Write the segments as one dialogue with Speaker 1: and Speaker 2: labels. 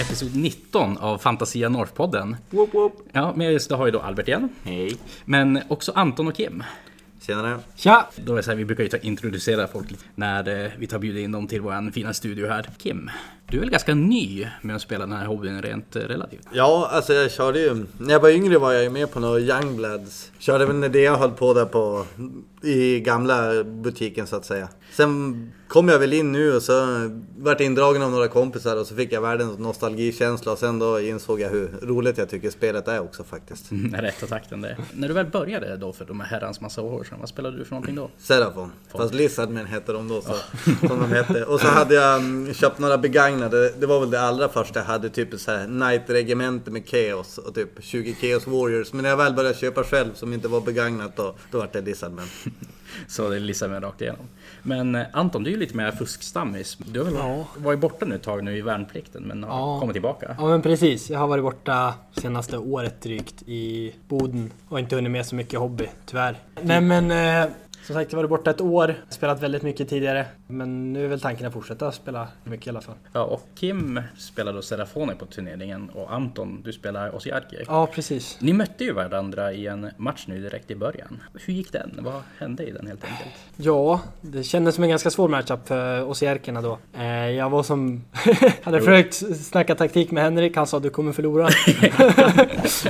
Speaker 1: episod 19 av Fantasia North-podden.
Speaker 2: Whoop, whoop.
Speaker 1: Ja, med just det har ju då Albert igen.
Speaker 2: Hej.
Speaker 1: Men också Anton och Kim.
Speaker 2: Senare.
Speaker 1: Tja! Då är det så här, vi brukar ju ta, introducera folk lite när eh, vi tar bjudit in dem till vår fina studio här. Kim, du är väl ganska ny med att spela den här hobbyn rent eh, relativt?
Speaker 2: Ja, alltså jag körde ju... När jag var yngre var jag ju med på några Youngbloods. Körde väl när det jag höll på där på... I gamla butiken så att säga. Sen kom jag väl in nu och så vart indragen av några kompisar och så fick jag världens nostalgikänsla och sen då insåg jag hur roligt jag tycker spelet är också faktiskt.
Speaker 1: Mm, Rätta takten där. När du väl började då för de här herrans massa år sedan, vad spelade du för någonting då?
Speaker 2: Serafon. Fast Lizardmen hette de då. Så, som de hette. Och så hade jag mm, köpt några begagnade. Det var väl det allra första jag hade. Typ ett så här Knight Regemente med Chaos. Och typ 20 Chaos Warriors. Men när jag väl började köpa själv som inte var begagnat då. Då var det Lizardmen.
Speaker 1: Så det lissar mig rakt igenom. Men eh, Anton, du är ju lite mer fuskstamis. Du har väl
Speaker 3: Ja.
Speaker 1: varit borta nu ett tag nu i värnplikten, men har
Speaker 3: Ja.
Speaker 1: kommit tillbaka.
Speaker 3: Ja men precis, jag har varit borta senaste året drygt i Boden och inte hunnit med så mycket hobby, tyvärr. Nej men eh, som sagt, jag har varit borta ett år, spelat väldigt mycket tidigare. Men nu är väl tanken att fortsätta spela mycket i alla fall.
Speaker 1: Ja, och Kim spelar då Serafone på turneringen och Anton, du spelar Osiarki.
Speaker 3: Ja precis.
Speaker 1: Ni mötte ju varandra i en match nu direkt i början. Hur gick den? Vad hände i den helt enkelt?
Speaker 3: Ja, det kändes som en ganska svår matchup för Osierkerna då. Eh, jag var som... hade försökt snacka taktik med Henrik, han sa du kommer förlora.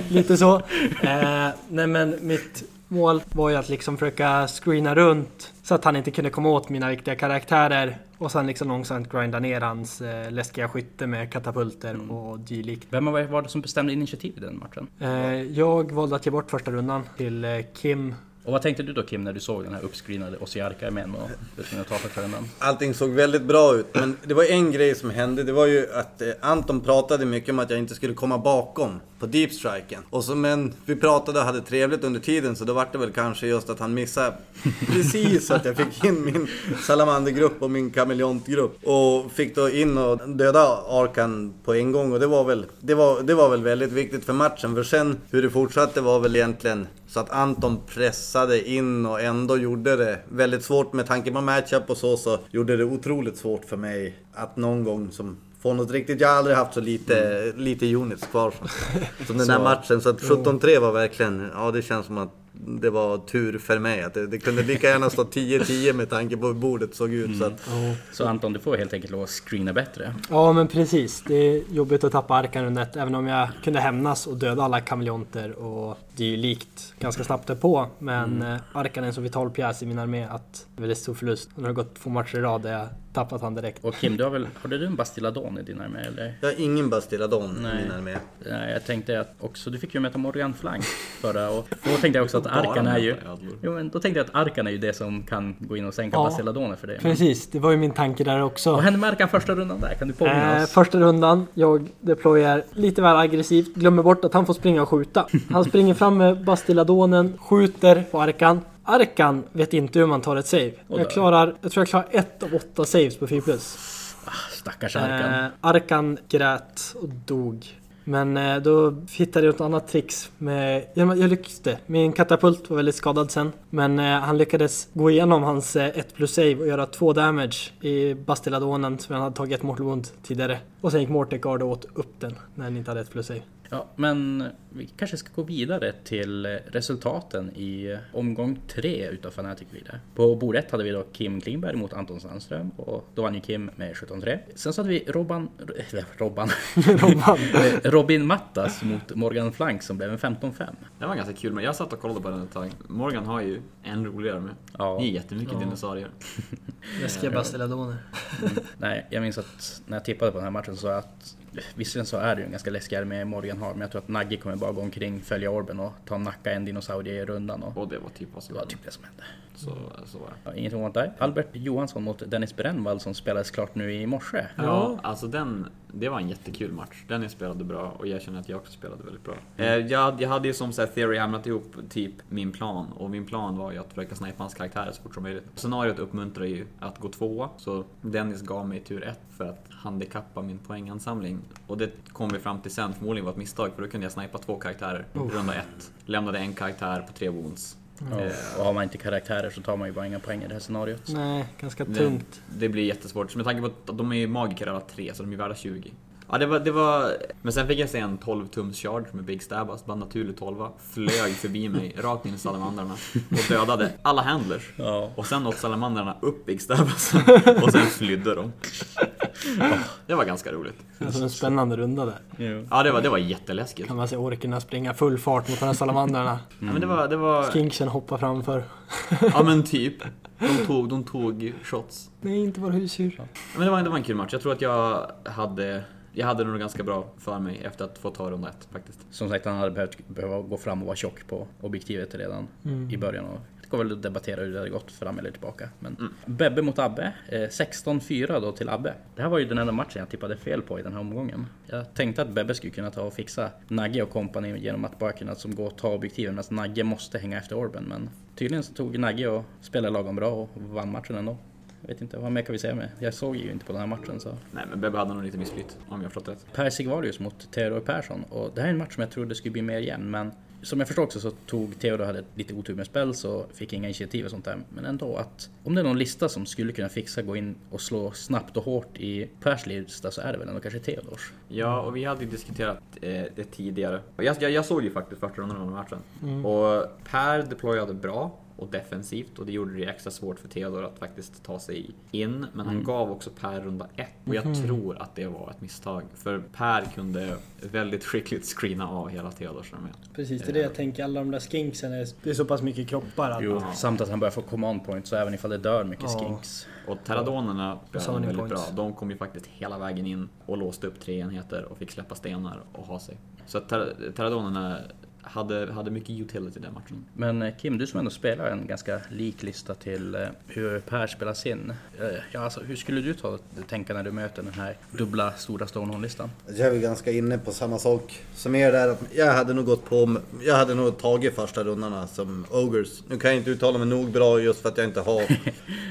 Speaker 3: Lite så. Eh, nej men mitt mål var ju att liksom försöka screena runt så att han inte kunde komma åt mina viktiga karaktärer. Och sen liksom långsamt grinda ner hans eh, läskiga skytte med katapulter och dylikt.
Speaker 1: Vem var var det som bestämde initiativ i den matchen?
Speaker 3: Eh, jag valde att ge bort första rundan till eh, Kim.
Speaker 1: Och vad tänkte du då Kim när du såg den här uppscreenade Osiarka-armén och du tvungen att ta för den?
Speaker 2: Allting såg väldigt bra ut. Men det var en grej som hände. Det var ju att eh, Anton pratade mycket om att jag inte skulle komma bakom på deep striken. Och så, men vi pratade och hade trevligt under tiden så då var det väl kanske just att han missade precis att jag fick in min salamandergrupp och min kameleontgrupp. Och fick då in och döda Arkan på en gång. Och det var, väl, det, var, det var väl väldigt viktigt för matchen. För sen hur det fortsatte var väl egentligen så att Anton pressade in och ändå gjorde det väldigt svårt med tanke på matchup och så, så gjorde det otroligt svårt för mig att någon gång som få något riktigt. Jag har aldrig haft så lite, lite units kvar som, som den där matchen. Så att 17-3 var verkligen, ja det känns som att det var tur för mig. Att det, det kunde lika gärna stå 10-10 med tanke på hur bordet såg ut. Så att,
Speaker 1: Så Anton, du får helt enkelt lov att screena bättre.
Speaker 3: Ja men precis, det är jobbigt att tappa Arkan under ett, även om jag kunde hämnas och döda alla kameleonter och det är ju likt ganska snabbt på. Men mm. Arkan är en så vital pjäs i min armé att det är väldigt stor förlust. Nu har det gått två matcher i rad där jag tappat han direkt.
Speaker 1: Och Kim, du har väl, hade du en Bastiladon i din armé eller?
Speaker 2: jag har ingen Bastiladon i
Speaker 1: Nej.
Speaker 2: min armé.
Speaker 1: Nej, jag tänkte att också, du fick ju möta Morgan Flank förra och då tänkte jag också att Arkan är ju... Jo, men då tänkte jag att Arkan är ju det som kan gå in och sänka
Speaker 3: Ja.
Speaker 1: Bastiladoner för dig. Men
Speaker 3: Precis, det var ju min tanke där också.
Speaker 1: Vad hände med Arkan första rundan där? Kan du påminna
Speaker 3: Eh,
Speaker 1: oss?
Speaker 3: första rundan, jag deployar lite väl aggressivt, glömmer bort att han får springa och skjuta. Han springer fram med Bastiladonen, skjuter på Arkan. Arkan vet inte hur man tar ett save.
Speaker 1: Och där.
Speaker 3: Jag, klarar, jag tror jag klarar ett av åtta saves på 4 plus.
Speaker 1: Stackars Arkan.
Speaker 3: Eh, Arkan grät och dog. Men eh, då hittade jag ett annat trix. Med, jag, jag lyckades. Min katapult var väldigt skadad sen. Men eh, han lyckades gå igenom hans eh, 1 plus save och göra 2 damage i Bastiladonen som han hade tagit mortal wound tidigare. Och sen gick Mortecard och åt upp den när han inte hade 1 plus save.
Speaker 1: Ja, men vi kanske ska gå vidare till resultaten i omgång tre utav Fanatic Villa. På bord ett hade vi då Kim Klingberg mot Anton Sandström och då vann ju Kim med 17-3. Sen så hade vi Robban... Eller Robban.
Speaker 3: Robban.
Speaker 1: Robin Mattas mot Morgan Flank som blev en 15-5.
Speaker 4: Det var ganska kul, men jag satt och kollade på den ett tag. Morgan har ju en roligare med.
Speaker 1: Ja.
Speaker 4: Ni är jättemycket dinosaurier.
Speaker 3: Läskiga Bastiladoner.
Speaker 1: Nej, jag minns att när jag tippade på den här matchen så sa jag att visserligen så är det ju en ganska läskig armé Morgan har, men jag tror att Nagge kommer bara gå omkring, följa orben och ta och nacka en dinosaurie i rundan och
Speaker 4: Och det var typ vad
Speaker 1: det
Speaker 4: som
Speaker 1: var
Speaker 4: hände.
Speaker 1: typ det som hände.
Speaker 4: Så, så var det.
Speaker 1: Ja, inget ovanligt där. Albert Johansson mot Dennis Brännvall som spelades klart nu i morse.
Speaker 4: Ja, alltså den, det var en jättekul match. Dennis spelade bra och jag känner att jag också spelade väldigt bra. Eh, Jag, jag hade ju som så här theory hamnat ihop typ min plan och min plan var ju att försöka snipa hans karaktärer så fort som möjligt. Scenariot uppmuntrar ju att gå tvåa så Dennis gav mig tur ett för att handikappa min poängansamling. Och det kom vi fram till sen förmodligen var ett misstag för då kunde jag snipa två karaktärer runda ett. Lämnade en karaktär på tre wounds. Eh,
Speaker 1: Och har man inte karaktärer så tar man ju bara inga poäng i det här scenariot.
Speaker 3: Nej, ganska
Speaker 4: det-
Speaker 3: tungt.
Speaker 4: Det blir jättesvårt. Med tanke på att de är ju magiker alla tre, så de är värda 20.
Speaker 5: Ja, det var, det var... Men sen fick jag se en 12-tums charge med Big Stabas, bara naturlig 12 Flög förbi mig, rakt in i salamandrarna och dödade alla handlers.
Speaker 1: Ja.
Speaker 5: Och sen åt salamandrarna upp Big Stabas och sen flydde de. Det var ganska roligt.
Speaker 3: Alltså en spännande runda där.
Speaker 1: Jo.
Speaker 5: Ja, det var, det var jätteläskigt.
Speaker 3: Kan man se orkerna springa full fart mot de här salamandrarna.
Speaker 5: Ja, men det var... Det var...
Speaker 3: Kinksen hoppar framför.
Speaker 5: Ja men typ. De tog, de tog shots.
Speaker 3: Nej, inte våra husdjur.
Speaker 5: Ja, Men det var, det var en kul match. Jag tror att jag hade, jag hade nog ganska bra för mig efter att få ta runda ett faktiskt.
Speaker 1: Som sagt, han hade behövt behöva gå fram och vara tjock på objektivet redan i början. Och det går väl att debattera hur det hade gått fram eller tillbaka. Men Bebbe mot Abbe. Eh, 16-4 då till Abbe. Det här var ju den enda matchen jag tippade fel på i den här omgången. Jag tänkte att Bebbe skulle kunna ta och fixa Nagge och kompani genom att bara kunna som gå och ta objektiven medan Nagge måste hänga efter Orben. Men tydligen så tog Nagge och spelade lagom bra och vann matchen ändå. Jag vet inte, vad mer kan vi säga med? Jag såg ju inte på den här matchen så.
Speaker 5: Nej men Bebbe hade nog lite missflytt om jag förstått rätt.
Speaker 1: Per Sigvalius mot Theodor Persson och det här är en match som jag trodde skulle bli mer jämn men som jag förstår också så tog Theodor hade lite otur med spel så fick inga initiativ och sånt där. Men ändå att om det är någon lista som skulle kunna fixa gå in och slå snabbt och hårt i Pers lista så är det väl ändå kanske Theodors.
Speaker 5: Ja och vi hade ju diskuterat eh, det tidigare. Och Jag, jag, jag såg ju faktiskt första rundan av den här matchen. Och Per deployade bra och defensivt och det gjorde det extra svårt för Theodor att faktiskt ta sig in. Men han gav också Per runda ett och jag tror att det var ett misstag. För Per kunde väldigt skickligt screena av hela Theodors armé.
Speaker 3: Precis, det är det jag tänker. Alla de där skinksen, är, det är så pass mycket kroppar att...
Speaker 1: Jo. Samt att han börjar få command points så även ifall det dör mycket
Speaker 3: Ja.
Speaker 1: skinks.
Speaker 5: Och Terradonerna spelade
Speaker 3: Sony
Speaker 5: väldigt
Speaker 3: points.
Speaker 5: bra. De kom ju faktiskt hela vägen in och låste upp tre enheter och fick släppa stenar och ha sig. Så att ter- Terradonerna hade, hade mycket utility i den matchen.
Speaker 1: Men eh, Kim, du som ändå spelar en ganska lik lista till eh, hur Per spelar sin. Eh, Ja, alltså, hur skulle du ta, tänka när du möter den här dubbla stora Stonehorn-listan?
Speaker 2: Alltså, Jag är väl ganska inne på samma sak som er där. att Jag hade nog gått på... Jag hade nog tagit första rundarna som Ogres. Nu kan jag inte uttala mig nog bra just för att jag inte har,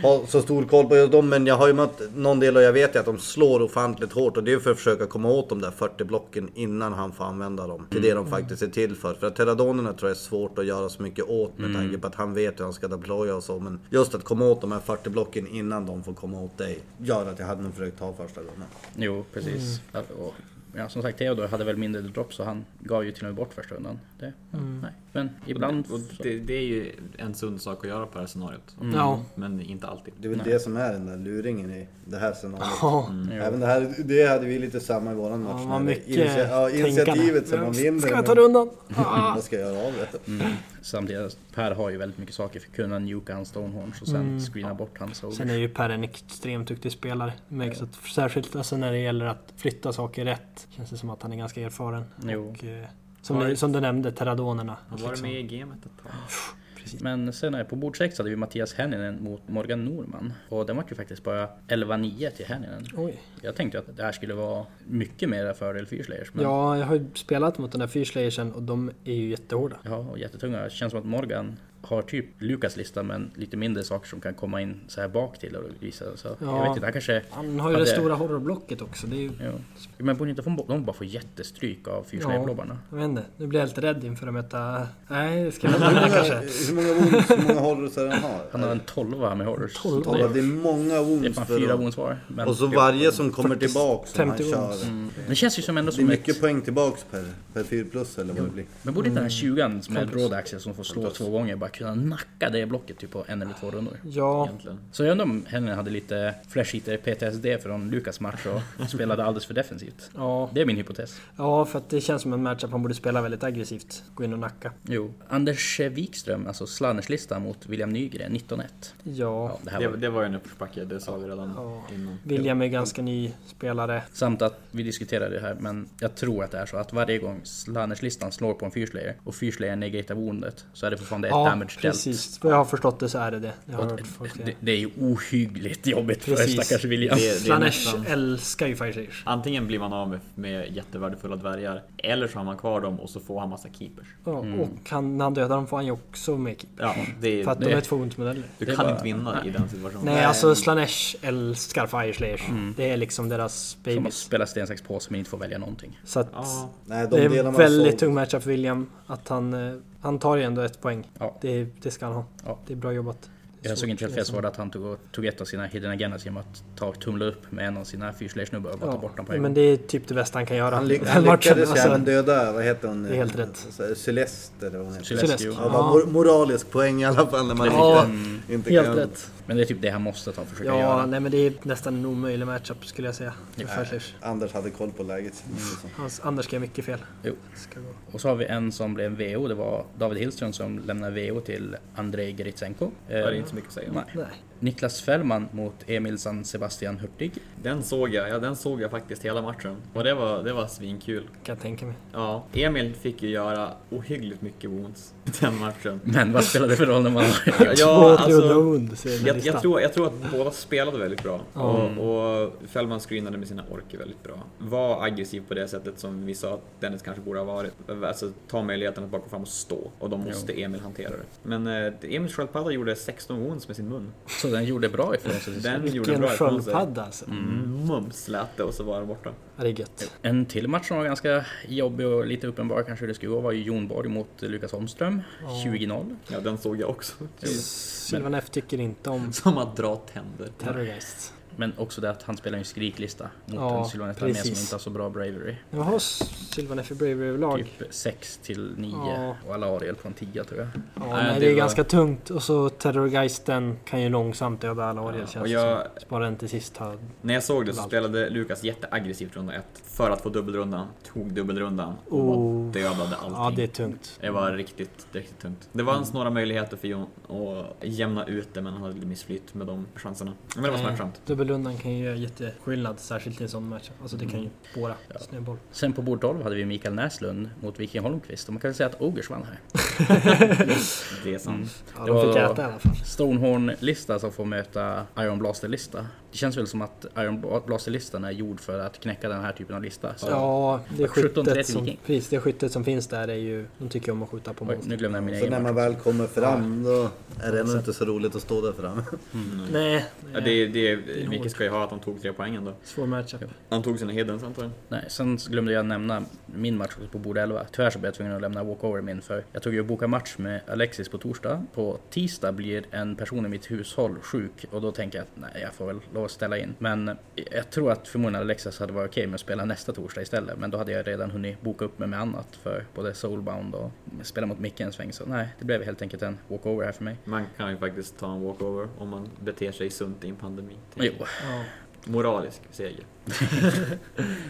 Speaker 2: har så stor koll på just dem. Men jag har ju mött någon del och jag vet ju att de slår ofantligt hårt. Och det är för att försöka komma åt de där 40 blocken innan han får använda dem. Till det de faktiskt är till för. För att Terradonerna tror jag är svårt att göra så mycket åt med tanke på att han vet hur han ska deploya och så. Men just att komma åt de här 40 blocken innan de får komma åt dig. Gör att jag hade nog försökt ta första rundan.
Speaker 1: Jo, precis.
Speaker 3: Mm.
Speaker 1: Ja, och, ja, som sagt, Theodor hade väl mindre dropp så han gav ju till och med bort första rundan. Det, ja,
Speaker 3: Mm.
Speaker 1: nej. Men ibland...
Speaker 5: Och
Speaker 1: så-
Speaker 5: det, det är ju en sund sak att göra på det här scenariot.
Speaker 3: Ja.
Speaker 5: Men inte alltid.
Speaker 2: Det är väl det som är den där luringen i det här scenariot.
Speaker 3: Ja.
Speaker 2: Även det här, det hade vi lite samma i våran match.
Speaker 3: Mm.
Speaker 2: när
Speaker 3: Ja, vad
Speaker 2: det
Speaker 3: mycket
Speaker 2: initia- ja, initiativet som
Speaker 3: tänkande.
Speaker 2: man vinner.
Speaker 3: Ska jag
Speaker 2: men
Speaker 3: ta rundan? Mm.
Speaker 2: Vad ska jag göra av det?
Speaker 1: Samtidigt, Per har ju väldigt mycket saker för att kunna nuka hans Stonehorns och sen screena bort hans
Speaker 3: Mm. Sen
Speaker 1: ogre.
Speaker 3: är ju Per en extremt duktig spelare. Det märks att särskilt alltså när det gäller att flytta saker rätt. Känns det som att han är ganska erfaren.
Speaker 1: Jo.
Speaker 3: Och, eh, som, du, som du nämnde, Terradonerna.
Speaker 5: Han var med i gamet ett tag.
Speaker 1: Men sen är på bord 6 hade vi Mattias Henninen mot Morgan Norman. Och den var ju faktiskt bara 11-9 till Henninen.
Speaker 3: Oj.
Speaker 1: Jag tänkte att det här skulle vara mycket mer fördel för Fyrsleyers. Men...
Speaker 3: Ja, jag har ju spelat mot den där Fyrslayersen och de är ju jättehårda.
Speaker 1: Ja, och jättetunga. Det känns som att Morgan har typ Lukas lista men lite mindre saker som kan komma in så här bak till och visa. Så
Speaker 3: Ja.
Speaker 1: jag vet inte, han kanske...
Speaker 3: Han har ju
Speaker 1: Ja,
Speaker 3: det
Speaker 1: det-
Speaker 3: stora horrorblocket också. Det är ju,
Speaker 1: Ja. Men borde inte få- de bara få jättestryk av fyrslöjblobbarna?
Speaker 3: jag vet inte, nu blir jag lite rädd inför att möta... Nej, ska jag möta kanske?
Speaker 2: Hur många wounds, hur många horrors är det han har?
Speaker 1: Han har en tolva med horrors.
Speaker 3: Tolva?
Speaker 1: Så
Speaker 2: Kolla,
Speaker 1: Det,
Speaker 2: det är många
Speaker 1: det är
Speaker 2: wounds
Speaker 1: fan
Speaker 2: för
Speaker 1: fyra
Speaker 2: dem.
Speaker 1: wounds var. Men
Speaker 2: Och så varje som kommer
Speaker 3: 40,
Speaker 2: tillbaks som han
Speaker 3: 50
Speaker 2: kör.
Speaker 3: wounds. Mm.
Speaker 1: det känns ju som ändå
Speaker 2: Det är
Speaker 1: som ett...
Speaker 2: mycket poäng tillbaks per, per 4 plus eller vad det blir.
Speaker 1: Men borde inte den här tjugan med
Speaker 2: Mm.
Speaker 1: broadaxel som får slå två gånger bara kunna nacka det blocket typ på en eller två rundor?
Speaker 3: Ja,
Speaker 5: Egentligen.
Speaker 1: Så jag undrar om Henry hade lite flash hitter PTSD från Lukas match och spelade alldeles för defensivt.
Speaker 3: ja,
Speaker 1: Det är min hypotes.
Speaker 3: ja, för att det känns som en matchup han borde spela väldigt aggressivt. Gå in och nacka.
Speaker 1: Jo. Anders Wikström, alltså Slannerslistan mot William Nygren, 19-1.
Speaker 3: Ja.
Speaker 1: Ja, det här
Speaker 5: Det,
Speaker 1: var...
Speaker 5: det var ju en uppförsbacke, det sa vi redan
Speaker 3: Ja.
Speaker 5: innan.
Speaker 3: William är ganska ny spelare.
Speaker 1: Samt att vi diskuterade det här, men jag tror att det är så att varje gång Slannerslistan slår på en fyrslayer och fyrslayer negatar woundet så är det fortfarande ett
Speaker 3: Ja,
Speaker 1: damage dealt.
Speaker 3: precis. Vad jag har förstått det så är det det. Jag har
Speaker 1: Och
Speaker 3: hört folk
Speaker 1: Det,
Speaker 3: säga.
Speaker 1: det är ju ohyggligt jobbigt för
Speaker 3: Precis.
Speaker 1: stackars William.
Speaker 5: Det- det är
Speaker 3: Slanesh
Speaker 5: nästan-
Speaker 3: älskar ju Fireslayers.
Speaker 5: Antingen blir man av med, med jättevärdefulla dvärgar, eller så har man kvar dem och så får han massa keepers.
Speaker 3: Ja,
Speaker 1: Mm.
Speaker 3: Och han, när han dödar dem får han ju också med keep.
Speaker 5: Ja, det,
Speaker 3: För att
Speaker 5: det,
Speaker 3: de är två ont-modeller.
Speaker 5: du
Speaker 1: det
Speaker 5: kan
Speaker 1: var-
Speaker 5: inte vinna i den situationen.
Speaker 3: Nej, alltså Slanesh älskar Fireslayers. Det är liksom deras
Speaker 1: Mm. Som att
Speaker 3: babies.
Speaker 1: spela sten, sax, påse men inte får välja någonting.
Speaker 3: Så att
Speaker 5: Ja,
Speaker 2: Nej, de
Speaker 3: det är
Speaker 2: delar
Speaker 3: en
Speaker 2: man
Speaker 3: väldigt
Speaker 2: så-
Speaker 3: tung matchup för William. Att han, eh, han tar ju ändå ett poäng.
Speaker 1: Ja.
Speaker 3: Det, det ska han ha.
Speaker 1: Ja.
Speaker 3: Det är bra jobbat.
Speaker 1: Jag såg inte helt fel så var det att han tog, tog ett av sina hidden agendas genom att ta, tumla upp med en av sina fyrslayer-snubbar och bara ta bort den på en
Speaker 3: men
Speaker 1: gång.
Speaker 3: det är typ det bästa han kan göra.
Speaker 2: Han, lyck
Speaker 3: Den
Speaker 2: han
Speaker 3: matchen,
Speaker 2: lyckades ju
Speaker 3: alltså.
Speaker 2: även döda, vad heter hon?
Speaker 3: Det är helt rätt.
Speaker 2: Så här, Celeste eller vad hon heter.
Speaker 1: Celeste,
Speaker 3: Celeste.
Speaker 1: jo.
Speaker 2: Ja, bara mor moralisk poäng i alla fall när man
Speaker 3: Ja, Mm.
Speaker 2: inte, inte
Speaker 3: Helt
Speaker 2: kan...
Speaker 3: rätt.
Speaker 1: Men det är typ det han måste ta och försöka
Speaker 3: Ja,
Speaker 1: göra.
Speaker 3: nej men det är nästan en omöjlig matchup skulle jag säga. För Fighters.
Speaker 2: Anders hade koll på läget.
Speaker 3: Hans, Anders ska mycket fel.
Speaker 1: Jo.
Speaker 3: Ska gå.
Speaker 1: Och så har vi en som blev VO, det var David Hillström som lämnade VO till Andrei Gritsenko.
Speaker 5: Det är
Speaker 1: Eh,
Speaker 5: inte så mycket att säga. om.
Speaker 1: nej.
Speaker 3: Nej.
Speaker 1: Niklas Fällman mot Emil San Sebastian Hurtig.
Speaker 5: Den såg jag, ja den såg jag faktiskt hela matchen. Och det var, det var svinkul.
Speaker 3: Kan jag tänka mig.
Speaker 5: Ja, Emil fick ju göra ohyggligt mycket wounds den matchen.
Speaker 1: Men vad spelar det för roll när man
Speaker 3: Två Trudda Wound ser jag,
Speaker 5: alltså, jag, jag, tror, jag tror att båda spelade väldigt bra.
Speaker 3: Mm.
Speaker 5: Och, och Fällman screenade med sina orker väldigt bra. Var aggressiv på det sättet som vi sa att Dennis kanske borde ha varit. Alltså ta möjligheten att bara gå fram och stå. Och då måste Emil hantera det. Men eh, Emils sköldpadda gjorde 16 wounds med sin mun.
Speaker 1: Så den gjorde bra ifrån sig. till
Speaker 5: Den
Speaker 1: slut.
Speaker 5: gjorde
Speaker 3: Vilken
Speaker 5: bra ifrån sig.
Speaker 3: sköldpadda alltså.
Speaker 5: Mm, Mums lät det och så var den borta.
Speaker 3: Ja, det är gött.
Speaker 1: En till match som var ganska jobbig och lite uppenbar kanske hur det skulle gå var ju Jon Borg mot Lukas Holmström. 20-0.
Speaker 5: Ja, den såg jag också.
Speaker 3: Silvan F tycker inte om
Speaker 5: Som att dra tänder.
Speaker 3: Terrorists.
Speaker 1: Men också det att han spelar en skriklista mot
Speaker 3: Ja,
Speaker 1: en Sylvanetta armé som
Speaker 3: precis.
Speaker 1: inte har så bra bravery.
Speaker 3: Jaha, Silvan F är bravery överlag.
Speaker 1: Typ 6 till 9
Speaker 3: Ja.
Speaker 1: och alla Ariel på en 10 tror jag.
Speaker 3: Ja,
Speaker 5: Nej,
Speaker 3: nej, det,
Speaker 5: det
Speaker 3: är
Speaker 5: var-
Speaker 3: ganska tungt. Och så Terrorgeisten kan ju långsamt döda alla Ariel
Speaker 5: Ja, och
Speaker 3: känns
Speaker 5: jag-
Speaker 3: det som. Spara den till sist. Har...
Speaker 5: När jag såg det så
Speaker 3: Allt.
Speaker 5: spelade Lukas jätteaggressivt runda ett för att få dubbelrundan. Tog dubbelrundan och
Speaker 3: Oh.
Speaker 5: dödade allting.
Speaker 3: Ja, det Mm. är tungt.
Speaker 5: Det var riktigt, riktigt tungt. Det fanns några möjligheter för Jon att jämna ut det men han hade missflytt med de chanserna. Men det var
Speaker 3: Nej,
Speaker 5: smärtsamt.
Speaker 3: Dubbelrundan kan ju göra jätteskillnad, särskilt i en sån match. Alltså det kan ju spåra. Snöboll.
Speaker 1: Sen på bord 12 hade vi Mikael Näslund mot Viking Holmqvist och man kan väl säga att Ogers vann här.
Speaker 5: Det är sant.
Speaker 3: Ja,
Speaker 1: Det
Speaker 3: de
Speaker 1: var-
Speaker 3: fick äta i alla fall.
Speaker 1: Stonehorn-lista som får möta Iron Blaster-lista. Det känns väl som att Iron Bla- Blaster-listan är gjord för att knäcka den här typen av lista. Så-
Speaker 3: Ja, det
Speaker 1: 17-30
Speaker 3: skyttet, som,
Speaker 1: Viking.
Speaker 3: precis, det skyttet som finns där är ju... De tycker om att skjuta på
Speaker 1: Oj, nu
Speaker 3: monster.
Speaker 1: glömde jag min
Speaker 2: Så
Speaker 1: egen
Speaker 2: när
Speaker 1: match.
Speaker 2: man väl kommer fram då är det ändå inte så roligt att stå där fram.
Speaker 3: Mm. Nej,
Speaker 5: Mm. Ja,
Speaker 3: nej.
Speaker 5: det, är- det,
Speaker 3: är
Speaker 5: är- Micke ska ju ha att han tog tre poäng ändå.
Speaker 3: Svår matchup.
Speaker 5: Han tog sina hiddens antar jag.
Speaker 1: Nej, sen så glömde jag nämna min match också på bord 11. Tyvärr så blev jag tvungen att lämna walkover min för jag tog ju och bokade match med Alexis på torsdag. På tisdag blir en person i mitt hushåll sjuk och då tänker jag att nej, jag får väl lov att ställa in. Men jag tror att förmodligen Alexis hade varit okej med att spela nästa torsdag istället. Men då hade jag redan hunnit boka upp mig med annat för både soulbound och spela mot Micke en sväng. Så nej, det blev helt enkelt en walkover här för mig.
Speaker 5: Man kan ju faktiskt ta en walkover om man beter sig sunt i en pandemi.
Speaker 1: Jo,
Speaker 3: Ja.
Speaker 5: Moralisk seger.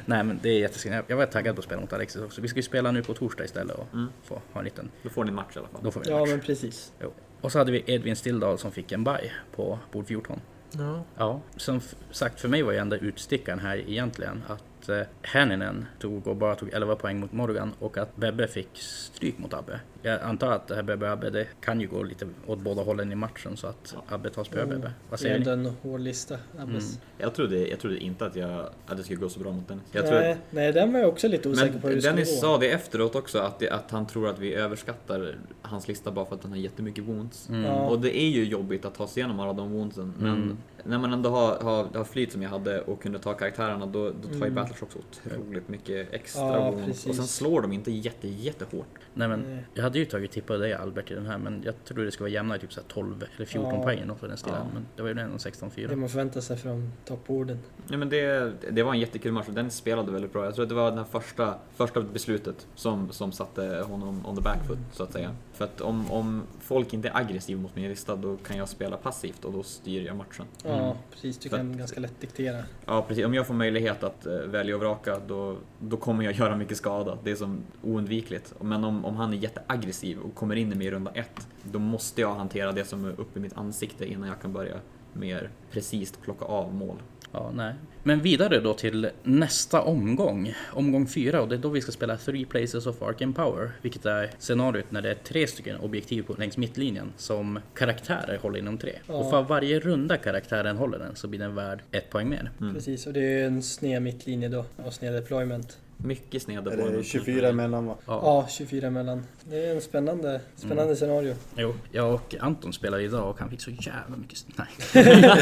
Speaker 1: nej men det är jättesynd. Jag var taggad på att spela mot Alexis också. Vi ska ju spela nu på torsdag istället och
Speaker 5: Mm.
Speaker 1: få ha en liten...
Speaker 5: Då får ni en match i alla fall.
Speaker 1: Då får vi en
Speaker 3: ja,
Speaker 1: match.
Speaker 3: men precis.
Speaker 1: Jo. Och så hade vi Edvin Stilldal som fick en baj på bord 14.
Speaker 3: Ja.
Speaker 1: Ja. Som f- sagt, för mig var ju enda utstickaren här egentligen att eh, Häninen tog och bara tog 11 poäng mot Morgan och att Bebbe fick stryk mot Abbe. Jag antar att det här Bebbe och Abbe, det kan ju gå lite åt båda hållen i matchen så att Abbe tar spö Bebbe. Vad
Speaker 3: Det är
Speaker 1: säger
Speaker 3: ändå
Speaker 1: ni?
Speaker 3: en hård lista, Abbes.
Speaker 5: Jag trodde, jag trodde inte att, jag, att det skulle gå så bra mot Dennis. Mm, Jag tror
Speaker 3: nej, nej, den var jag också lite osäker på hur
Speaker 5: Men
Speaker 3: det skulle
Speaker 5: Dennis
Speaker 3: gå.
Speaker 5: sa det efteråt också, att, det, att han tror att vi överskattar hans lista bara för att han har jättemycket wounds.
Speaker 1: Mm.
Speaker 3: Ja. Mm.
Speaker 5: Och det är ju jobbigt att ta sig igenom alla de woundsen, men när man ändå har, har, har flyt som jag hade och kunde ta karaktärerna, då, då tar ju Battlers också otroligt mycket extra
Speaker 3: Mm. Ja,
Speaker 5: wounds.
Speaker 3: precis.
Speaker 5: Och sen slår de inte jätte, jättehårt.
Speaker 1: Nej men,
Speaker 3: Nej.
Speaker 1: jag hade ju tagit tippa dig Albert i den här men jag trodde det skulle vara jämnare, typ så här 12 eller 14
Speaker 3: Ja.
Speaker 1: poäng eller något i den stilen.
Speaker 5: Ja.
Speaker 1: Men det var ju ändå
Speaker 3: Det
Speaker 1: 16-4.
Speaker 3: man förväntar sig från topporden.
Speaker 5: Nej, men det, det var en jättekul match och den spelade väldigt bra. Jag tror att det var det här första, första beslutet som, som satte honom on the back foot, så att säga. För att om, om folk inte är aggressiva mot min lista, då kan jag spela passivt och då styr jag matchen.
Speaker 3: Ja, precis. Du
Speaker 5: Så
Speaker 3: kan
Speaker 5: Mm. att-
Speaker 3: ganska lätt diktera.
Speaker 5: Ja, precis. Om jag får möjlighet att eh, välja och vraka, då, då kommer jag göra mycket skada. Det är som oundvikligt. Men om, om han är jätteaggressiv och kommer in i mig i runda ett, då måste jag hantera det som är uppe i mitt ansikte innan jag kan börja mer precis plocka av mål.
Speaker 1: Ja, nej. Men vidare då till nästa omgång, omgång fyra och det är då vi ska spela Three Places of Arcane Power, vilket är scenariot när det är tre stycken objektiv på, längs mittlinjen som karaktärer håller inom tre.
Speaker 3: Ja.
Speaker 1: Och för varje runda karaktären håller den så blir den värd ett poäng mer.
Speaker 5: Mm.
Speaker 3: Precis, och det är ju en sned mittlinje då och sned deployment.
Speaker 5: Mycket sneda
Speaker 2: Eller 24 emellan va?
Speaker 3: Ja, 24 mellan. Det är en spännande, spännande
Speaker 5: Mm.
Speaker 3: scenario.
Speaker 1: Jo, jag och Anton spelade idag och han fick så jävla mycket... s- Nej.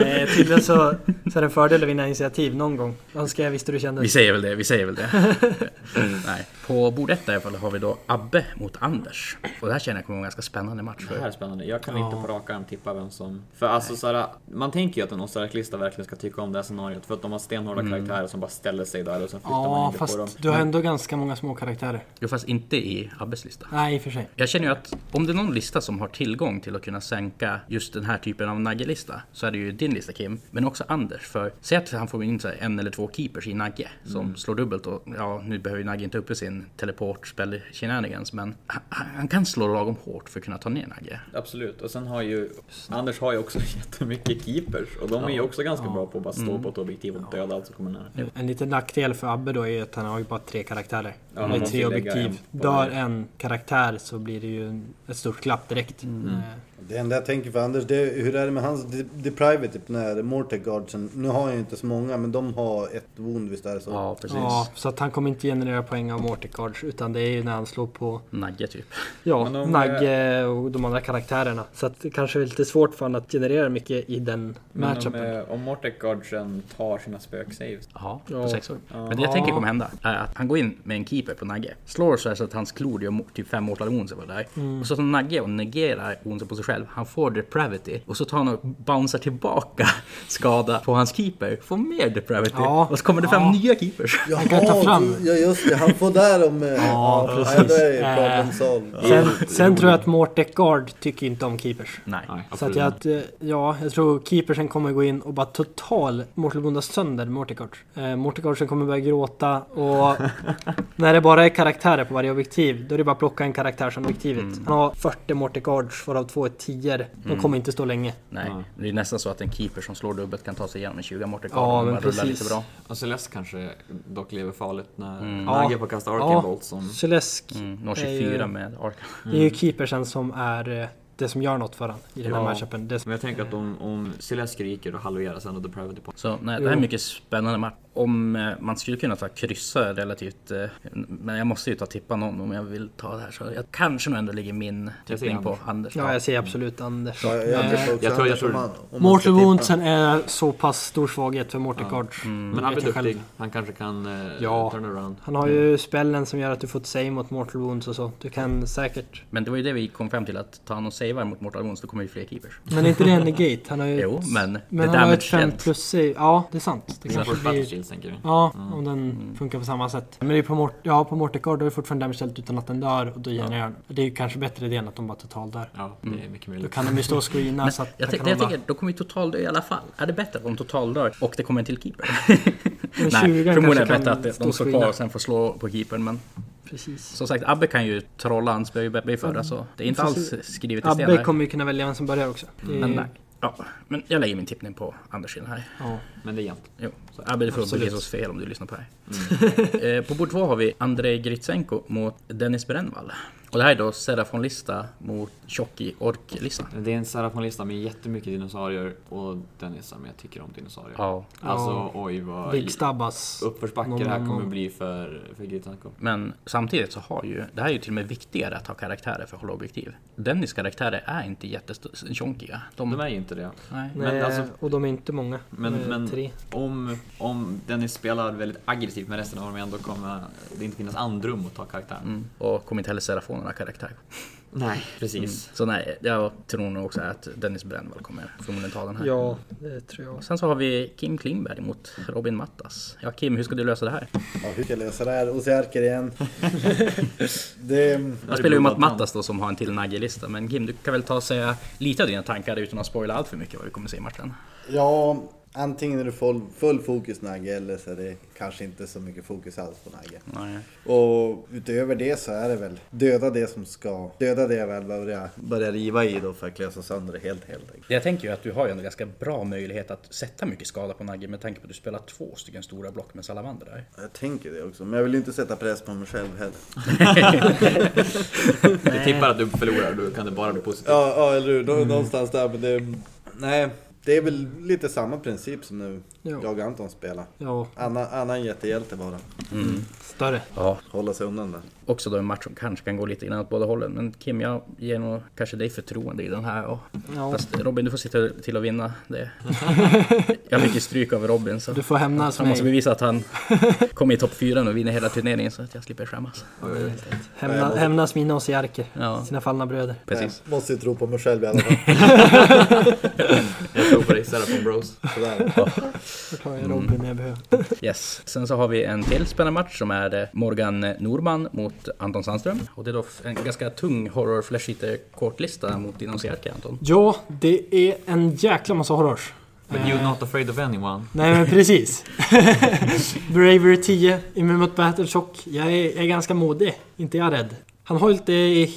Speaker 3: Eh, tydligen så, så är det en fördel att vinna initiativ någon gång. Önskar jag visste du kände.
Speaker 1: Vi säger väl det, vi säger väl det. Nej. På bord ett i alla fall har vi då Abbe mot Anders. Och det här känner jag kommer vara en ganska spännande match.
Speaker 5: Det här
Speaker 1: För.
Speaker 5: är spännande. Jag kan
Speaker 3: Ja.
Speaker 5: inte på rak arm tippa vem som... För alltså såhär, man tänker ju att en Oscar-lista verkligen ska tycka om det här scenariot. För att de har stenhårda karaktärer som bara ställer sig där och sen flyttar
Speaker 3: Mm.
Speaker 5: man
Speaker 3: Ja,
Speaker 5: inte på dem.
Speaker 3: fast du har ändå ganska många små karaktärer.
Speaker 1: Jo, fast inte i Abbes lista.
Speaker 3: Nej, i och för sig.
Speaker 1: Jag känner ju att om det är någon lista som har tillgång till att kunna sänka just den här typen av naggelista så är det ju din lista Kim, men också Anders. För säg att han får in så här en eller två keepers i nagge som slår dubbelt och ja, nu behöver ju nagge inte upp i sin teleport spell shenanigans, men han, han kan slå lagom hårt för att kunna ta ner nagge.
Speaker 5: Absolut. Och sen har ju... Anders har ju också jättemycket keepers. Och de är ju också ganska bra på att bara stå
Speaker 3: Mm.
Speaker 5: på ett objektiv och döda allt som kommer nära.
Speaker 3: En liten nackdel för Abbe då är att han har ju bara tre karaktärer.
Speaker 5: Ja,
Speaker 3: Han
Speaker 5: man
Speaker 3: har ju
Speaker 5: måste
Speaker 3: tre
Speaker 5: ju lägga
Speaker 3: objektiv.
Speaker 5: en på
Speaker 3: Dör
Speaker 5: varje.
Speaker 3: en karaktär så blir det ju en- ett stort glapp direkt.
Speaker 5: Mm.
Speaker 3: Eh,
Speaker 2: Det enda jag tänker för Anders, det är, hur är det med hans de- deprived typ när Mortegardsen, nu har jag ju inte så många men de har ett wound visst är det så?
Speaker 1: Ja, precis.
Speaker 3: Ja, så att han kommer inte generera poäng av Morticards utan det är ju när han slår på
Speaker 1: Nagge typ.
Speaker 3: ja,
Speaker 5: Men om- eh,
Speaker 3: Nagge och de andra karaktärerna. Så att det kanske är lite svårt för honom att generera mycket i den
Speaker 5: Men om,
Speaker 3: matchupen.
Speaker 5: eh, om Mortegardsen tar sina spöksaves.
Speaker 1: Jaha,
Speaker 3: Ja.
Speaker 1: på sexor. Men det jag tänker kommer hända är att han går in med en keeper på Nagge. Slår så här så att hans klor gör mo- typ fem mortal wounds eller vad det är.
Speaker 3: Mm.
Speaker 1: Och så tar Nagge och negerar woundsen på sig själv. Han får depravity. Och så tar han och bouncear tillbaka skada på hans keeper. Får mer depravity.
Speaker 3: Ja.
Speaker 1: Och så kommer det fram
Speaker 3: Ja.
Speaker 1: nya keepers.
Speaker 2: Jaha,
Speaker 3: kan ta fram.
Speaker 2: du- ja just det, han får där om... eh,
Speaker 3: Ja,
Speaker 2: Ja,
Speaker 3: precis.
Speaker 2: då är det ju
Speaker 3: Eh,
Speaker 2: problem solved.
Speaker 3: Sen, sen tror jag att Mortecard tycker inte om keepers.
Speaker 1: Nej.
Speaker 3: Så att jag, att, eh, ja, jag tror keepersen kommer gå in och bara total mortalbonda sönder Morticard. Eh, Morticardsen kommer börja gråta och när det bara är karaktärer på varje objektiv då är det bara att plocka en karaktär som objektivet. Han har 40 Morticards varav två är 10 De kommer inte stå länge.
Speaker 1: Nej. Det är nästan så att en keeper som slår dubbelt kan ta sig igenom en 20 mortekar
Speaker 3: Ja,
Speaker 1: om
Speaker 3: men
Speaker 1: man rullar
Speaker 3: precis.
Speaker 1: lite bra.
Speaker 5: Och Celeste kanske dock lever farligt när mm.
Speaker 3: Ja.
Speaker 5: Nagge får kasta Arcane
Speaker 3: Ja.
Speaker 5: Bolt som...
Speaker 3: Celesk,
Speaker 1: Mm, når
Speaker 3: Det är
Speaker 1: 24
Speaker 3: ju-
Speaker 1: med Arkham.
Speaker 3: det är ju keepersen som är eh, det som gör något för honom i den här
Speaker 5: Ja.
Speaker 3: matchupen. Det,
Speaker 5: Men jag tänker att om, om Celeste skriker och halveras ändå Depravity Point.
Speaker 1: Så nej, det här är mycket spännande match. Om eh, man skulle kunna ta kryssa relativt, eh, men jag måste ju ta tippa någon om jag vill ta det här. Så jag kanske nog ändå ligger min tippning
Speaker 5: säger
Speaker 1: på Anders.
Speaker 3: ja, jag ser absolut Anders.
Speaker 2: Ja, jag,
Speaker 3: Eh,
Speaker 2: tror,
Speaker 5: jag tror- jag Mm. tror-
Speaker 3: Mortal Woundsen är så pass stor svaghet för Morticards.
Speaker 5: Men
Speaker 4: Mm.
Speaker 3: Vet
Speaker 5: Abbe är
Speaker 3: jag själv.
Speaker 5: duktig. Han kanske kan eh,
Speaker 3: Ja.
Speaker 5: turn around.
Speaker 3: Han har ju spellen som gör att du får ett save mot Mortal Wounds och så. Du kan säkert.
Speaker 1: Men det var ju det vi kom fram till att ta någon savear mot Mortal Wounds, då kommer ju fler keepers.
Speaker 3: Men är inte det en negate? Han har ju...
Speaker 1: Jo, men,
Speaker 3: Mm. men
Speaker 1: det
Speaker 3: han har ett
Speaker 1: damage
Speaker 3: 5
Speaker 1: känns.
Speaker 3: plus save. Ja, det är sant. Det
Speaker 5: Dina
Speaker 3: kanske
Speaker 5: första
Speaker 3: blir...
Speaker 5: shields tänker vi.
Speaker 3: Ja, om den funkar på samma sätt. Men det är på, Mort- ja, på Morticard då är det fortfarande damage dealt utan att den dör och då genererar den. Det är ju kanske bättre idé än att de bara total dör.
Speaker 5: Ja, det är mycket
Speaker 3: Då
Speaker 5: möjligt.
Speaker 3: kan de ju stå och screena så att
Speaker 1: Jag,
Speaker 3: han
Speaker 1: tänk-
Speaker 3: kan
Speaker 1: jag
Speaker 3: hålla.
Speaker 1: tänker, då kommer ju totaldö i alla fall. Är det bättre om totaldör och det kommer en till keeper?
Speaker 3: Men
Speaker 1: Nej,
Speaker 3: 20
Speaker 1: förmodligen är det
Speaker 3: kanske
Speaker 1: bättre
Speaker 3: kan
Speaker 1: att de-
Speaker 3: stå och
Speaker 1: de står
Speaker 3: screena.
Speaker 1: kvar och sen får slå på keepern. Men
Speaker 3: Precis.
Speaker 1: som sagt, Abbe kan ju trolla, han spöar ju Bebbe i förra så det är inte alls skrivet i sten
Speaker 3: Mm. Abbe
Speaker 1: här.
Speaker 3: kommer ju kunna välja vem som börjar också. Det är-
Speaker 1: Mm, Men, nej. ja, men jag lägger min tippning på Anders i den här.
Speaker 3: Ja.
Speaker 5: Men det är jämnt.
Speaker 1: Jo, så Abbe, du får
Speaker 3: Absolut. Mm.
Speaker 1: bege oss fel om du lyssnar på det här. eh, på bord två har vi Andrei Gritsenko mot Dennis Brännvall. Och det här är då Serafon-lista mot Tjocki Ork-lista.
Speaker 5: Det är en Serafon-lista med jättemycket dinosaurier och Dennis men jag tycker om dinosaurier.
Speaker 1: Ja.
Speaker 5: Alltså
Speaker 3: Ja.
Speaker 5: oj vad...
Speaker 3: Big Stabbas.
Speaker 5: Uppförsbacke
Speaker 3: Någon
Speaker 5: det här
Speaker 3: annan.
Speaker 5: kommer bli för, för Gritanko.
Speaker 1: Men samtidigt så har ju, det här är ju till och med viktigare att ha karaktärer för att hålla objektiv. Dennis karaktärer är inte jättetjonkiga.
Speaker 3: Mm.
Speaker 5: De
Speaker 1: De,
Speaker 5: är ju inte det.
Speaker 1: nej.
Speaker 5: Men
Speaker 3: Nej,
Speaker 5: alltså-
Speaker 3: och de är inte många.
Speaker 5: Men,
Speaker 3: De är
Speaker 5: men
Speaker 3: tre.
Speaker 5: om, om Dennis spelar väldigt aggressivt med resten av armén då kommer det inte finnas andrum att ta karaktären. Mm.
Speaker 1: Mm. Och kommer inte heller Serafonerna karaktär.
Speaker 5: Nej, precis.
Speaker 1: Så nej, jag tror nog också att Dennis Brännvall kommer förmodligen ta den här.
Speaker 3: Ja, det tror jag.
Speaker 1: Och sen så har vi Kim Klingberg mot Robin Mattas. Ja Kim, hur ska du lösa det här?
Speaker 2: Ja, hur ska jag lösa det här? Ocearker igen. det,
Speaker 1: Jag spelar ju mot Mattas då som har en till naggelista. Men Kim, du kan väl ta och säga lite av dina tankar utan att spoila allt för mycket vad vi kommer se i matchen.
Speaker 2: ja, antingen är det full, full fokus Nagge eller så är det kanske inte så mycket fokus alls på Nagge.
Speaker 1: Nej.
Speaker 2: Och utöver det så är det väl döda det som ska, döda det jag väl börjar, börjar riva i då för att klösa sönder det helt helt enkelt.
Speaker 1: Jag tänker ju att du har ju en ganska bra möjlighet att sätta mycket skada på Nagge med tanke på att du spelar två stycken stora block med salamander där.
Speaker 2: Jag tänker det också, men jag vill ju inte sätta press på mig själv heller.
Speaker 5: Du tippar att du förlorar, då kan det bara bli positivt.
Speaker 2: Mm. Ja, ja eller hur. Nå- Någonstans där. Men det, nej, Det är väl lite samma princip som nu
Speaker 3: Ja.
Speaker 2: jag och Anton spelar.
Speaker 3: Ja,
Speaker 2: Anna, Anna är en jättehjälte bara.
Speaker 3: större.
Speaker 1: Ja,
Speaker 2: Hålla sig undan där.
Speaker 1: också då en match som kanske kan gå lite grann åt båda hållen. Men Kim, jag ger nog kanske dig förtroende i den här. Och...
Speaker 3: Ja,
Speaker 1: Fast Robin, du får se till- till att vinna det. Jag fick ju stryk av Robin så
Speaker 3: du får hämnas
Speaker 1: han måste
Speaker 3: mig.
Speaker 1: bevisa att han kommer i topp fyra nu och vinner hela turneringen så att jag slipper skämmas.
Speaker 3: Hämna, hämnas mina Ossiarker.
Speaker 1: Ja,
Speaker 3: Sina fallna bröder.
Speaker 1: precis.
Speaker 2: Måste ju tro på mig själv i alla fall.
Speaker 4: Jag tror på dig, Serafon Bros.
Speaker 2: Sådär.
Speaker 3: Då tar jag Robin när jag behöver.
Speaker 1: Yes. Sen så har vi en till spännande match som är eh, Morgan Norman mot Anton Sandström. Och det är då f- en ganska tung horror flash kortlista mot din Osiarke, Anton.
Speaker 3: Ja, det är en jäkla massa horrors.
Speaker 4: But you're not afraid of anyone.
Speaker 3: Nej men precis. Bravery 10, immun mot battle shock. Jag är, jag är ganska modig. Inte jag rädd. Han har ju lite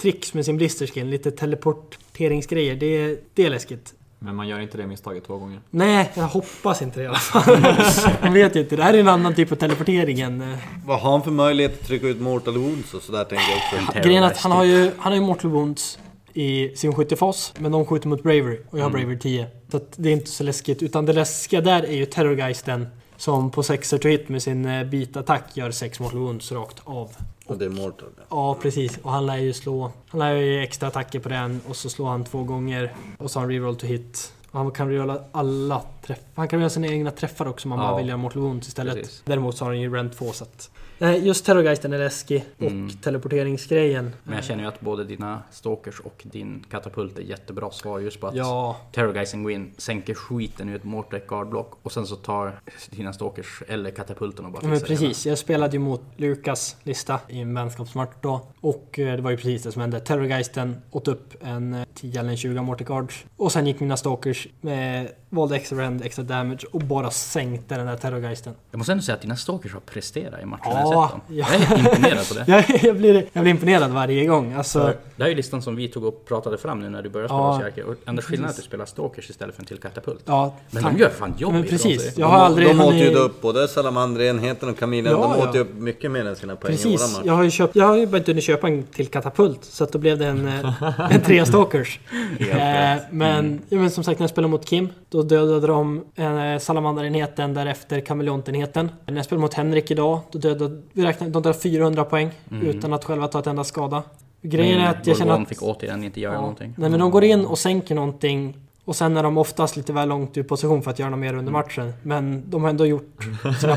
Speaker 3: tricks med sin blisterskin. Lite teleporteringsgrejer. Det, det är läskigt.
Speaker 4: Men man gör inte det misstaget två gånger.
Speaker 3: Nej, jag hoppas inte det i alla fall. Man vet ju inte. Det här är en annan typ av teleportering än... eh,
Speaker 2: Vad har han för möjlighet att trycka ut Mortal Wounds och sådär tänker jag också.
Speaker 3: Grejen är att han har
Speaker 4: typ.
Speaker 3: ju, han har ju Mortal Wounds i sin skyttefas, men de skjuter mot Bravery och jag
Speaker 4: Mm.
Speaker 3: har Bravery 10. Så att det är inte så läskigt, utan det läskiga där är ju Terrorgeisten som på 6 to hit med sin eh, bitattack gör 6 Mortal Wounds rakt av.
Speaker 2: Och det är Mortal. ja.
Speaker 3: Ja, precis. Och han lär ju slå... Han lär ju extra attacker på den och så slår han två gånger och så har han reroll to hit. Och han kan rerolla alla träffar. Han kan göra sina egna träffar också om man
Speaker 4: Ja.
Speaker 3: bara vill göra Mortal Wounds istället.
Speaker 4: Precis.
Speaker 3: Däremot så har han ju Rent 2 så att... Nej, just Terrorgeisten är läskig och
Speaker 4: Mm.
Speaker 3: teleporteringsgrejen.
Speaker 1: Men jag känner ju att både dina stalkers och din katapult är jättebra svar just på att
Speaker 3: Ja,
Speaker 1: Terrorgeisen går in, sänker skiten ur ett Mortec guardblock och sen så tar dina stalkers eller katapulten och bara
Speaker 3: men
Speaker 1: fixar det
Speaker 3: precis. Jag spelade ju mot Lukas lista i en vänskapsmatch då. Och eh, det var ju precis det som hände. Terrorgeisten åt upp en eh, 10 eller en 20 Morticards. Och sen gick mina stalkers med valde extra rend, extra damage och bara sänkte den där Terrorgeisten.
Speaker 1: hela. Jag måste ändå säga att dina stalkers har presterat i matchen
Speaker 3: Ja,
Speaker 1: jag har sett dem. Jag är
Speaker 3: ja.
Speaker 1: helt imponerad på det.
Speaker 3: Jag, jag, blir, jag blir imponerad varje gång. Alltså,
Speaker 1: Det här är ju listan som vi tog upp och pratade fram nu när du började
Speaker 3: Ja.
Speaker 1: spela Osiarker. Och enda skillnaden är att du spelar stalkers istället för en till katapult.
Speaker 3: ja,
Speaker 1: Men
Speaker 3: tack.
Speaker 1: de gör fan jobb
Speaker 3: Men
Speaker 1: ifrån
Speaker 3: precis.
Speaker 1: sig.
Speaker 3: Jag har aldrig
Speaker 2: de åt ju
Speaker 3: hunnit-
Speaker 2: upp både salamanderenheten och kaminen.
Speaker 3: Ja,
Speaker 2: de åt ju
Speaker 3: ja.
Speaker 2: upp mycket mer än sina poäng i våra
Speaker 3: Precis,
Speaker 2: matcher.
Speaker 3: jag har ju köpt, jag har ju börjat hunnit köpa en till katapult så att då blev det en, eh, en trea stalkers. Eh,
Speaker 1: Mm.
Speaker 3: men, ja, men som sagt när jag spelade mot Kim då dödade de eh, salamanderenheten därefter kameleontenheten. När jag spelade mot Henrik idag då dödade vi räknade, de dödade 400 poäng utan att själva ta ett enda skada. Grejen är
Speaker 1: Mm. Men
Speaker 3: att jag känner
Speaker 1: Gorgon
Speaker 3: att...
Speaker 1: fick återigen inte göra
Speaker 3: Ja.
Speaker 1: någonting.
Speaker 3: Nej men de går in och sänker någonting och sen är de oftast lite väl långt ur position för att göra något mer
Speaker 1: Mm.
Speaker 3: under matchen. Men de har ändå gjort sina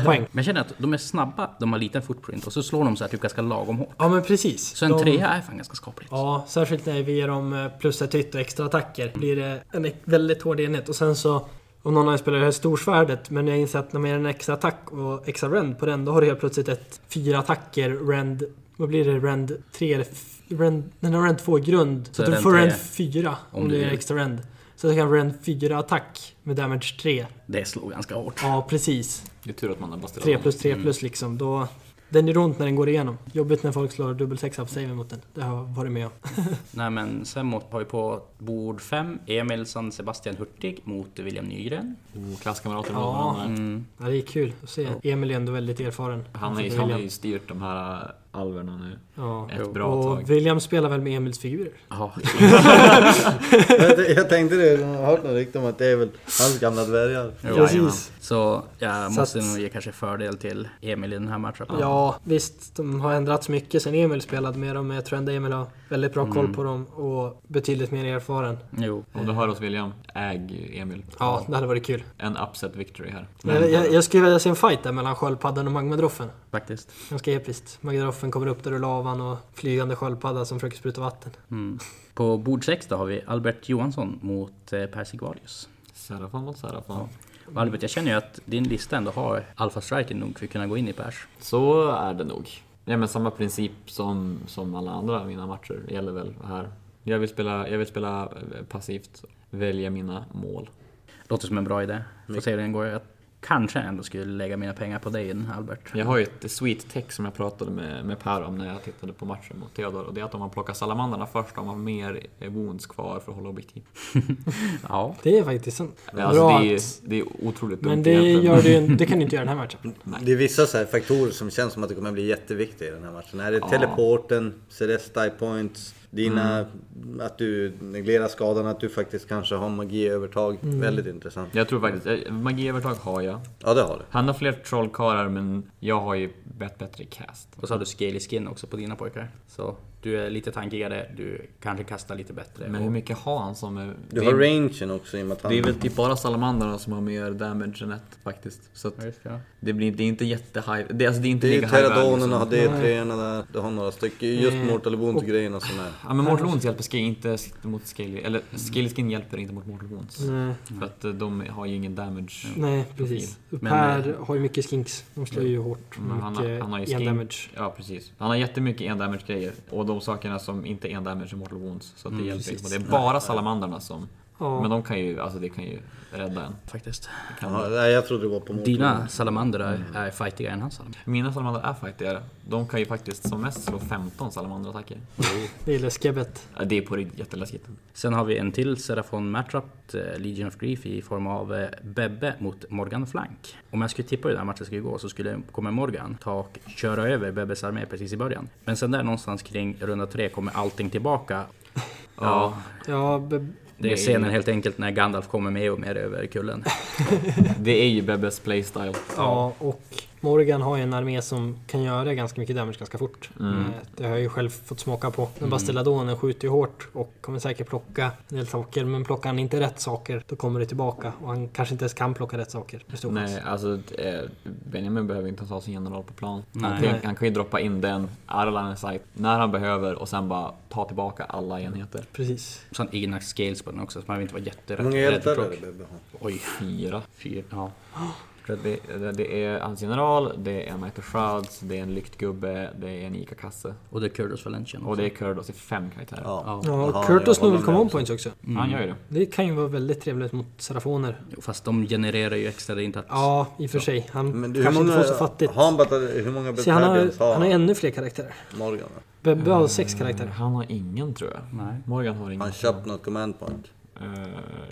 Speaker 3: poäng.
Speaker 1: Men jag känner att de är snabba, de har liten footprint och så slår de så här typ ganska lagom hårt.
Speaker 3: Ja men precis.
Speaker 1: Så en
Speaker 3: de...
Speaker 1: trea är fan ganska skapligt.
Speaker 3: Ja, särskilt när vi ger dem eh, plus ett hit och extra attacker blir det en väldigt hård enhet. Och sen så, om någon av er spelar det här storsvärdet, men jag inser att när man ger en extra attack och extra rend på den, då har du helt plötsligt ett fyra attacker, rend, vad blir det, rend 3 eller f- rend, den har rend 2 i grund. Så,
Speaker 1: Så
Speaker 3: att du
Speaker 1: rend
Speaker 3: får
Speaker 1: tre,
Speaker 3: rend 4 om,
Speaker 1: om
Speaker 3: du
Speaker 1: du
Speaker 3: ger
Speaker 1: vill.
Speaker 3: extra rend. Så du kan rend 4 attack med damage 3.
Speaker 1: Det slår ganska hårt.
Speaker 3: Ja, precis.
Speaker 4: Det är tur att man har basterat
Speaker 3: 3 plus 3 plus liksom. Då, den gör ont när den går igenom. Jobbigt när folk slår dubbel sexa på saven mot den. Det har jag varit med om.
Speaker 1: Nej men sen mot, har vi på bord 5 Emil San Sebastian Hurtig mot William Nygren. Mm.
Speaker 4: Oh, Klasskamrater mot
Speaker 3: Ja.
Speaker 4: varandra.
Speaker 3: Ja, det är kul att se. Emil är ändå väldigt erfaren.
Speaker 4: Han har ju- han har ju styrt de här äh, alverna nu
Speaker 3: Ja.
Speaker 4: ett bra tag.
Speaker 3: Och William spelar väl med Emils figurer?
Speaker 1: Ja,
Speaker 2: jag, jag tänkte det, jag har hört något rykte om att det är väl hans gamla dvärgar.
Speaker 4: Precis.
Speaker 1: Så jag
Speaker 3: Så
Speaker 1: måste
Speaker 3: att-
Speaker 1: nog ge kanske fördel till Emil i den här matchen.
Speaker 3: Ja, visst. De har ändrats mycket sen Emil spelade med dem. Men jag tror ändå Emil har väldigt bra
Speaker 4: Mm.
Speaker 3: koll på dem och betydligt mer erfaren.
Speaker 1: Jo.
Speaker 4: Om du hör oss William, äg Emil.
Speaker 3: Ja, det hade varit kul.
Speaker 4: En upset victory här.
Speaker 3: Jag, jag, jag skulle vilja se en fight där mellan sköldpaddan och magmadroffen.
Speaker 1: Faktiskt.
Speaker 3: Ganska episkt. Magmadroffen kommer upp där ur lavan och flygande sköldpadda som försöker spruta vatten.
Speaker 1: Mm. På bord 6 då har vi Albert Johansson mot eh, Per Sigvalius.
Speaker 4: Serafon mot Serafon.
Speaker 1: Och Albert, jag känner ju att din lista ändå har Alpha Striking nog för att kunna gå in i Pers.
Speaker 4: Så är det nog. Ja, men samma princip som, som alla andra mina matcher gäller väl här. Jag vill spela, jag vill spela eh, passivt, välja mina mål.
Speaker 1: Låter som en bra idé. Får se hur den går. Jag kanske ändå skulle lägga mina pengar på dig i den här, Albert.
Speaker 4: Jag har ju ett sweet tech som jag pratade med, med Per om när jag tittade på matchen mot Theodor och det är att om man plockar salamandarna först har man mer eh, wounds kvar för att hålla objektiv.
Speaker 1: Ja.
Speaker 3: Det är faktiskt sant.
Speaker 4: Men Alltså, det,
Speaker 3: Bra
Speaker 4: är, ju-
Speaker 3: att-
Speaker 4: det är otroligt dumt
Speaker 3: Men det,
Speaker 4: egentligen.
Speaker 3: gör du, ju- det kan du inte göra i den här matchen.
Speaker 2: Det är vissa så här faktorer som känns som att det kommer bli jätteviktiga i den här matchen. Här är teleporten, Celestine points, Dina, att du reglerar skadan, att du faktiskt kanske har magiövertag.
Speaker 3: Mm.
Speaker 2: Väldigt intressant.
Speaker 5: Jag tror faktiskt, eh, magiövertag har jag.
Speaker 2: Ja, det har du.
Speaker 5: Han har fler trollkarlar men jag har ju bett bättre cast.
Speaker 1: Och så har du scaly skin också på dina pojkar. Så du är lite tankigare, du kanske kastar lite bättre.
Speaker 5: Men hur mycket har han som är...
Speaker 2: Du
Speaker 5: det
Speaker 2: har
Speaker 5: är-
Speaker 2: rangen också i och med att han...
Speaker 5: Det är väl typ bara salamandrarna som har mer damage än ett faktiskt. Så att
Speaker 1: Ja, just det, ja.
Speaker 5: det, blir, det är inte jättehigh... Det, alltså, det är inte
Speaker 2: Det är ju
Speaker 5: lika high value
Speaker 2: Pteradonerna,
Speaker 3: liksom.
Speaker 5: som-
Speaker 2: D3orna där. Du har några stycken. Just
Speaker 3: Mm.
Speaker 2: Mortal Wound-grejerna som är...
Speaker 5: Ja men Mortal Wounds hjälper ska inte mot Scaly, eller Scaly Skin hjälper inte mot Mortal Wounds.
Speaker 3: Nej,
Speaker 5: För att eh, de har ju ingen damage.
Speaker 3: nej precis.
Speaker 1: Men,
Speaker 3: Per har ju mycket skinks. De slår ju hårt.
Speaker 5: Men han har-
Speaker 3: mycket
Speaker 5: han har ju
Speaker 3: en
Speaker 5: skink.
Speaker 3: damage.
Speaker 5: Ja precis. Han har jättemycket en damage grejer och de sakerna som inte är en damage är Mortal Wounds. Så att det
Speaker 1: Mm,
Speaker 5: hjälper
Speaker 1: precis.
Speaker 5: inte. Det är bara salamandrarna som...
Speaker 3: Ja.
Speaker 5: Men de kan ju, alltså det kan ju rädda en.
Speaker 1: Faktiskt.
Speaker 5: Det Kan
Speaker 2: Ja, nej, jag trodde det var på Mortal
Speaker 1: Dina salamandrar är fightigare än hans salamandrar.
Speaker 5: Mina salamandrar är fightigare. De kan ju faktiskt som mest slå 15 salamanderattacker.
Speaker 3: Det är läskebbet.
Speaker 5: Ja, Det är på riktigt jätteläskigt.
Speaker 1: Sen har vi en till Serafon Matchup, eh, Legion of Grief i form av eh, Bebbe mot Morgan Flank. Om jag skulle tippa hur den här matchen skulle gå så skulle kommer Morgan ta och köra över Bebbes armé precis i början. Men sen där någonstans kring runda tre kommer allting tillbaka. Ja,
Speaker 3: Ja, be-
Speaker 1: det är scenen helt enkelt när Gandalf kommer med och med över kullen.
Speaker 5: Det är ju Bebbes playstyle.
Speaker 3: ja, och Morgan har ju en armé som kan göra ganska mycket damage ganska fort.
Speaker 5: Mm.
Speaker 1: Mm.
Speaker 3: Eh, Det har jag ju själv fått smaka på. Men Bastelladonen skjuter ju hårt och kommer säkert plocka en del saker. Men plockar han inte rätt saker, då kommer det tillbaka. Och han kanske inte ens kan plocka rätt saker. Med stor
Speaker 5: Nej,
Speaker 3: chans.
Speaker 5: alltså eh, Benjamin behöver inte ta sin general på plan. Han
Speaker 1: Nej.
Speaker 5: kan, han kan ju droppa in den, Arlan site, när han behöver och sen bara ta tillbaka alla enheter.
Speaker 3: Precis.
Speaker 1: Sen egna scales på den också så man vill inte vara
Speaker 2: Hur många
Speaker 1: jätterädd
Speaker 2: hjältar
Speaker 1: för
Speaker 2: är
Speaker 1: plock.
Speaker 2: det Bebbe har?
Speaker 1: Oj,
Speaker 5: Fyra.
Speaker 1: fyra. Ja.
Speaker 5: För att det, det- det är hans general, det är en Knight of Shrouds, det är en lyktgubbe, det är en Ica-kasse.
Speaker 1: Och det är Kurdos Valentian
Speaker 5: Och
Speaker 1: också.
Speaker 5: det är Kurdos i fem karaktärer.
Speaker 2: Ja.
Speaker 1: Ja.
Speaker 3: Ja,
Speaker 2: Jaha,
Speaker 3: Kurtos
Speaker 2: jag håller
Speaker 3: snor väl
Speaker 2: med
Speaker 3: come on
Speaker 2: också.
Speaker 3: points också.
Speaker 1: Mm.
Speaker 5: Han gör ju det.
Speaker 3: Det kan ju vara väldigt trevligt mot serafoner.
Speaker 1: Jo, Fast de genererar ju extra, det är inte att...
Speaker 3: Ja, i och för sig. Han
Speaker 2: Men du, hur
Speaker 3: kanske inte får
Speaker 2: många,
Speaker 3: så fattigt.
Speaker 2: har han bara, hur många
Speaker 3: Se, han, har,
Speaker 2: Battalions har
Speaker 3: han har
Speaker 2: han? Mm.
Speaker 3: ännu fler karaktärer.
Speaker 2: Morgan? va?
Speaker 3: Bebbe har sex karaktärer.
Speaker 5: Han har ingen tror jag.
Speaker 1: Nej.
Speaker 5: Morgan har ingen.
Speaker 2: Han köpt något command point.
Speaker 5: Eh,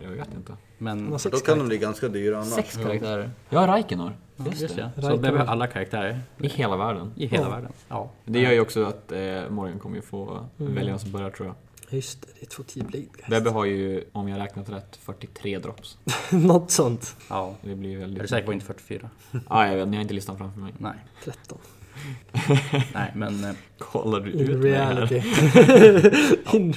Speaker 5: jag vet inte.
Speaker 3: Han
Speaker 1: Men...
Speaker 3: har
Speaker 2: Då
Speaker 3: sex
Speaker 2: kan de
Speaker 3: karaktärer.
Speaker 2: bli ganska dyra annars.
Speaker 1: Sex karaktärer.
Speaker 5: Ja, Raikenor.
Speaker 1: Ja, just det. Så
Speaker 3: Right
Speaker 1: behöver
Speaker 3: away.
Speaker 1: alla karaktärer
Speaker 5: I hela världen.
Speaker 1: i hela
Speaker 3: Ja.
Speaker 1: världen. Ja. Mm.
Speaker 5: Det gör ju också att eh, Morgan kommer ju få välja vem som börjar tror jag.
Speaker 3: Just det, det är två T-blade.
Speaker 5: Bebbe har ju, om jag räknat rätt, 43 drops.
Speaker 3: Något sånt.
Speaker 1: ja.
Speaker 5: Det blir ju väldigt...
Speaker 1: Är du säker på inte 44?
Speaker 5: Ah, jag vet, ni har inte listan framför mig.
Speaker 1: Nej.
Speaker 3: 13.
Speaker 1: Nej, men eh,
Speaker 5: Kollar du
Speaker 3: In
Speaker 5: ut mig här?
Speaker 3: reality. In...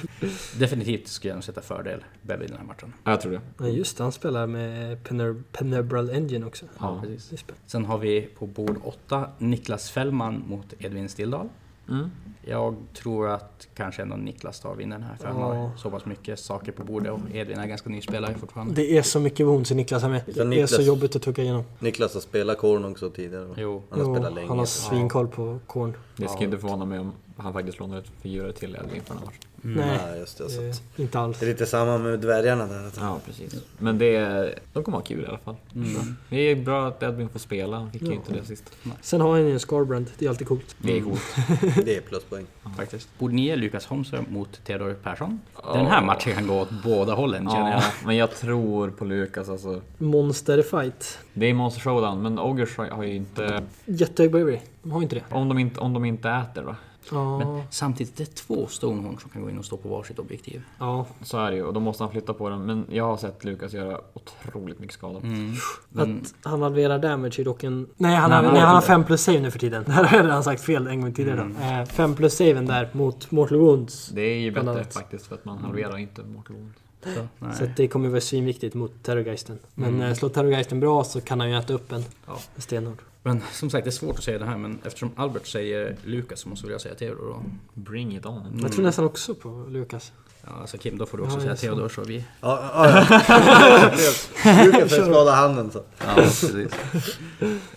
Speaker 1: definitivt skulle jag nog sätta fördel Bebbe i den här matchen.
Speaker 5: Ja, jag tror det.
Speaker 3: Ja, just det, han spelar med Pener- Penebral Engine också.
Speaker 5: Ja.
Speaker 3: Det är
Speaker 1: precis.
Speaker 3: spännande.
Speaker 1: Sen har vi på bord 8 Niklas Fällman mot Edvin Stilldal.
Speaker 5: Mm.
Speaker 1: Jag tror att kanske ändå Niklas tar vinner den här för han
Speaker 3: Ja.
Speaker 1: har så pass mycket saker på bordet och Edvin är ganska ny spelare fortfarande.
Speaker 3: Det är så mycket wounds i Niklas här med.
Speaker 2: Så
Speaker 3: Det är så
Speaker 2: Niklas-
Speaker 3: jobbigt att tugga igenom.
Speaker 2: Niklas har spelat korn också tidigare. va?
Speaker 1: Jo.
Speaker 2: Han har
Speaker 3: Jo,
Speaker 2: spelat länge.
Speaker 3: han har svinkoll på korn.
Speaker 5: Det skulle inte förvåna mig om han faktiskt lånar ut figurer till Edvin för den här matchen.
Speaker 3: Nej,
Speaker 2: Nej, just det. Så
Speaker 3: eh,
Speaker 2: att,
Speaker 3: inte alls.
Speaker 2: det är lite samma med dvärgarna där. Att
Speaker 5: Ja, precis. Men det är, de kommer ha kul i alla fall.
Speaker 1: Mm.
Speaker 5: Det är bra att Edvin får spela. Han fick ju inte det sist.
Speaker 3: Sen har han ju en Scarbrand, det är alltid coolt.
Speaker 1: Det är coolt
Speaker 2: det är pluspoäng.
Speaker 1: faktiskt. Bord 9 Lukas Holmström mot Theodor Persson. Den här matchen kan gå åt båda hållen känner jag.
Speaker 5: Ja, men jag tror på Lukas alltså.
Speaker 3: Monsterfight. Det
Speaker 5: Det är Monster Showdown, men Ogers har- har ju inte...
Speaker 3: Jättehög bravery. De har ju inte det.
Speaker 5: Om de inte, om de inte äter va?
Speaker 3: Ja,
Speaker 1: Samtidigt, det är två Stonehorn som kan gå in och stå på varsitt objektiv.
Speaker 3: ja.
Speaker 5: Så är det ju, och då måste han flytta på dem. Men jag har sett Lukas göra otroligt mycket skada.
Speaker 1: Mm. Men
Speaker 3: Att han halverar damage är dock en... Nej, han, har,
Speaker 1: men-
Speaker 3: nej, han har 5 plus save nu för tiden. Det här har jag redan sagt fel en gång tidigare.
Speaker 1: Mm.
Speaker 3: 5 plus saven där mot Mortal Wounds.
Speaker 5: Det är ju
Speaker 3: Bland
Speaker 5: bättre
Speaker 3: annat.
Speaker 5: faktiskt för att man halverar inte Mortal Wounds.
Speaker 1: så, nej.
Speaker 3: Så att det kommer vara svinviktigt mot Terrorgeisten. Men mm. slår Terrorgeisten bra så kan han ju äta upp en
Speaker 1: Ja. Mm.
Speaker 3: stenhård.
Speaker 1: Men som sagt, det är svårt att säga det här, men eftersom Albert säger Lukas så måste väl jag säga Theodor då.
Speaker 5: Bring it on.
Speaker 3: Jag tror nästan också på Lukas.
Speaker 1: Ja, alltså Kim, då får du också
Speaker 3: Ja,
Speaker 1: säga
Speaker 3: just det.
Speaker 1: Theodor så vi...
Speaker 2: Ja, ja, ja. Lukas har skadat handen så.
Speaker 1: Ja, precis.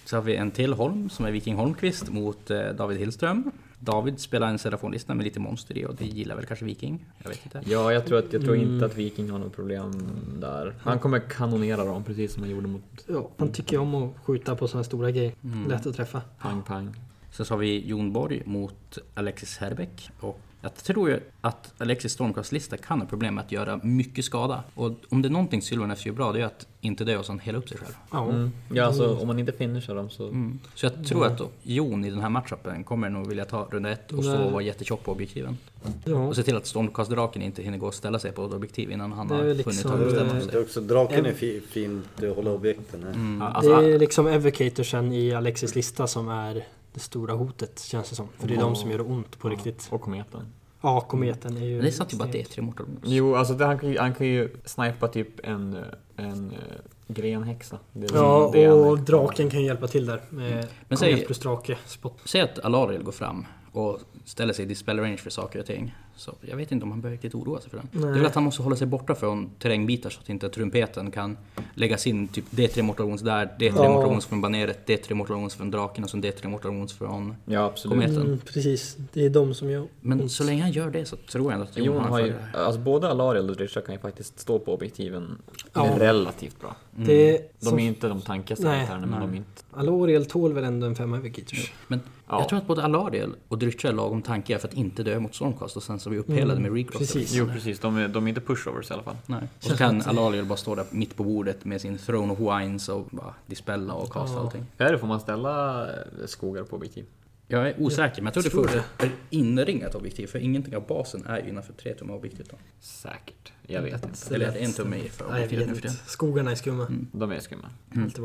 Speaker 1: så har vi en till Holm som är Viking Holmqvist mot eh, David Hillström. David spelar en serafonlista med lite monster i och det gillar väl kanske Viking? Jag vet inte.
Speaker 5: Ja, jag tror, att, jag tror inte att
Speaker 3: Mm.
Speaker 5: Viking har något problem där. Han kommer kanonera dem precis som han gjorde mot
Speaker 3: Ja, han tycker ju om att skjuta på sådana stora grejer.
Speaker 1: Mm.
Speaker 3: Lätt att träffa.
Speaker 5: Pang Pang.
Speaker 1: Sen så har vi Jon Borg mot Alexis Herbeck. Och Jag tror ju att Alexis Stormcasts lista kan ha problem med att göra mycket skada. Och om det är någonting Sylvaness gör bra, det är att inte dö och sen hela upp sig själv.
Speaker 3: Ja.
Speaker 6: Mm. Ja, alltså om man inte finishar dem så...
Speaker 3: Mm.
Speaker 1: Så jag tror att Jon i den här matchupen kommer nog vilja ta runda ett och stå
Speaker 3: Nej. Mm.
Speaker 1: och vara jättetjock på objektiven.
Speaker 3: Ja.
Speaker 1: Och se till att Stormcast-draken inte hinner gå och ställa sig på ett objektiv innan han
Speaker 3: Det
Speaker 1: har
Speaker 3: är väl
Speaker 1: hunnit
Speaker 3: liksom-
Speaker 1: ta bestämma
Speaker 2: Eh, Det
Speaker 1: sig.
Speaker 2: är också, draken är fi, fint att hålla objekten eh. här.
Speaker 5: Ja,
Speaker 3: Det
Speaker 5: alltså,
Speaker 3: är liksom evocatorsen i Alexis lista som är det stora hotet känns det som. För det är de som gör ont på riktigt.
Speaker 6: Och kometen.
Speaker 3: Ja, kometen är ju...
Speaker 1: Men det satt ju bara D3 mot honom.
Speaker 6: Jo, alltså det, han, kan ju, han kan ju snipa typ en, eh, en eh, grenhäxa. Det är
Speaker 5: Mm,
Speaker 3: Ja,
Speaker 6: det han-
Speaker 3: och draken kan ju hjälpa till där. Med
Speaker 1: Men
Speaker 3: Mm. Men
Speaker 1: säg-
Speaker 3: säg... plus drake. Spot.
Speaker 1: Säg att Alariel går fram och ställer sig i dispel range för saker och ting. Så jag vet inte om han behöver riktigt oroa sig för den. Det är
Speaker 3: Nej.
Speaker 1: väl att han måste hålla sig borta från terrängbitar så att inte trumpeten kan lägga sin typ D3 mortalons där, D3
Speaker 3: Ja.
Speaker 1: mortalons från baneret, D3 mortalons från draken och sen D3 mortalons från
Speaker 5: ja absolut.
Speaker 1: kometen.
Speaker 3: Mm, precis, det är de som gör
Speaker 1: Men
Speaker 3: ont.
Speaker 1: så länge han gör det så tror jag ändå att
Speaker 6: Jon har
Speaker 1: för
Speaker 6: ju,
Speaker 1: det här.
Speaker 6: alltså både Alariel och Drisha kan ju faktiskt stå på objektiven
Speaker 3: Ja.
Speaker 6: relativt bra.
Speaker 1: Mm.
Speaker 3: Det är
Speaker 6: De
Speaker 3: som...
Speaker 6: är ju inte de tankigaste
Speaker 3: Nej.
Speaker 6: karaktärerna men de är inte...
Speaker 3: Aloriel tål väl ändå en femma evocators?
Speaker 1: Men
Speaker 6: Ja.
Speaker 1: jag tror att både Alariel och Drycha är lagom tankiga för att inte dö mot Stormcast och sen så är vi upphällade
Speaker 3: Mm,
Speaker 1: med Recross.
Speaker 3: precis.
Speaker 1: Jo.
Speaker 5: Jo precis, de är, de är inte pushovers i alla fall.
Speaker 1: Nej. Och så
Speaker 3: Känns
Speaker 1: kan
Speaker 3: som att det-
Speaker 1: Alariel bara stå där mitt på bordet med sin Throne of Wines och bara dispella och kasta
Speaker 3: Ja.
Speaker 1: allting.
Speaker 5: Här får man ställa eh, skogar på objektiv.
Speaker 1: Jag är osäker, men jag tror,
Speaker 3: tror
Speaker 1: det får ett inringat objektiv, för ingenting av basen är ju innanför 3 tummar objektiv. då.
Speaker 5: Säkert. Jag vet inte.
Speaker 1: Eller är det en tumme i för
Speaker 3: Nej, jag
Speaker 1: objektivet
Speaker 3: vet
Speaker 1: nu för
Speaker 3: inte.
Speaker 1: tiden?
Speaker 3: Skogarna är skumma.
Speaker 5: De är skumma.
Speaker 3: Alltid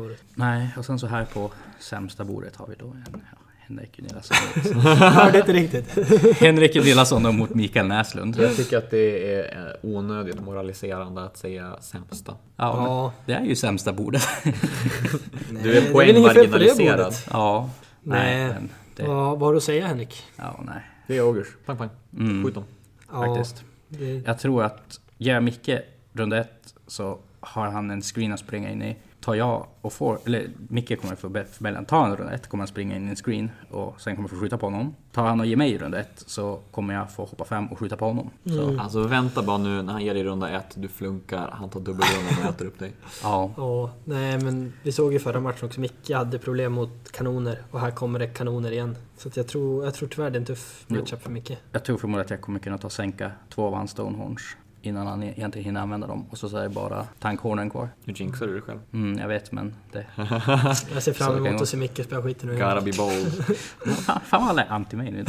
Speaker 3: varit.
Speaker 1: Nej, och sen så här på sämsta bordet har vi då en, ja, Henrik Gunillasson.
Speaker 3: Hörde inte riktigt.
Speaker 1: Henrik Gunillasson då mot Mikael Näslund. Ja,
Speaker 6: Jag tycker att det är eh, onödigt moraliserande att säga sämsta.
Speaker 3: Ja.
Speaker 1: men Det är ju sämsta bordet.
Speaker 3: Nej,
Speaker 5: Du
Speaker 3: det
Speaker 5: är
Speaker 3: väl inget fel på det
Speaker 5: poängmarginaliserad.
Speaker 3: bordet.
Speaker 1: ja.
Speaker 3: Nej.
Speaker 1: men det,
Speaker 3: Ja, vad har du att säga Henrik?
Speaker 1: ja, nej.
Speaker 6: Det är ogers. Pang pang.
Speaker 1: Mm.
Speaker 6: Skjut dem.
Speaker 3: Ja,
Speaker 1: Faktiskt.
Speaker 3: Det...
Speaker 1: Jag tror att gör Micke runda ett så har han en screen att springa in i. Tar jag och får, eller Micke kommer få be- mellan, tar han runda ett kommer han springa in i en screen och sen kommer jag få skjuta på honom. Tar han och ger mig runda ett så kommer jag få hoppa fram och skjuta på honom. Så,
Speaker 5: Mm.
Speaker 6: Alltså vänta bara nu när han ger dig runda ett, du flunkar, han tar dubbelrundan och äter upp dig.
Speaker 1: ja.
Speaker 3: Ja, nej men vi såg ju förra matchen också, Micke hade problem mot kanoner och här kommer det kanoner igen. Så att jag, tror, jag tror tyvärr det är en tuff
Speaker 1: Jo.
Speaker 3: matchup för Micke.
Speaker 1: Jag tror förmodligen att jag kommer kunna ta och sänka två av hans stonehorns innan han e- egentligen hinner använda dem. Och så, så är det bara tankhornen kvar.
Speaker 6: Nu jinxar du dig själv.
Speaker 1: Mm, jag vet men det...
Speaker 3: Jag ser
Speaker 1: Så det
Speaker 3: fram
Speaker 1: kan
Speaker 3: emot
Speaker 1: gå.
Speaker 3: att se Micke spela skiten nu.
Speaker 6: Gotta be bold.
Speaker 1: Fan, fan vad alla är anti mig nu.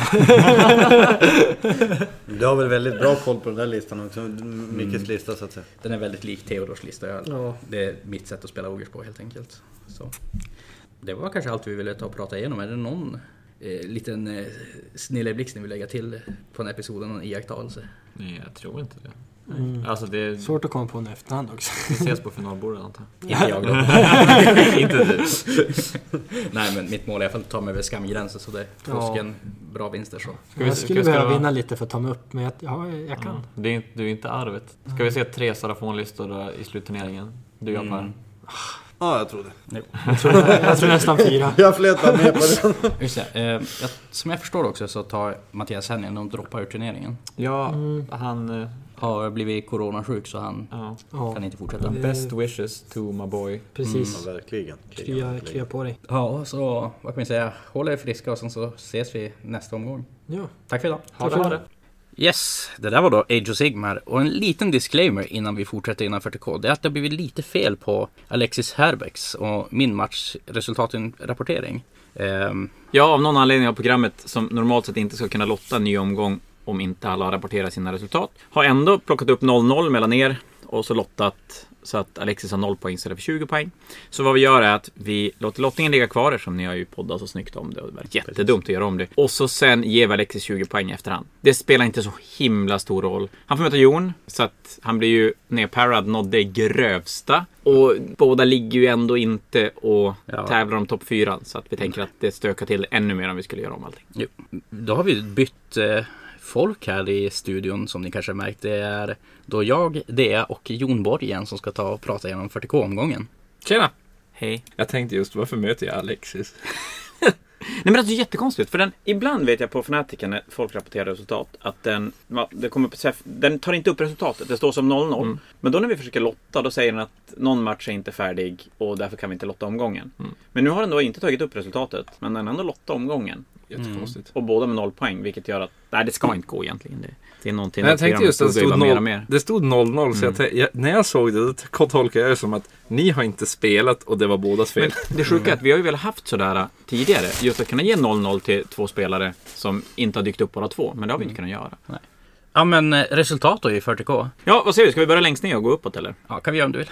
Speaker 2: Du har väl väldigt bra koll på den där listan också? Mickes lista så att säga.
Speaker 1: Den är väldigt lik Theodors lista. Jag-
Speaker 3: Ja.
Speaker 1: Det är mitt sätt att spela Ogers på helt enkelt. Så. Det var kanske allt vi ville ta och prata igenom. Är det någon eh, liten eh, snilleblixt ni vill lägga till på den här episoden? Någon iakttagelse?
Speaker 6: Nej, jag tror inte det.
Speaker 3: Mm.
Speaker 6: Alltså det,
Speaker 3: Svårt att komma på nu i efterhand också.
Speaker 6: vi ses på finalbordet antar
Speaker 1: Inte jag då.
Speaker 6: jag. inte du.
Speaker 1: Nej men mitt mål är i alla fall att ta mig över skamgränsen så det två
Speaker 3: Ja.
Speaker 1: stycken bra vinster så.
Speaker 6: vi-
Speaker 3: jag
Speaker 6: ska
Speaker 3: skulle
Speaker 6: vi- ska
Speaker 3: behöva
Speaker 6: vi-
Speaker 3: vinna lite för att ta mig upp, men jag, ja, jag kan.
Speaker 6: Ja. Det är, inte- du är inte arvet. Ska vi se tre sarafonlistor då i slutturneringen? Du och jag Per.
Speaker 2: Ja, jag tror det.
Speaker 3: Jag, tror, jag tror nästan fyra.
Speaker 2: Jag flöt bara med på det.
Speaker 1: Just det, eh, jag, som jag förstår också så tar Mattias Henning och droppar ur turneringen.
Speaker 6: Ja,
Speaker 3: Mm.
Speaker 6: han... eh,
Speaker 1: Har blivit coronasjuk så han
Speaker 6: Ja.
Speaker 3: Ja,
Speaker 1: kan inte fortsätta.
Speaker 3: Det-
Speaker 6: Best wishes to my boy.
Speaker 3: precis.
Speaker 2: Ja, verkligen.
Speaker 3: Krya, krya på dig.
Speaker 1: Ja, så vad kan vi säga? Håll er friska och sen så ses vi nästa omgång.
Speaker 3: Ja.
Speaker 1: Tack för idag.
Speaker 6: Ha det, ha det.
Speaker 1: Yes, det där var då Age of Sigmar och en liten disclaimer innan vi fortsätter innan 40K. Det är att det har blivit lite fel på Alexis Herbecks och min matchresultatrapportering. Ehm,
Speaker 5: Ja, av någon anledning har programmet som normalt sett inte ska kunna lotta en ny omgång om inte alla har rapporterat sina resultat. Har ändå plockat upp 0-0 mellan er och så lottat så att Alexis har 0 poäng istället för 20 poäng. Så vad vi gör är att vi låter lottningen ligga kvar eftersom ni har ju poddat så snyggt om det och det var jättedumt att göra om det. Och så sen ger vi Alexis 20 poäng i efterhand. Det spelar inte så himla stor roll. Han får möta Jon så att han blir ju nerparad något det grövsta. Och båda ligger ju ändå inte och
Speaker 1: Ja.
Speaker 5: tävlar om topp fyran så att vi tänker att det stökar till ännu mer om vi skulle göra om allting.
Speaker 1: jo, då har vi bytt eh, folk här i studion som ni kanske har märkt. Det är då jag, Dea och Jon Borg igen som ska ta och prata igenom 40K-omgången.
Speaker 5: Tjena! Hej.
Speaker 7: Jag tänkte just varför möter jag Alexis?
Speaker 5: Nej men alltså det är jättekonstigt för den, ibland vet jag på Fnaticen när folk rapporterar resultat att den, va, det kommer på, träff- den tar inte upp resultatet, det står som 0-0.
Speaker 7: Mm.
Speaker 5: Men då när vi försöker lotta då säger den att någon match är inte
Speaker 7: Mm.
Speaker 5: färdig och därför kan vi inte lotta omgången. Men nu har den då inte tagit upp resultatet men den har ändå lottat omgången.
Speaker 8: Jättekonstigt.
Speaker 5: Och båda med noll poäng, vilket gör att nej, det
Speaker 7: Mm.
Speaker 5: ska inte gå egentligen. Det, det är någonting
Speaker 8: Men jag
Speaker 5: där
Speaker 8: tänkte just att det
Speaker 5: programmet
Speaker 8: stod
Speaker 5: borde
Speaker 8: 0
Speaker 5: gilla mer Mm. och mer.
Speaker 8: Det stod 0-0, så jag, tän- jag, när jag såg det då t- tolkade jag det som att ni har inte spelat och det var bådas fel.
Speaker 5: Men det sjuka är att vi har ju väl haft sådär äh, tidigare. Just att kunna ge 0-0 till två spelare som inte har dykt upp båda två. Men det har vi inte kunnat göra.
Speaker 1: Ja men eh, resultat då i 40K.
Speaker 5: Ja, vad säger du? Ska vi börja längst ner och gå uppåt eller?
Speaker 1: Ja, kan vi göra om du vill.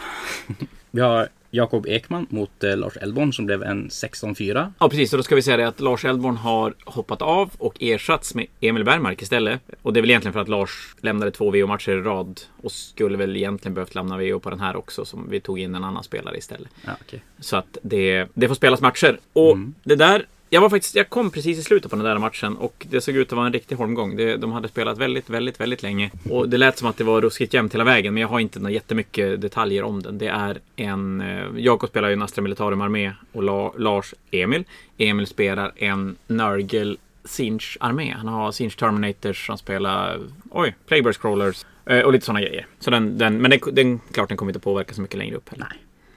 Speaker 1: vi har Jakob Ekman mot eh, Lars Elbom som blev en 16-4.
Speaker 5: Ja, precis. Och då ska vi säga det att Lars Elborn har hoppat av och ersatts med Emil Bergmark istället. Och det är väl egentligen för att Lars lämnade två VO-matcher i rad och skulle väl egentligen behövt lämna VO på den här också som vi tog in en annan spelare istället.
Speaker 1: Ja, okej.
Speaker 5: Så att det, det får spelas matcher. Och det där, jag var faktiskt, jag kom precis i slutet på den där matchen och det såg ut att vara en riktig holmgång. Det, de hade spelat väldigt, väldigt, väldigt länge. Och det lät som att det var ruskigt jämnt hela vägen, men jag har inte några jättemycket detaljer om den. Det är en, eh, Jakob spelar ju en Astra Militarum armé och La, Lars Emil. Emil spelar en Nurgle Sinch armé. Han har Sinch Terminators, han spelar, oj, Plagueburst Crawlers. eh, Och lite sådana grejer. Så den, den, men den, den, klart den kommer inte påverka så mycket längre upp heller.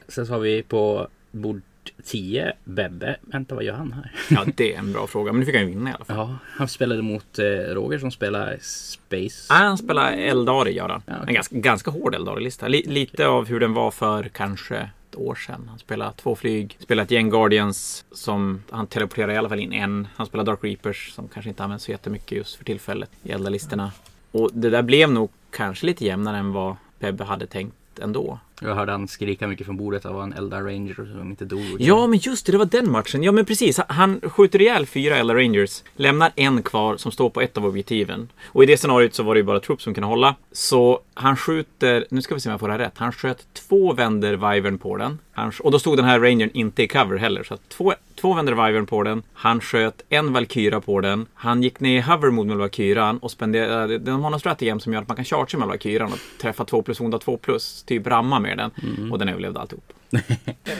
Speaker 1: Sen så har vi på bord 10 Bebbe. Vänta, vad gör han här?
Speaker 5: Ja, det är en bra fråga. Men nu fick han ju vinna i alla fall.
Speaker 1: Ja, han spelade mot eh, Roger som spelar Space.
Speaker 5: Nej, han spelar Eldari, gör han.
Speaker 1: Ja, okej.
Speaker 5: En ganska, ganska hård Eldari-lista. Li- lite av hur den var för kanske ett år sedan. Han spelar två flyg, spelar ett gäng Guardians som han teleporterar i alla fall in en. Han spelar Dark Reapers som kanske inte används så jättemycket just för tillfället i Eldar-listorna. Och det där blev nog kanske lite jämnare än vad Bebbe hade tänkt ändå.
Speaker 1: Jag hörde han skrika mycket från bordet. Det var en Eldar Ranger som inte dog.
Speaker 5: Ja, men just det, det var den matchen. Ja, men precis. Han skjuter ihjäl fyra Ella Rangers, lämnar en kvar som står på ett av objektiven. Och i det scenariot så var det ju bara trupp som kunde hålla. Så han skjuter, nu ska vi se om jag får det här rätt, han sköt två vänder Vivern på den. Han, och då stod den här Rangern inte i cover heller, så att två, två vänder Vivern på den. Han sköt en Valkyra på den. Han gick ner i hover mode med Valkyran och spenderade, de har någon strategi som gör att man kan charge med Valkyran och träffa 2 plus onda 2 plus, typ ramma med den. Och den överlevde alltihop.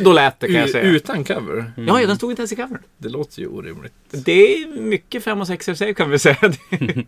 Speaker 5: Då lät det kan jag
Speaker 8: U-
Speaker 5: säga. Mm.
Speaker 8: Utan cover?
Speaker 5: Ja, ja, den stod inte ens i cover.
Speaker 8: Mm. Det låter ju orimligt.
Speaker 5: Det är mycket 5 och 6 save kan vi säga. Det är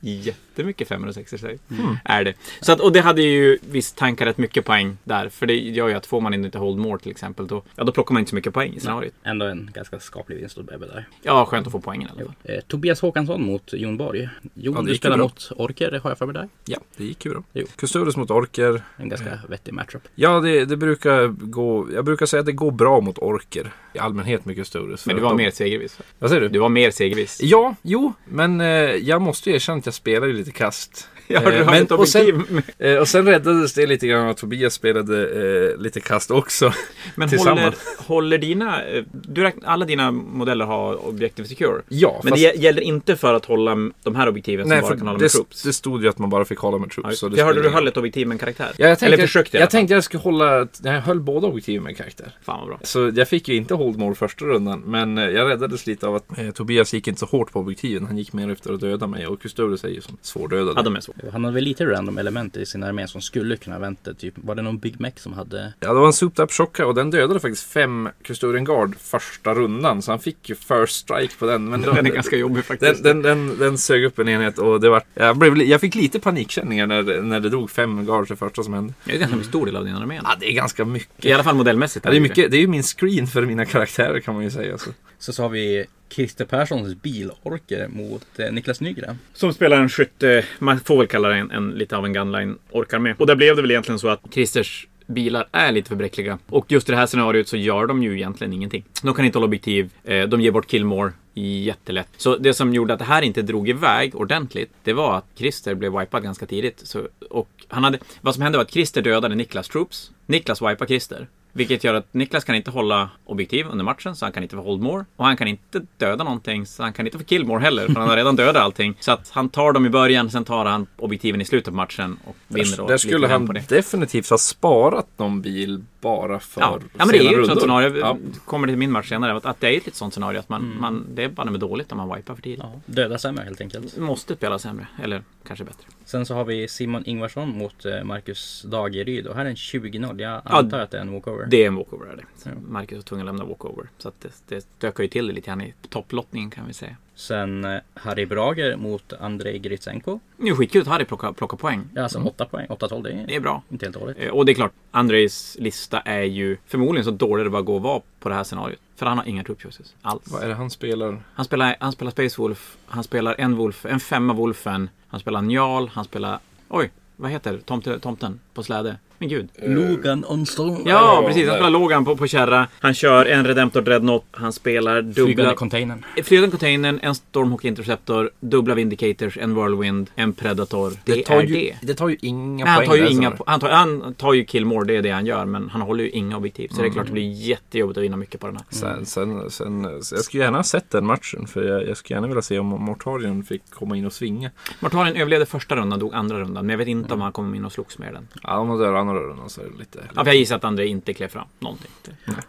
Speaker 5: Jättemycket 5 och 6 save
Speaker 8: Mm.
Speaker 5: är det. Så att, och det hade ju visst tankat rätt mycket poäng där. För det gör ju att får man inte hold more till exempel, då, ja, då plockar man inte så mycket poäng i scenariot.
Speaker 1: Ändå en ganska skaplig vinst åt Bebbe där.
Speaker 5: Ja, skönt att få poängen i alla fall.
Speaker 1: Eh, Tobias Håkansson mot Jon Borg. Jon,
Speaker 8: Ja, det
Speaker 1: du
Speaker 8: gick
Speaker 1: spelar
Speaker 8: ju bra.
Speaker 1: mot Orker har jag för mig där.
Speaker 8: Ja, det gick ju bra.
Speaker 1: Jo.
Speaker 8: Custodes mot orker.
Speaker 1: En ganska vettig matchup.
Speaker 8: Ja, det, det brukar gå... Jag brukar säga att det går bra mot orker. I allmänhet med Custodes. för
Speaker 5: Men du
Speaker 8: att
Speaker 5: var
Speaker 8: de-
Speaker 5: mer segervis.
Speaker 8: Vad säger du?
Speaker 5: Du var mer segervis.
Speaker 8: Ja, jo, men eh, jag måste ju erkänna att jag spelar ju lite kast.
Speaker 5: Ja, du
Speaker 8: Eh,
Speaker 5: har
Speaker 8: men-
Speaker 5: ett
Speaker 8: och sen-
Speaker 5: objektiv.
Speaker 8: Eh, och sen räddades det lite grann av att Tobias spelade eh, lite kast också.
Speaker 5: Men
Speaker 8: tillsammans.
Speaker 5: håller, håller dina... eh, Du räknar, alla dina modeller har objektiv secure.
Speaker 8: Ja,
Speaker 5: Men
Speaker 8: fast-
Speaker 5: det gä- gäller inte för att hålla de här objektiven som
Speaker 8: Nej,
Speaker 5: bara
Speaker 8: för
Speaker 5: kan hålla
Speaker 8: det,
Speaker 5: med troops.
Speaker 8: det stod ju att man bara fick hålla med troops.
Speaker 5: Ja,
Speaker 8: så
Speaker 5: just
Speaker 8: det
Speaker 5: det hörde
Speaker 8: spelar
Speaker 5: du
Speaker 8: ingen roll.
Speaker 5: höll ett objektiv med en karaktär.
Speaker 8: Ja, jag tänkte,
Speaker 5: Eller försökte i
Speaker 8: jag,
Speaker 5: alla
Speaker 8: jag
Speaker 5: fall.
Speaker 8: tänkte jag skulle hålla, jag höll båda objektiven med karaktär.
Speaker 5: Fan vad bra.
Speaker 8: Så jag fick ju inte hold more första rundan, men eh, jag räddades lite av att eh, Tobias gick inte så hårt på objektiven. Han gick mer efter att döda mig och Custodes är ju som svårdödad.
Speaker 5: Ja, de är så.
Speaker 1: Han hade väl lite random element i sin armé som skulle kunna vänta. Typ, var det någon Big Mac som hade...
Speaker 8: Ja, det var en souped up chocka och den dödade faktiskt fem Custodian Guard första rundan. Så han fick ju first strike på den. Men då,
Speaker 5: Den är ganska jobbig
Speaker 8: den,
Speaker 5: faktiskt.
Speaker 8: den, den, den sög upp en enhet och det var, jag, blev, li- jag fick lite panikkänningar när, när det drog fem guards det första som hände.
Speaker 5: Det är ganska stor del av din armé.
Speaker 8: Ja, det är ganska mycket.
Speaker 5: I alla fall modellmässigt.
Speaker 8: Ja, det, är mycket det är ju min screen för mina karaktärer kan man ju säga. Så.
Speaker 1: Så, så har vi Christer Perssons bilorker mot eh, Niklas Nygren.
Speaker 5: Som spelar en skytte, man får väl kalla det en, en lite av en gunline orkar med. Och där blev det väl egentligen så att Christers bilar är lite för bräckliga. Och just i det här scenariot så gör de ju egentligen ingenting. De kan inte hålla objektiv, eh, de ger bort killmore jättelätt. Så det som gjorde att det här inte drog iväg ordentligt, det var att Christer blev wipad ganska tidigt. Så, och han hade, vad som hände var att Christer dödade Niklas troops. Niklas wipar Christer. Vilket gör att Niklas kan inte hålla objektiv under matchen, så han kan inte få hold more. Och han kan inte döda någonting, så han kan inte få kill more heller, för han har redan dödat allting. Så att han tar dem i början, sen tar han objektiven i slutet av matchen och vinner.
Speaker 8: Där,
Speaker 5: och
Speaker 8: där
Speaker 5: lite
Speaker 8: skulle
Speaker 5: hem
Speaker 8: han definitivt ha sparat någon bil bara för
Speaker 5: Ja. ja, men det är
Speaker 8: sena
Speaker 5: ju ett sånt
Speaker 8: rundor.
Speaker 5: scenario.
Speaker 8: Ja. Mm.
Speaker 5: Kommer till min match senare, att- att det är ett litet sånt scenario. Att man, man, det är bara med dåligt om man wipar för tidigt.
Speaker 1: Ja, döda sämre helt enkelt.
Speaker 5: Måste spela sämre, eller kanske bättre.
Speaker 1: Sen så har vi Simon Ingvarsson mot eh, Marcus Dageryd. Och här är en 20-0. Jag
Speaker 5: Ja,
Speaker 1: antar att det är en walkover.
Speaker 5: Det är en walkover. Är det. Så Marcus var tvungen att lämna walkover. Så att det, det stökar ju till det lite grann i topplottningen kan vi säga.
Speaker 1: Sen eh, Harry Brager mot Andrei Gritsenko.
Speaker 5: Nu skickar ut Harry plocka, plocka poäng.
Speaker 1: Ja, alltså 8 poäng. 8-12, det
Speaker 5: Det
Speaker 1: är
Speaker 5: är bra.
Speaker 1: inte helt dåligt.
Speaker 5: Eh, Och det är klart, Andrejs lista är ju förmodligen så dålig det bara går att vara på det här scenariot. För han har inga troop choices alls.
Speaker 8: Vad är det han spelar?
Speaker 5: Han spelar, han spelar Space Wolf, han spelar en Wolf, en femma Wolfen, han spelar Njal, han spelar... Oj, vad heter tomte, tomten på släde? Men gud.
Speaker 1: Eh, Logan on storm.
Speaker 5: Ja,
Speaker 8: ja,
Speaker 5: precis. Han
Speaker 8: där.
Speaker 5: spelar Logan på, på kärra. Han kör en Redemptor Dreadnought. Han spelar
Speaker 1: Flygande
Speaker 5: dubbla... Eh,
Speaker 1: containern.
Speaker 5: Flygande containern, en Stormhawk Interceptor, dubbla Vindicators, en Whirlwind, en Predator. Det, är
Speaker 8: ju,
Speaker 5: det.
Speaker 8: det tar ju inga
Speaker 5: Nej, han,
Speaker 8: poäng.
Speaker 5: tar
Speaker 8: alltså.
Speaker 5: ju
Speaker 8: där,
Speaker 5: inga,
Speaker 8: så.
Speaker 5: po- han, tar, han tar ju killmore, det är det han gör. Men han håller ju inga objektiv. Så det är klart, det blir jättejobbigt att vinna mycket på den här.
Speaker 8: Sen, sen, sen, så jag skulle gärna ha sett den matchen för jag, jag skulle gärna vilja se om Mortarion fick komma in och svinga.
Speaker 5: Mortalien överlevde första rundan, dog andra rundan. Men jag vet inte om han kommer in och slogs med den.
Speaker 8: Ja, om man dör andra rundan så är det lite...
Speaker 5: Ja, för jag gissar att André inte klev fram någonting.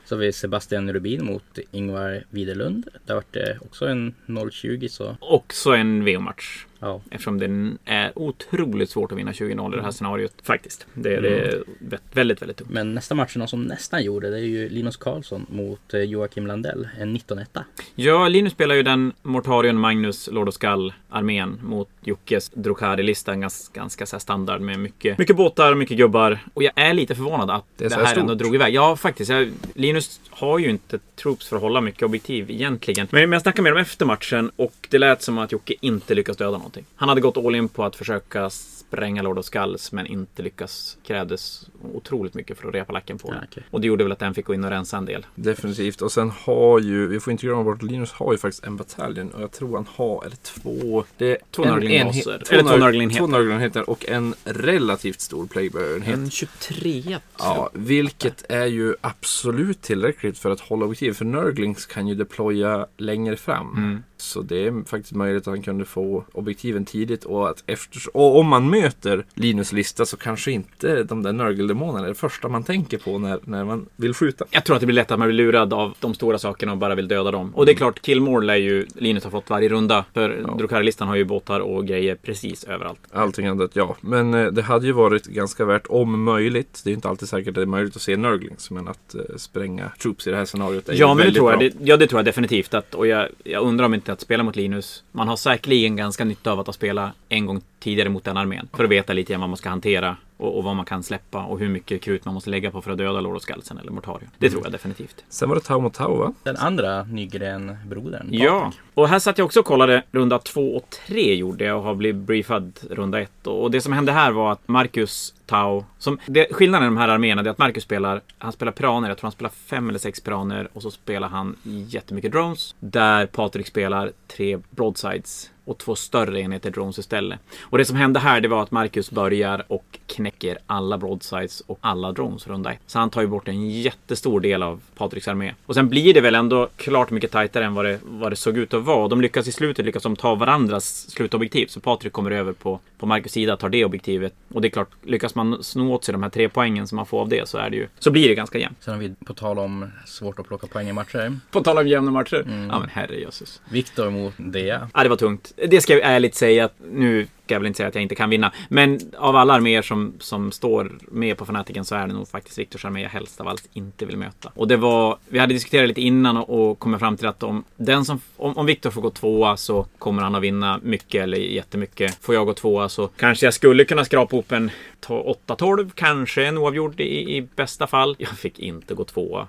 Speaker 1: Så har vi Sebastian Rubin mot Ingvar Widerlund. Där vart det eh, också en 0-20 så
Speaker 5: Också en VO-match.
Speaker 1: ja.
Speaker 5: Eftersom den är otroligt svårt att vinna 20-0 i det här scenariot. Faktiskt. Det är, det är vä- väldigt, väldigt tungt.
Speaker 1: Men nästa match, någon som nästan gjorde, det är ju Linus Karlsson mot eh, Joakim Landell. En 19-1.
Speaker 5: Ja, Linus spelar ju den Mortarion, Magnus, Lord of Skull-armén mot Jockes Drokari-lista. Ganska, ganska så här standard med mycket, mycket båtar, mycket gubbar. Och jag är lite förvånad att
Speaker 8: Det är
Speaker 5: det,
Speaker 8: så här
Speaker 5: här ändå
Speaker 8: stort.
Speaker 5: drog iväg. Ja, faktiskt. Jag, Linus har ju inte troops för att hålla mycket objektiv egentligen. Men men jag snackade med dem efter matchen och det lät som att Jocke inte lyckas döda någonting. Han hade gått all in på att försöka spränga Lord of Skulls men inte lyckas. Krävdes otroligt mycket för att repa lacken på den.
Speaker 1: Ja, okej.
Speaker 5: Och det gjorde väl att den fick gå in och rensa en del.
Speaker 8: Definitivt. Och sen har ju, vi får inte glömma bort, Linus har ju faktiskt en bataljon och jag tror han har, eller två... Det är
Speaker 5: Två
Speaker 8: en
Speaker 5: Nurgling-baser.
Speaker 8: enhet-
Speaker 5: Eller två
Speaker 8: Nur-
Speaker 5: Nurgling-enheter.
Speaker 8: Två Nurgling-enheter och en relativt stor Plaguebear-enhet.
Speaker 5: En 23 tror jag.
Speaker 8: Ja, vilket är ju absolut tillräckligt för att hålla objektiv. För Nurglings kan ju deploya längre fram.
Speaker 5: Mm.
Speaker 8: Så det är faktiskt möjligt att han kunde få objektiven tidigt och att efter... Och om man möter Linus lista så kanske inte de där Nurgle-demonerna är det första man tänker på när, när man vill skjuta.
Speaker 5: Jag tror att det blir lätt att man blir lurad av de stora sakerna och bara vill döda dem. Och det är klart, Killmore lär ju Linus ha fått varje runda. För Mm. ja. Drukari-listan har ju båtar och grejer precis överallt.
Speaker 8: Allting annat, ja. Men eh, det hade ju varit ganska värt, om möjligt. Det är ju inte alltid säkert att det är möjligt att se Nurglings, men att eh, spränga troops i det här scenariot är ju
Speaker 5: Ja, men det
Speaker 8: väldigt
Speaker 5: tror jag.
Speaker 8: bra.
Speaker 5: Det, ja, det tror jag definitivt. Att, och jag, jag undrar om inte att spela mot Linus. Man har säkerligen ganska nytta av att ha spelat en gång tidigare mot den armén. För att veta lite grann vad man ska hantera och, och vad man kan släppa och hur mycket krut man måste lägga på för att döda Lord of Skalsen eller Mortarion. Det tror jag definitivt.
Speaker 8: Sen var det Tau mot Tau, va?
Speaker 1: Den andra Nygren-brodern.
Speaker 5: Ja, och här satt jag också och kollade runda två och tre gjorde jag och har blivit briefad runda ett. Och det som hände här var att Marcus Tau, som, det, skillnaden i de här arméerna det är att Marcus spelar, han spelar praner, jag tror han spelar fem eller sex praner och så spelar han jättemycket drones. Där Patrik spelar tre broadsides och två större enheter drones istället. Och det som hände här det var att Marcus börjar och knäcker alla broadsides och alla drones runda ett. Så han tar ju bort en jättestor del av Patriks armé. Och sen blir det väl ändå klart mycket tajtare än vad det, vad det såg ut att vara. De lyckas i slutet lyckas de ta varandras slutobjektiv. Så Patrik kommer över på, på Marcus sida tar det objektivet. Och det är klart, lyckas man sno åt sig de här tre poängen som man får av det så är det ju, så blir det ganska jämnt.
Speaker 1: Sen har vi på tal om svårt att plocka poäng i matcher.
Speaker 5: På tal om jämna matcher. Mm. Ja men herrejösses.
Speaker 1: Viktor mot Dea.
Speaker 5: Ja, det var tungt. Det ska jag ärligt säga. att Nu ska jag väl inte säga att jag inte kan vinna. Men av alla arméer som, som står med på Fanatiken så är det nog faktiskt Viktors armé jag helst av allt inte vill möta. Och det var... Vi hade diskuterat lite innan och, och kommit fram till att om, den som, om, om Viktor får gå tvåa så kommer han att vinna mycket eller jättemycket. Får jag gå tvåa så kanske jag skulle kunna skrapa upp en to- 8-12, kanske en oavgjord i, i bästa fall. Jag fick inte gå tvåa.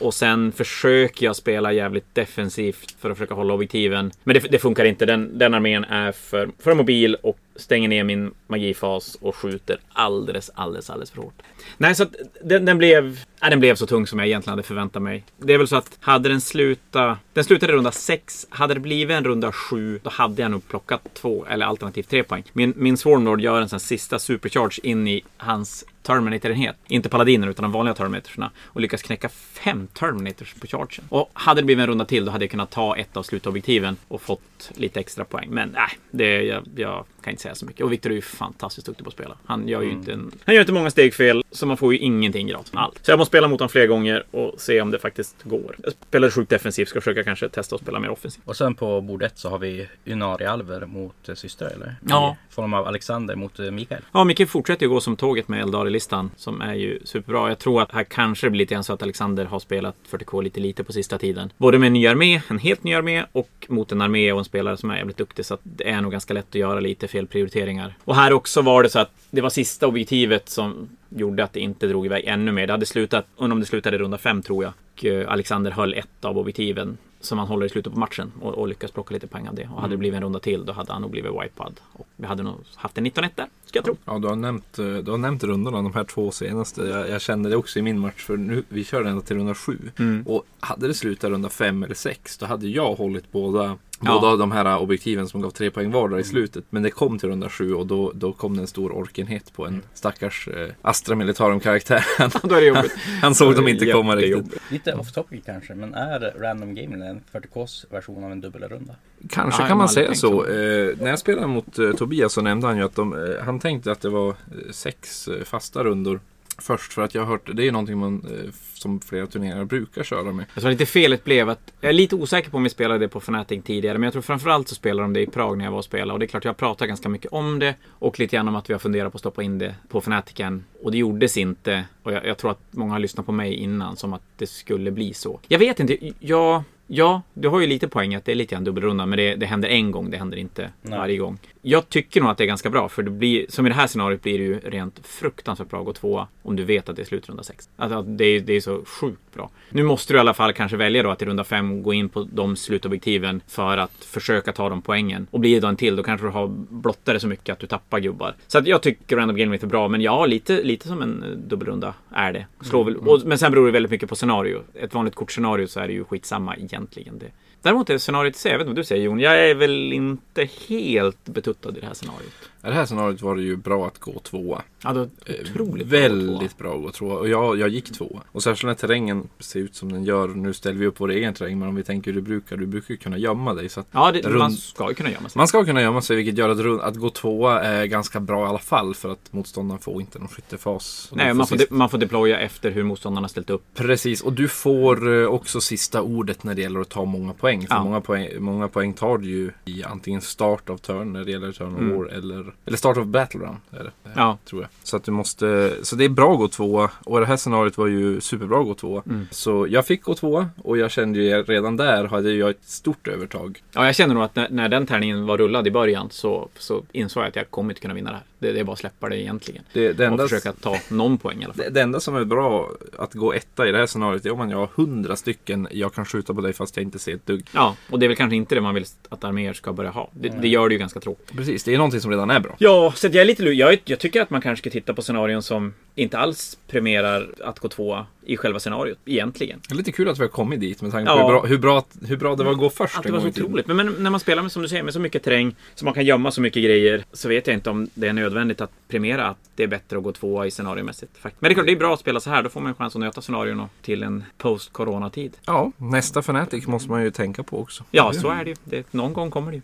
Speaker 5: Och sen försöker jag spela jävligt defensivt för att försöka hålla objektiven. Men det, det funkar inte. Den, den armén är för, för mobil och stänger ner min magifas och skjuter alldeles, alldeles, alldeles för hårt. Nej, så att den, den, blev, nej, den blev så tung som jag egentligen hade förväntat mig. Det är väl så att hade den slutat... Den slutade i runda 6. Hade det blivit en runda 7 då hade jag nog plockat två eller alternativt tre poäng. Min, min Swarmlord gör en sån här sista supercharge in i hans Terminator-enhet. Inte paladiner utan de vanliga Terminatorsna. Och lyckas knäcka fem Terminators på chargen. Och hade det blivit en runda till då hade jag kunnat ta ett av slutobjektiven och fått lite extra poäng. Men nej, det, jag, jag kan inte säga så mycket. Och Viktor är ju fantastiskt duktig på att spela. Han gör ju inte, en, han gör inte många steg fel, så man får ju ingenting gratis. Allt. Så jag måste spela mot honom fler gånger och se om det faktiskt går. Jag spelade sjukt defensivt, ska försöka kanske testa att spela mer offensivt.
Speaker 1: Och sen på bordet så har vi Unari-alver mot eh, syster eller?
Speaker 5: Ja.
Speaker 1: I form av Alexander mot eh, Mikael.
Speaker 5: Ja, Mikael fortsätter ju gå som tåget med Eldari-listan som är ju superbra. Jag tror att här kanske det blir lite grann så att Alexander har spelat 40K lite lite på sista tiden. Både med en ny armé, en helt ny armé och mot en armé och en spelare som är jävligt duktig. Så att det är nog ganska lätt att göra lite fel prioriteringar. Och här också var det så att det var sista objektivet som gjorde att det inte drog iväg ännu mer. Det hade slutat, undrar om det slutade i runda fem tror jag. och eh, Alexander höll ett av objektiven som han håller i slutet på matchen och, och lyckas plocka lite poäng av det. Och hade det blivit en runda till då hade han nog blivit wipead. Och vi hade nog haft en 19-1 där, ska jag tro.
Speaker 8: Ja, du har nämnt, eh, du har nämnt rundorna, de här två senaste. Jag, jag kände det också i min match, för nu, vi körde ända till runda sju.
Speaker 5: Mm.
Speaker 8: Och hade det slutat runda fem eller sex, då hade jag hållit båda
Speaker 5: Ja.
Speaker 8: Båda de här objektiven som gav tre poäng vardera i slutet. Men det kom till runda sju och då, då kom det en stor orkenhet på
Speaker 5: Mm.
Speaker 8: en stackars eh, Astra Militarum-karaktär. Han,
Speaker 5: Då är det jobbigt.
Speaker 8: han såg dem inte komma riktigt.
Speaker 1: Lite off topic kanske, men är Random Game en 40Ks version av en dubbelrunda?
Speaker 8: Kanske
Speaker 5: Ja,
Speaker 8: kan man
Speaker 5: Malmö
Speaker 8: säga
Speaker 5: tänkt
Speaker 8: så. Eh, när jag spelade mot eh, Tobias så nämnde han ju att de, eh, han tänkte att det var eh, sex eh, fasta rundor först. För att jag har hört, det är ju någonting man, eh, f- som flera turneringar brukar köra med.
Speaker 5: Jag tror lite felet blev att, jag är lite osäker på om vi spelade det på Fnatic tidigare, men jag tror framförallt så spelade de det i Prag när jag var och spelade. Och det är klart, jag pratar ganska mycket om det och lite grann om att vi har funderat på att stoppa in det på Fnaticen. Och det gjordes inte. Och jag, jag tror att många har lyssnat på mig innan som att det skulle bli så. Jag vet inte, jag... Ja, du har ju lite poäng att det är lite en dubbelrunda, men det, det händer en gång, det händer inte
Speaker 1: Nej.
Speaker 5: varje gång. Jag tycker nog att det är ganska bra, för det blir, som i det här scenariot blir det ju rent fruktansvärt bra att gå tvåa om du vet att det är slutrunda sex. Alltså, att det, är, det är så sjukt bra. Nu måste du i alla fall kanske välja då att i runda fem gå in på de slutobjektiven för att försöka ta de poängen. Och blir det då en till, då kanske du har blottare så mycket att du tappar gubbar. Så att jag tycker Random Game Meet är bra, men ja, lite, lite som en eh, dubbelrunda är det. Slår väl, och, men sen beror det väldigt mycket på scenario. Ett vanligt kortscenario så är det ju skitsamma egentligen. Det. Däremot är scenariot i sig, jag vet inte vad du säger Jon, jag är väl inte helt betuttad i det här scenariot.
Speaker 8: I det här scenariot var det ju bra att gå tvåa.
Speaker 5: Ja, det var
Speaker 8: Eh,
Speaker 5: otroligt bra tvåa.
Speaker 8: Väldigt bra att gå tvåa. Och jag, jag gick tvåa. Och särskilt när terrängen ser ut som den gör. Nu ställer vi upp vår egen terräng, men om vi tänker hur du brukar. Du brukar ju kunna gömma dig. Så att
Speaker 5: Ja, det, man
Speaker 8: Rund-
Speaker 5: ska ju kunna gömma sig.
Speaker 8: Man ska kunna gömma sig vilket gör att, run- att gå tvåa är ganska bra i alla fall för att motståndaren får inte någon skyttefas. Och
Speaker 5: Nej,
Speaker 8: du
Speaker 5: man får, de,
Speaker 8: sist-
Speaker 5: man får deploya efter hur motståndarna ställt upp.
Speaker 8: Precis, och du får eh, också sista ordet när det gäller att ta många poäng. För
Speaker 5: Ja.
Speaker 8: många, poäng många poäng tar du ju i antingen start av turn när det gäller turn of
Speaker 5: Mm.
Speaker 8: war eller, eller start av battleground. Är det, eh,
Speaker 5: Ja.
Speaker 8: Tror jag. Så att du måste, så det är bra att gå tvåa och det här scenariot var ju superbra att gå tvåa.
Speaker 5: Mm.
Speaker 8: Så jag fick gå tvåa och jag kände ju redan där hade jag ett stort övertag.
Speaker 5: Ja, jag känner nog att när, när den tärningen var rullad i början så, så insåg jag att jag kommer inte kunna vinna det här. Det, det är bara att släppa det egentligen.
Speaker 8: Det, det
Speaker 5: och
Speaker 8: enda
Speaker 5: försöka ta någon poäng i alla fall.
Speaker 8: Det, det enda som är bra att gå etta i det här scenariot är om man har hundra stycken jag kan skjuta på dig fast jag inte ser ett dugg.
Speaker 5: Ja, och det är väl kanske inte det man vill att arméer ska börja ha. Det, det gör det ju ganska tråkigt.
Speaker 8: Precis, det är någonting som redan är bra.
Speaker 5: Ja, så att jag är lite lu- jag, jag tycker att man kanske ska titta på scenarion som inte alls premierar att gå tvåa i själva scenariot egentligen.
Speaker 8: Det är lite kul att vi har kommit dit med tanke på
Speaker 5: Ja.
Speaker 8: hur, bra, hur, bra, att- hur bra det var att gå först
Speaker 5: Att det
Speaker 8: en
Speaker 5: var
Speaker 8: gång
Speaker 5: så
Speaker 8: i tiden.
Speaker 5: otroligt. Men, men när man spelar med, som du säger, med så mycket terräng, så man kan gömma så mycket grejer, så vet jag inte om det är nödvändigt att premiera att det är bättre att gå tvåa i scenariomässigt. fakt- Men det är klart, det är bra att spela så här. Då får man en chans att nöta scenarion till en post-corona-tid.
Speaker 8: Ja, nästa Fnatic måste man ju tänka på också.
Speaker 5: Ja, så är det ju. Det, någon gång kommer det ju.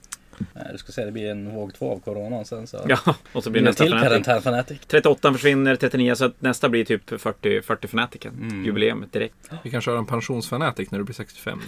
Speaker 1: Nej, Eh, du ska säga det blir en våg två av coronan sen så.
Speaker 5: Ja, och
Speaker 1: det
Speaker 5: så blir
Speaker 1: blir en
Speaker 5: nästa
Speaker 1: till
Speaker 5: Fnatic.
Speaker 1: karantän fanatic.
Speaker 5: 38 försvinner, 39, så att nästa blir typ 40, 40 Fnatiken.
Speaker 1: Mm.
Speaker 5: Jubileet direkt.
Speaker 8: Vi kan köra en pensionsfanatic när du blir 65.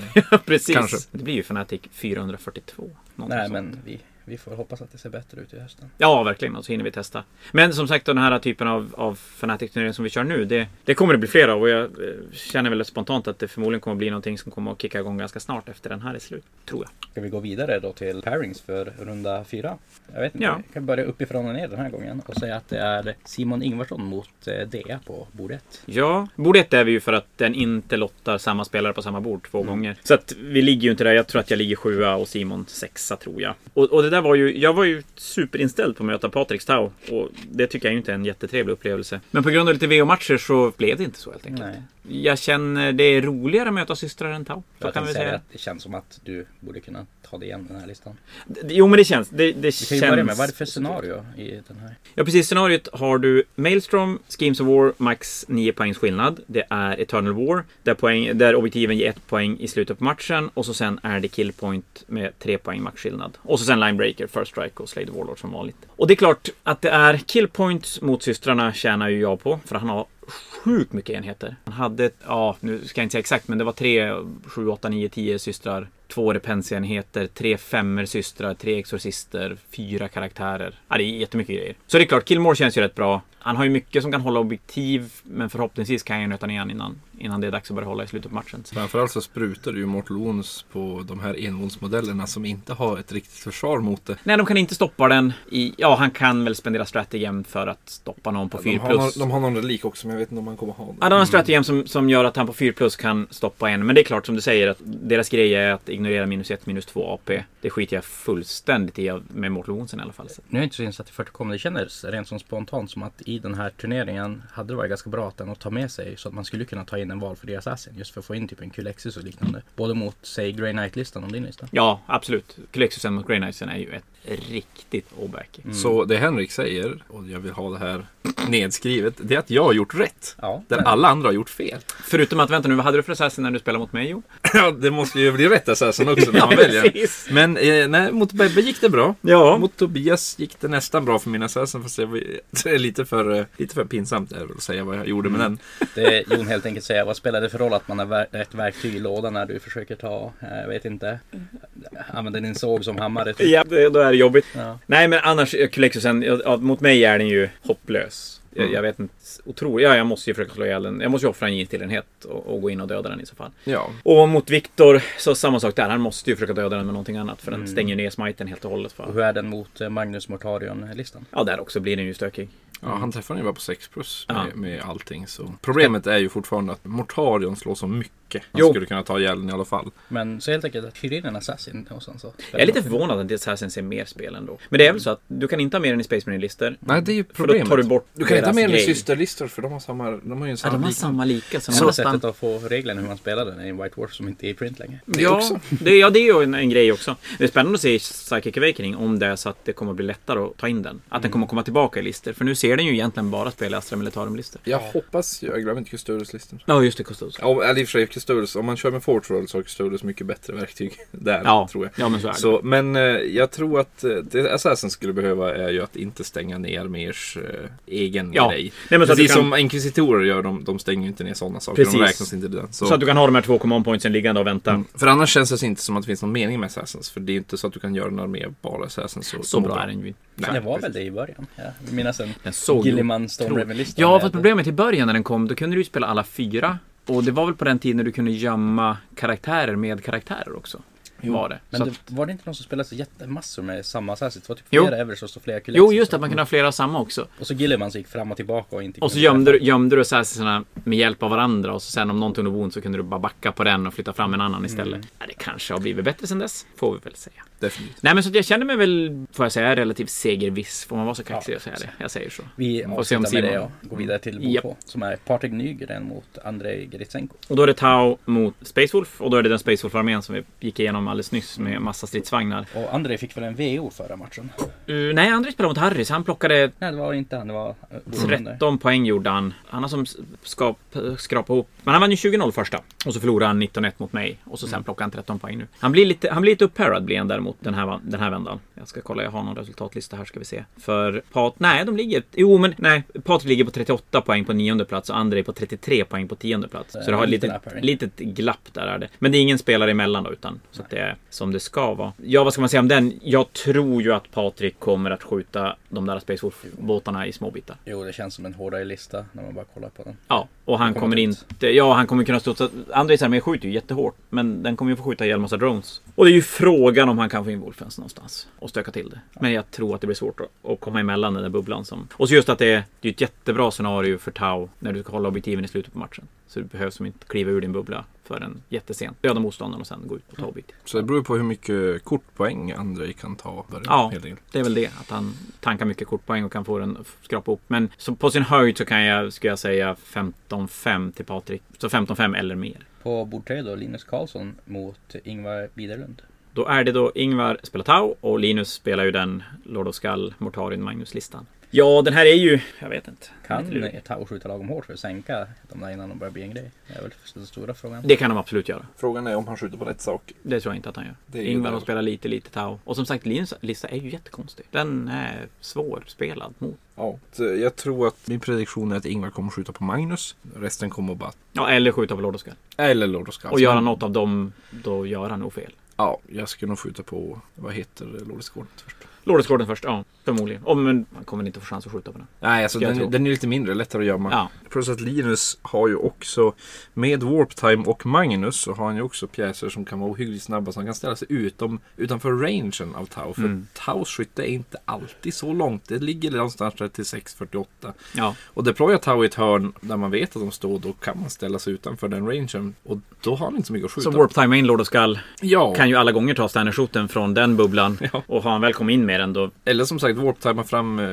Speaker 5: Precis.
Speaker 8: Kanske.
Speaker 5: Det blir ju Fnatic 442. någonting
Speaker 1: Nej
Speaker 5: sånt.
Speaker 1: men vi, vi får hoppas att det ser bättre ut i hösten.
Speaker 5: Ja, verkligen. Och så hinner vi testa. Men som sagt, den här typen av, av Fnatic-turnering som vi kör nu, det, det kommer det bli fler av. Och jag eh, känner väl spontant att det förmodligen kommer bli någonting som kommer att kicka igång ganska snart efter den här är slut. Tror jag.
Speaker 1: Ska vi gå vidare då till pairings för runda fyra? Jag vet inte,
Speaker 5: Ja.
Speaker 1: jag kan börja uppifrån och ner den här gången och säga att det är Simon Ingvarsson mot eh, Dea på bordet.
Speaker 5: Ja, bord ett är vi ju för att den inte lottar samma spelare på samma bord två gånger. Så att vi ligger ju inte där. Jag tror att jag ligger sjua och Simon sexa tror jag. Och, och det där var ju, jag var ju superinställd på att möta Patrik Stau. Och det tycker jag ju inte är en jättetrevlig upplevelse. Men på grund av lite VO-matcher så blev det inte så helt enkelt.
Speaker 1: Nej,
Speaker 5: Jag känner det är roligare att möta systrar än Tau. Så
Speaker 1: jag
Speaker 5: kan
Speaker 1: kan
Speaker 5: vi
Speaker 1: säga
Speaker 5: säga.
Speaker 1: att det känns som att du borde kunna ta dig igen den här listan.
Speaker 5: D- Jo men det känns.
Speaker 1: Vi
Speaker 5: Det, det
Speaker 1: kan ju
Speaker 5: känns.
Speaker 1: börja med, vad är det för scenario i den här?
Speaker 5: Ja precis, scenariot har du Maelstrom, Schemes of War, max 9 poängs skillnad. Det är Eternal War, där, poäng, där objektiven ger 1 poäng i slutet på matchen. Och så sen är det Killpoint med 3 poäng maxskillnad. Och så sen Linebreaker, First Strike och Slay the Warlord som vanligt. Och det är klart att det är Killpoint mot systrarna tjänar ju jag på, för han har sjukt mycket enheter. Han hade, ja, nu ska jag inte säga exakt, men det var 3, 7, 8, 9, 10 systrar. Två repensenheter, tre femmer systrar, tre exorcister, fyra karaktärer. Ja, det är jättemycket grejer. Så det är klart, Killmore känns ju rätt bra. Han har ju mycket som kan hålla objektiv, men förhoppningsvis kan jag ju nöta ner han innan, innan det är dags att börja hålla i slutet på matchen. Så
Speaker 8: Framförallt så sprutar du ju Mortal Wounds på de här envånsmodellerna som inte har ett riktigt försvar mot det.
Speaker 5: Nej, de kan inte stoppa den. I, ja, han kan väl spendera strategem för att stoppa någon på 4
Speaker 8: De har, någon,
Speaker 5: plus.
Speaker 8: de har någon relik också men jag vet inte om man kommer ha den.
Speaker 5: Ja, de har en strategem som, som gör att han på 4 plus kan stoppa en. Men det är klart som du säger att deras grej är att ignorera minus 1, minus 2 AP. Det skiter jag fullständigt i av- med Mortal Woundsen i alla fall. Så.
Speaker 1: Nu är jag inte så insatt i 40K, men det kändes rent som spontant som att i den här turneringen hade det varit ganska bra att den att ta med sig så att man skulle kunna ta in en valfri assassin just för att få in typ en Kulexis och liknande. Både mot, säg, Grey Knight-listan och din lista.
Speaker 5: Ja, absolut. Klexusen mot Grey Knightsen är ju ett riktigt oback.
Speaker 8: Mm. Så det Henrik säger, och jag vill ha det här nedskrivet, det är att jag har gjort rätt.
Speaker 1: Ja,
Speaker 8: Där alla andra har gjort fel.
Speaker 5: Förutom att, vänta nu, vad hade du för assassin när du spelade mot mig? Jo,
Speaker 8: Ja, det måste ju bli rätt assassin också när man väljer. Men eh, nej, mot Bebbe gick det bra.
Speaker 5: Ja.
Speaker 8: Mot Tobias gick det nästan bra för min assassin fast jag, det är lite för, eh, lite för pinsamt är det att säga vad jag gjorde med den.
Speaker 1: Det Jon helt enkelt säger, vad spelar det för roll att man har ver- ett verktyg i lådan när du försöker ta, eh, jag vet inte, använder din såg som hammare? Typ.
Speaker 5: Ja, det, då är det jobbigt.
Speaker 1: Ja.
Speaker 5: Nej, men annars, eh, Kulexusen, ja, ja, mot mig är den ju hopplös. Jag, jag vet inte, otroligt. Ja, jag måste ju försöka slå ihjäl den. Jag måste ju offra en gilltillenhet och, och gå in och döda den i så fall.
Speaker 8: Ja,
Speaker 5: Och mot Viktor, så samma sak där. Han måste ju försöka döda den med någonting annat. För den
Speaker 8: Mm.
Speaker 5: stänger ner smiten helt och hållet.
Speaker 1: Och
Speaker 5: För.
Speaker 1: hur är den mot eh, Magnus Mortarion-listan?
Speaker 5: Ja, där också blir den ju stökig.
Speaker 8: ja han träffade ju bara på 6 plus med,
Speaker 5: Ja.
Speaker 8: med allting. Så. Problemet är ju fortfarande att Mortarion slår så mycket. Han
Speaker 5: Jo.
Speaker 8: skulle kunna ta ihjäl den i alla fall.
Speaker 1: Men så helt enkelt att hyra in en assassin och sen så...
Speaker 5: Jag är lite förvånad att Assassin ser mer spel ändå. Men det är väl så att du kan inte ha mer än i Space Marine-listor.
Speaker 8: Nej, det är ju
Speaker 5: För då
Speaker 8: problemet.
Speaker 5: tar du bort
Speaker 8: Du kan inte ha
Speaker 5: deras
Speaker 8: med den i
Speaker 5: grej.
Speaker 8: systerlistor för de har, samma, de har ju en
Speaker 5: Ja,
Speaker 8: samma
Speaker 5: de har
Speaker 8: liknande.
Speaker 5: samma lika som
Speaker 1: Det enda
Speaker 5: nästan.
Speaker 1: sättet att få reglerna hur man spelar den är en White Dwarf som inte är i print längre.
Speaker 8: Det
Speaker 5: Ja,
Speaker 8: också.
Speaker 5: det, ja, det är ju en, en grej också. Det är spännande att se i Psychic Awakening om det är så att det kommer att bli lättare att ta in den. Att
Speaker 8: Mm.
Speaker 5: den kommer att komma tillbaka i listor. För nu ser den ju egentligen bara spela i Astra Militarum-listor.
Speaker 8: Jag hoppas, jag glömmer inte Custodus-listan.
Speaker 5: Ja, just det. Kostos.
Speaker 8: Ja, om- eller i och för sig, Custodus, om man kör med Forge Roll så har Custodus mycket bättre verktyg där,
Speaker 5: Ja,
Speaker 8: tror jag.
Speaker 5: ja, men så är det.
Speaker 8: Så, men eh, jag tror att eh, det Assassin skulle behöva är ju att inte stänga ner Mers eh, egen
Speaker 5: Ja.
Speaker 8: grej.
Speaker 5: Nej, men så att du
Speaker 8: Precis
Speaker 5: kan-
Speaker 8: som inkvisitorer gör, de, de stänger ju inte ner sådana saker.
Speaker 5: Precis.
Speaker 8: De räknas inte till den. Så.
Speaker 5: Så att du kan ha de här två command pointsen liggande och vänta.
Speaker 8: Mm. För annars känns det inte som att det finns någon mening med Assassins. För det är ju inte så att du kan göra en armé av bara Assassins. Så,
Speaker 5: Så bra är den ju inte.
Speaker 8: Nej,
Speaker 1: det var
Speaker 8: precis.
Speaker 1: väl det i början? Ja, jag minns en
Speaker 5: Den såg ju
Speaker 1: Gilliman Stormraven-listan.
Speaker 5: Ja,
Speaker 1: med-
Speaker 5: fast problemet i början när den kom, då kunde du ju spela alla fyra. Och det var väl på den tiden du kunde gömma karaktärer med karaktärer också. Var det.
Speaker 1: Men
Speaker 5: Så
Speaker 1: det,
Speaker 5: att,
Speaker 1: var det inte någon som spelade så jättemassor med samma assassin? Det var typ
Speaker 5: Jo.
Speaker 1: flera Eversos och flera Kulexis.
Speaker 5: jo, just det, att man kunde ha flera av samma också.
Speaker 1: Och så Gilliman så gick fram och tillbaka och inte
Speaker 5: Och så
Speaker 1: kunde
Speaker 5: gömde du, gömde du assassinerna med hjälp av varandra och så sen om någon tog någon så kunde du bara backa på den och flytta fram en annan istället.
Speaker 1: Mm.
Speaker 5: Ja, det kanske har blivit bättre sen dess, får vi väl säga.
Speaker 8: Definitivt.
Speaker 5: Nej men så att jag känner mig väl, får jag säga, relativt segerviss. Får man vara så kaxig och säga det? Jag säger så.
Speaker 1: Vi
Speaker 5: Får se
Speaker 1: avslutar
Speaker 5: om
Speaker 1: med det
Speaker 5: Simon.
Speaker 1: och går vidare till bok
Speaker 5: Japp.
Speaker 1: två, som är Patrik Nygren mot Andrei Gritsenko.
Speaker 5: Och då är det Tau mot Space Wolf och då är det den Space Wolf-armén som vi gick igenom alldeles nyss med massa stridsvagnar.
Speaker 1: Och Andrei fick väl en VO förra matchen?
Speaker 5: Uh, nej, André spelade mot Harry så han plockade
Speaker 1: Nej, det var inte han, det var eh, Borunder.
Speaker 5: 13 poäng gjorde han. Han har som skap, skrapat ihop. Men han vann ju 20-0 första. Och så förlorade han 19-1 mot mig. Och så sen plockade han 13 poäng nu. Han blir lite, han blir lite upphärad blir han däremot den här, va- den här vändan. Jag ska kolla, jag har någon resultatlista här ska vi se. För Pat... Nej, de ligger... Jo, men nej. Patrik ligger på 38 poäng på nionde plats och André på 33 poäng på tionde plats. Så det har ett
Speaker 1: liten
Speaker 5: litet,
Speaker 1: upphärdning.
Speaker 5: litet glapp där är det. Men det är ingen spelare emellan då, utan så att det är som det ska vara. Ja, vad ska man säga om den? Jag tror ju att Patrik kommer att skjuta de där Space Wolf-båtarna i små bitar.
Speaker 1: Jo, det känns som en hårdare lista när man bara kollar på den.
Speaker 5: Ja, och han
Speaker 1: kommer
Speaker 5: kommer
Speaker 1: dit.
Speaker 5: inte... Ja, han kommer kunna studsa... Andres armé skjuter ju jättehårt. Men den kommer ju få skjuta ihjäl massa drones. Och det är ju frågan om han kan få in Wolfens någonstans. Och stöka till det. Men jag tror att det blir svårt att, att komma emellan den där bubblan som... Och så just att det är, det är ett jättebra scenario för Tau när du ska hålla objektiven i slutet på matchen. Så du behöver som inte kliva ur din bubbla förrän jättesent. Döda motståndaren och sen gå ut och ta objektiv.
Speaker 8: Så det beror ju på hur mycket kortpoäng Andrej kan ta. Där,
Speaker 5: Ja.
Speaker 8: helt enkelt.
Speaker 5: Det är väl det, att han tankar mycket kortpoäng och kan få den f- skrapa upp. Men så på sin höjd så kan jag, skulle jag säga 15-5 till Patrik. Så 15-5 eller mer.
Speaker 1: På bord tre då, Linus Karlsson mot Ingvar Widerlund.
Speaker 5: Då är det då Ingvar spelar Tau och Linus spelar ju den Lord of Skull, Mortarin, Magnus-listan. Ja, den här är ju... Jag vet inte.
Speaker 1: Kan
Speaker 5: Lite lurig.
Speaker 1: Tau skjuta lagom hårt för att sänka de där innan de börjar bli en grej? Det är väl den stora frågan.
Speaker 5: Det kan de absolut göra.
Speaker 8: Frågan är om han skjuter på rätt sak.
Speaker 5: Det tror jag inte att han gör.
Speaker 8: Det är ju
Speaker 5: Ingvar
Speaker 8: det.
Speaker 5: de spelar lite, lite Tau. Och som sagt, Linus lista är ju jättekonstig. Den är svårspelad mot.
Speaker 8: Ja, så jag tror att min prediktion är att Ingvar kommer skjuta på Magnus. Resten kommer bara...
Speaker 5: Ja, eller skjuta på Lord of Skull.
Speaker 8: Eller Lord of Scouts.
Speaker 5: Och göra något av dem, då gör han nog fel.
Speaker 8: Ja, jag skulle nog skjuta på... Vad heter Lord of Scorn först?
Speaker 5: Lord of Skull först, ja. Förmodligen. Oh, men man kommer inte få chans att skjuta på den.
Speaker 8: Nej, alltså
Speaker 5: Jag tror.
Speaker 8: den, den är lite mindre, lättare att gömma.
Speaker 5: Ja.
Speaker 8: Plus att Linus har ju också, med Warp Time och Magnus, så har han ju också pjäser som kan vara ohyggligt snabba. Så han kan ställa sig utom, utanför rangen av Tau. För
Speaker 5: Mm.
Speaker 8: Taus skytte är inte alltid så långt. Det ligger någonstans där till 648.
Speaker 5: Ja.
Speaker 8: Och deployar Tau i ett hörn där man vet att de står, då kan man ställa sig utanför den rangen. Och då har han inte så mycket att skjuta.
Speaker 5: Så Warp Time in Lord of Skull
Speaker 8: ja.
Speaker 5: kan ju alla gånger ta Stanner-shooten från den bubblan.
Speaker 8: Ja.
Speaker 5: Och har han väl kommit in med den då...
Speaker 8: Eller som sagt, warptimar fram, eh,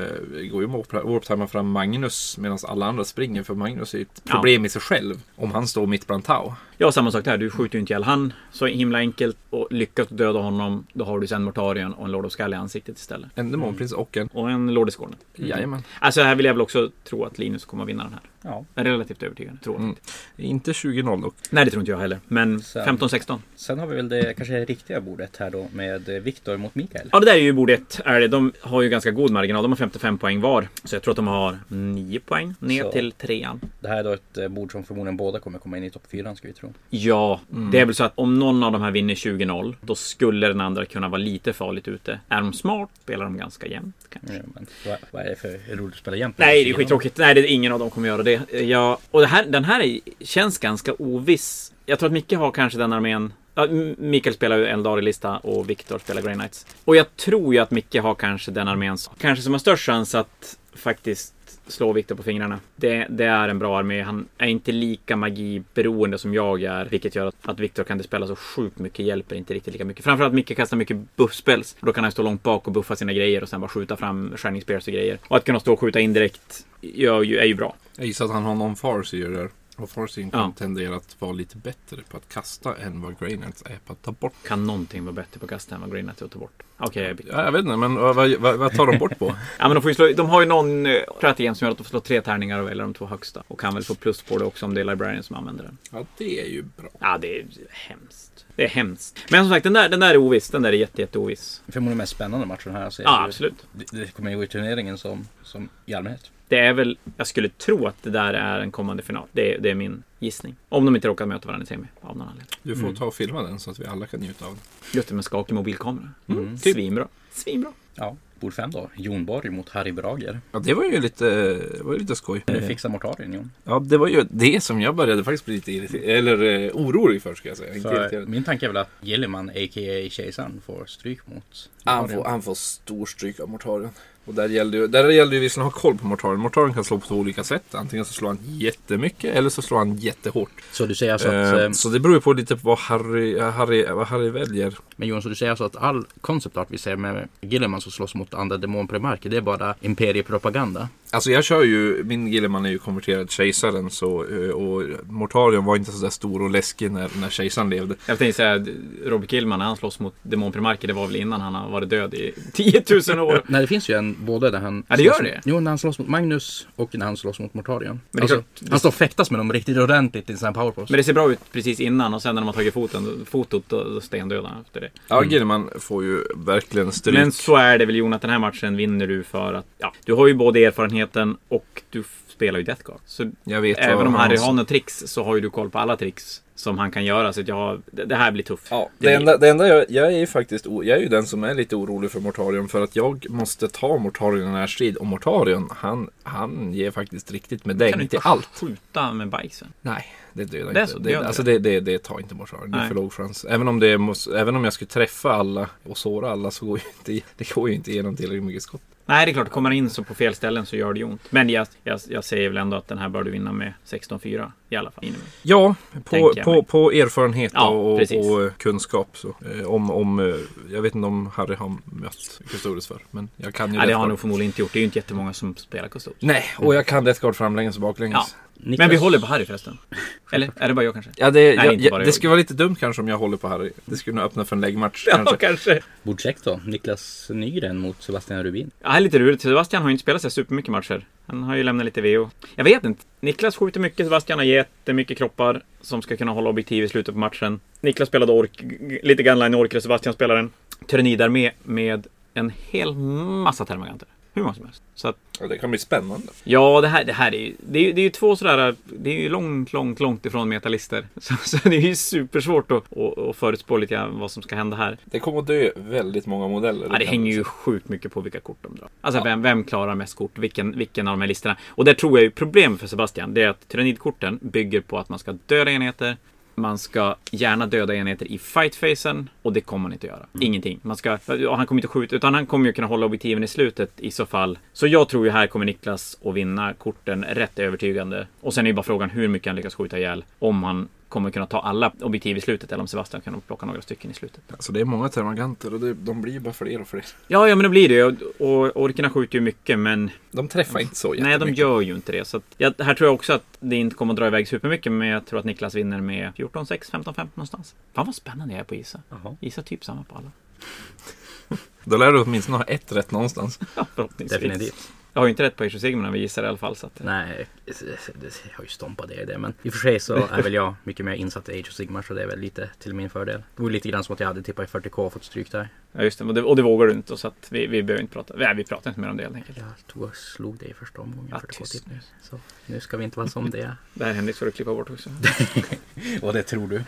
Speaker 8: går ju warp- warptimar fram Magnus medan alla andra springer för Magnus är ju ett
Speaker 5: Ja.
Speaker 8: problem i sig själv om han står mitt bland Tau.
Speaker 5: Ja, samma sak där. Du skjuter ju inte ihjäl han så himla enkelt. Och lyckas du döda honom, då har du sen Mortarion och en Lord of Skull i ansiktet istället.
Speaker 8: En demonprins och en...
Speaker 5: Och en Lord Scorn.
Speaker 8: Jajamän.
Speaker 5: Alltså här vill jag väl också tro att Linus kommer att vinna den här.
Speaker 1: Ja.
Speaker 5: Jag är relativt övertygad. Tror jag.
Speaker 8: Mm. Inte 20-0 dock.
Speaker 5: Nej, det tror inte jag heller. Men
Speaker 1: Sen-
Speaker 5: 15-16.
Speaker 1: Sen har vi väl det kanske riktiga bordet här då med eh, Viktor mot Mikael.
Speaker 5: Ja, det där är ju bord ett. Är det. De har ju ganska god marginal. De har 55 poäng var. Så jag tror att de har 9 poäng ner
Speaker 1: Så.
Speaker 5: till trean.
Speaker 1: Det här är då ett eh, bord som förmodligen båda kommer komma in i topp 4 ska vi tro.
Speaker 5: Ja,
Speaker 1: Mm.
Speaker 5: det är väl så att om någon av de här vinner 20-0, då skulle den andra kunna vara lite farligt ute. Är de smart spelar de ganska jämnt kanske.
Speaker 1: Ja, men vad, vad är det för roligt att spela jämt?
Speaker 5: Nej, det är skittråkigt. Nej, det är ingen av dem kommer göra det. Ja, och det här, den här är, känns ganska oviss. Jag tror att Micke har kanske den armén. Ja, M- Mikael spelar ju Eldari-lista och Viktor spelar Grey Knights. Och jag tror ju att Micke har kanske den armén som kanske som har störst chans att faktiskt slå Viktor på fingrarna. Det, det är en bra armé. Han är inte lika magiberoende som jag är, vilket gör att, att Viktor kan dispela så sjukt mycket hjälper inte riktigt lika mycket. Framförallt Micke kastar mycket buffspels. Då kan han stå långt bak och buffa sina grejer och sen bara skjuta fram Shining Spears och grejer. Och att kunna stå och skjuta indirekt gör ju, är ju bra.
Speaker 8: Jag gissar att han har någon farseer där. Och farseer
Speaker 5: Ja.
Speaker 8: tenderar att vara lite bättre på att kasta än vad Graynards är på att ta bort.
Speaker 5: Kan någonting vara bättre på att kasta än vad Green är till att ta bort? Okej, jag byter.
Speaker 8: Ja, jag vet inte, men vad, vad, vad vad tar de bort på?
Speaker 5: Ja, men de, får ju slå, de har ju någon eh, strategi som gör att de får slå tre tärningar och välja de två högsta. Och kan väl få plus på det också om det är Librarian som använder den.
Speaker 8: ja, det är ju bra.
Speaker 5: Ja, det är hemskt. Det är hemskt. Men som sagt, den där, den där är oviss. Den där är jätte, jätte oviss.
Speaker 1: Förmodligen mest spännande matchen här. Så
Speaker 5: Ja,
Speaker 1: jag-
Speaker 5: absolut.
Speaker 1: Det, det kommer ju gå i turneringen som, som i allmänhet.
Speaker 5: Det är väl, jag skulle tro att det där är en kommande final. Det, är- det är min gissning. Om de inte råkar möta varandra i semi av någon anledning.
Speaker 8: Du får ta och filma den så att vi alla kan njuta av den.
Speaker 5: Just det, med skakig mobilkamera.
Speaker 1: Mm.
Speaker 5: Svinbra. Svinbra.
Speaker 1: Ja, bord 5 då. Jon Borg mot Harry Brager.
Speaker 8: Ja, det var ju lite, det var ju lite skoj.
Speaker 1: Du fixar Mortarien Jon.
Speaker 8: Ja, det var ju det som jag började faktiskt bli lite irriterad, eller eh, orolig för ska jag säga. Inte
Speaker 1: För
Speaker 8: irriterad.
Speaker 1: min tanke är väl att Gilliman, a.k.a. Kejsaren, får stryk mot
Speaker 8: Han får, han får stor stryk av Mortarion. Och där gällde ju, där gällde ju visserligen att ha koll på Mortarion. Mortarion kan slå på två olika sätt. Antingen så slår han jättemycket eller så slår han jättehårt.
Speaker 1: Så du säger alltså
Speaker 8: Så,
Speaker 1: att...
Speaker 8: eh,
Speaker 1: Eh,
Speaker 8: så det beror ju på lite på vad Harry, eh, Harry, vad Harry väljer.
Speaker 1: men Jon, så du säger alltså att all konceptart vi ser med Gilliman som slåss mot andra demonprimarker, det är bara imperiepropaganda?
Speaker 8: Alltså jag kör ju, min Gilleman är ju konverterad kejsaren så, eh, och Mortarion var inte sådär stor och läskig när, när kejsaren levde.
Speaker 5: Jag tänkte säga, Robert Killman när han slåss mot demonprimarker, det var väl innan han har varit död i 10 000 år.
Speaker 1: Nej, det finns ju en både där han...
Speaker 5: Ja, det gör
Speaker 1: slåss-
Speaker 5: det.
Speaker 1: Jo, när han slåss mot Magnus och när han slåss mot Mortarion.
Speaker 5: det är
Speaker 1: alltså,
Speaker 5: klart-
Speaker 1: han står och fäktas med dem riktigt ordentligt i sina powerpost.
Speaker 5: Men det ser bra ut precis innan och sen när de har tagit foten, fotot, då då stendödar han efter det.
Speaker 8: Ja, Gilleman får ju verkligen stryk.
Speaker 5: Men så är det väl Jon att den här matchen vinner du för att ja, du har ju både erfarenheten och du f- spelar ju Death Guard. Så
Speaker 8: jag vet vad
Speaker 5: även om
Speaker 8: han
Speaker 5: Harry
Speaker 8: sa.
Speaker 5: har några tricks så har ju du koll på alla tricks som han kan göra. Så att jag, har- det det här blir tufft.
Speaker 8: Ja,
Speaker 5: Det
Speaker 8: det,
Speaker 5: blir-
Speaker 8: enda, det enda jag, jag är ju faktiskt, o- jag är ju den som är lite orolig för Mortarion för att jag måste ta Mortarion i den här strid och Mortarion han, han ger faktiskt riktigt med
Speaker 5: Kan du
Speaker 8: däng
Speaker 5: inte
Speaker 8: till allt.
Speaker 5: skjuta med bajsen?
Speaker 8: Nej, det dödar
Speaker 5: Det är
Speaker 8: inte.
Speaker 5: så, det gör
Speaker 8: det,
Speaker 5: inte
Speaker 8: alltså det, det, det tar inte Mortarion, det är
Speaker 5: Nej.
Speaker 8: för låg chans. Även om, det måste, även om jag skulle träffa alla och såra alla så går ju inte, det går ju inte igenom tillräckligt mycket skott.
Speaker 5: Nej, det är klart. Kommer han in så på fel ställen så gör det ju ont. Men jag, jag, jag säger väl ändå att den här bör du vinna med 16-4 i alla fall. Minimum.
Speaker 8: Ja, på,
Speaker 5: Tänker jag
Speaker 8: på,
Speaker 5: mig.
Speaker 8: på erfarenhet
Speaker 5: Ja,
Speaker 8: och, och,
Speaker 5: precis.
Speaker 8: och eh, kunskap. Så. Eh, Om, om, eh, jag vet inte om Harry har mött Custodes för, men jag kan ju
Speaker 5: Nej, det har
Speaker 8: Death
Speaker 5: han
Speaker 8: Guard.
Speaker 5: nog förmodligen inte gjort. Det är ju inte jättemånga som spelar Custodes.
Speaker 8: Nej, och jag kan Death Guard framlänges och baklänges.
Speaker 5: Ja.
Speaker 1: Niklas-
Speaker 5: Men vi håller på Harry förresten. Eller? Är det bara jag kanske?
Speaker 8: Ja, det,
Speaker 5: Nej,
Speaker 8: jag,
Speaker 5: inte bara
Speaker 8: jag, det
Speaker 5: jag.
Speaker 8: skulle vara lite dumt kanske om jag håller på Harry. Det skulle nog öppna för en läggmatch kanske.
Speaker 5: kanske.
Speaker 1: Bord 6 då, Niklas Nygren mot Sebastian Rubin.
Speaker 5: Ja, här är lite rurigt. Sebastian har ju inte spelat så här supermycket matcher. Han har ju lämnat lite VO. Jag vet inte. Niklas skjuter mycket, Sebastian har jättemycket kroppar som ska kunna hålla objektiv i slutet på matchen. Niklas spelade ork, g- lite Gunline Orker, Sebastian spelar en Tyranidarmé med en hel massa termaganter. Hur många som helst. Så att,
Speaker 8: Ja, det kan bli spännande.
Speaker 5: ja, det här, det här är ju... Det är, ju- det är ju två sådär... Det är ju långt, långt, långt ifrån metalister. Så, så det är ju supersvårt att, att, att förutspå lite grann vad som ska hända här.
Speaker 8: Det kommer att dö väldigt många modeller.
Speaker 5: Ja, det
Speaker 8: kan
Speaker 5: hänger
Speaker 8: man
Speaker 5: ju
Speaker 8: säga.
Speaker 5: sjukt mycket på vilka kort de drar. Alltså vem, vem klarar mest kort? Vilken, vilken av de här listorna? Och där tror jag ju problemet för Sebastian, det är att tyrannidkorten bygger på att man ska döda enheter. Man ska gärna döda enheter i fightfasen och det kommer han inte göra. Ingenting. Man ska, ja, han kommer inte skjuta utan han kommer ju kunna hålla objektiven i slutet i så fall. Så jag tror ju här kommer Niklas att vinna korten rätt övertygande. Och sen är ju bara frågan hur mycket han lyckas skjuta ihjäl. Om han kommer kunna ta alla objektiv i slutet eller om Sebastian kan plocka några stycken i slutet.
Speaker 8: Alltså, det är många termaganter och det, de blir ju bara fler och fler.
Speaker 5: Ja, ja, men det blir det. Och, och orkerna skjuter ju mycket, men
Speaker 8: De träffar inte så
Speaker 5: nej, de
Speaker 8: jättemycket.
Speaker 5: gör ju inte det. Så att, jag, här tror jag också att det inte kommer att dra iväg supermycket, men jag tror att Niklas vinner med 14-6, 15-15 någonstans. Fan vad spännande jag är på Isa.
Speaker 1: Jaha.
Speaker 5: Isa typ samma på alla.
Speaker 8: Då lär du åtminstone ha ett rätt någonstans.
Speaker 5: Ja, förhoppningsvis.
Speaker 1: Definitivt.
Speaker 5: Jag har ju inte rätt på Age of Sigmar när vi gissar i alla fall. Så att,
Speaker 1: Nej, jag har ju stompat er i det. Men i och för sig så är väl jag mycket mer insatt i Age of Sigmar så det är väl lite till min fördel. Det vore lite grann som att jag hade tippat i 40K och fått stryk där.
Speaker 5: ja, just det. Och det, och det vågar du inte, så att vi, vi behöver inte prata. Nej, vi pratar inte mer om det helt enkelt.
Speaker 1: Jag tog och slog dig i första omgången.
Speaker 5: Ja,
Speaker 1: 40K
Speaker 5: tyst
Speaker 1: tipp nu. Så nu ska vi inte vara som det.
Speaker 5: Det här Henrik ska du klippa bort också.
Speaker 1: Och det tror du.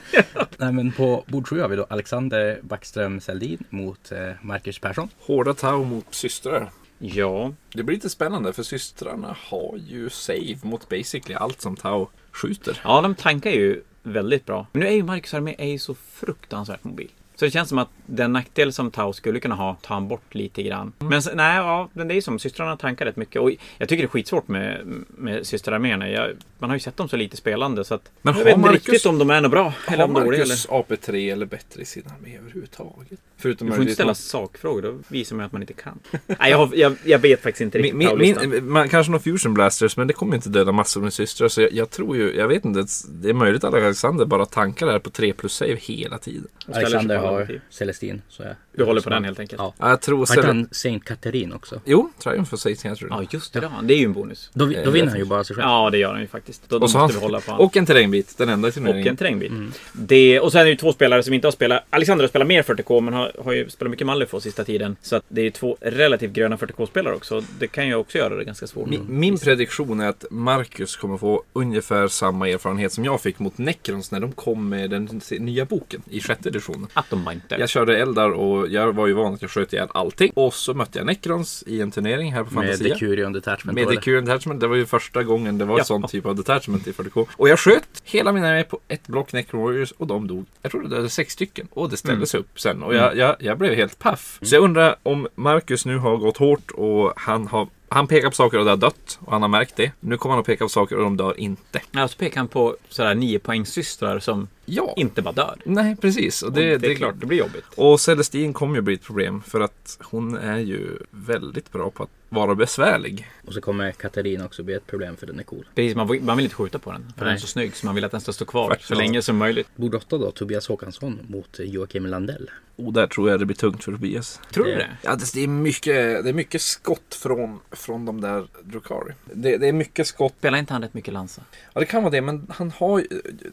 Speaker 1: Nej men på bord 7 har vi då Alexander Backström Seldin mot eh, Marcus Persson.
Speaker 8: Hårda tau mot systrar.
Speaker 5: Ja,
Speaker 8: Det blir lite spännande för systrarna har ju save mot basically allt som tau skjuter.
Speaker 5: Ja, de tankar ju väldigt bra. Men nu är ju Marcus Armé är ju så fruktansvärt mobil. Så det känns som att den nackdel som Tau skulle kunna ha tar han bort lite grann.
Speaker 8: Mm.
Speaker 5: Men sen- nej, ja, men det är ju som systrarna tankar rätt mycket. Och jag tycker det är skitsvårt med, med systerarméerna. Jag, man har ju sett dem så lite spelande så att
Speaker 8: Men
Speaker 5: jag
Speaker 8: har
Speaker 5: vet inte
Speaker 8: Marcus-
Speaker 5: riktigt om de är något bra eller
Speaker 8: Har
Speaker 5: om dåliga. Eller?
Speaker 8: Marcus AP3 eller bättre i sin armé överhuvudtaget? Förutom
Speaker 5: Du får inte ställa sakfrågor, då visar man ju att man inte kan. nej, jag, har, jag, jag vet faktiskt inte riktigt
Speaker 8: Min, min,
Speaker 5: Tau-listan.
Speaker 8: min, man, kanske någon fusion blasters, men det kommer ju inte döda massor med systrar. Så jag, jag tror ju, jag vet inte, det är möjligt att Alexander bara tankar det här på 3 plus save hela tiden.
Speaker 5: ställer sig
Speaker 1: Alexander
Speaker 5: på alla
Speaker 1: har
Speaker 5: motiv.
Speaker 1: Celestin. Så jag...
Speaker 5: Du håller på den helt enkelt.
Speaker 1: Ja.
Speaker 8: Ja, jag tror
Speaker 1: Har inte
Speaker 8: ställa...
Speaker 1: han Saint Katerin också?
Speaker 8: Jo, Triumph och Satan tror jag.
Speaker 5: Ja, just det. Det är ju en bonus.
Speaker 1: Då, vi- då
Speaker 8: Eh,
Speaker 1: vinner han ju bara sig själv.
Speaker 5: Ja, det gör han ju faktiskt. Då, då
Speaker 8: Och, så
Speaker 5: måste vi hålla
Speaker 8: han,
Speaker 5: på han.
Speaker 8: och en terrängbit, den enda i
Speaker 5: Och en
Speaker 8: turneringen.
Speaker 5: terrängbit. Det, och sen är det ju två spelare som inte har spelat. Alexander har spelat mer 40K men har, har ju spelat mycket Malifaux sista tiden. Så att det är ju två relativt gröna 40K-spelare också. Det kan ju också göra det ganska svårt.
Speaker 8: Min, min prediktion är att Marcus kommer få ungefär samma erfarenhet som jag fick mot Necrons när de kom med den nya boken i sjätte editionen.
Speaker 5: Att de inte.
Speaker 8: Jag körde eldar och jag var ju van att jag sköt ihjäl allting. Och så mötte jag Necrons i en turnering här på
Speaker 1: Med
Speaker 8: Fantasia.
Speaker 1: Decurion Detachment.
Speaker 8: Med
Speaker 1: var det.
Speaker 8: Decurion Detachment, det var ju första gången det var
Speaker 5: Ja.
Speaker 8: ett sån typ av detachment i 40K. Och jag sköt hela mina med på ett block Necron Warriors och de dog. Jag tror det dödade sex stycken och det ställdes upp sen och jag, jag, jag blev helt paff. Så jag undrar om Marcus nu har gått hårt och han har han pekar på saker och det har dött och han har märkt det. Nu kommer han att peka på saker och de dör inte.
Speaker 5: Ja, så pekar han på sådär 9 systrar som
Speaker 8: Ja.
Speaker 5: inte bara dör.
Speaker 8: Nej, precis. Och
Speaker 5: Det,
Speaker 8: det,
Speaker 5: är klart, det blir jobbigt.
Speaker 8: Och Celestine kommer ju bli ett problem för att hon är ju väldigt bra på att vara besvärlig.
Speaker 1: Och så kommer Katerin också bli ett problem för den är cool.
Speaker 5: Precis, man, vill- man vill inte skjuta på den. För den är
Speaker 1: Nej.
Speaker 5: så snygg så man vill att den ska stå kvar
Speaker 8: Faktiskt.
Speaker 5: så länge som möjligt.
Speaker 1: Bord 8 då, Tobias Håkansson mot Joakim Landell.
Speaker 8: Och där tror jag det blir tungt för Tobias.
Speaker 5: Tror du
Speaker 1: Det-
Speaker 5: det?
Speaker 8: Ja, det, det, är mycket, det är mycket skott från, från de där Drukari. Det, det är mycket skott.
Speaker 5: Spelar inte han rätt mycket Lanza?
Speaker 8: Ja, det kan vara det, men han har ju-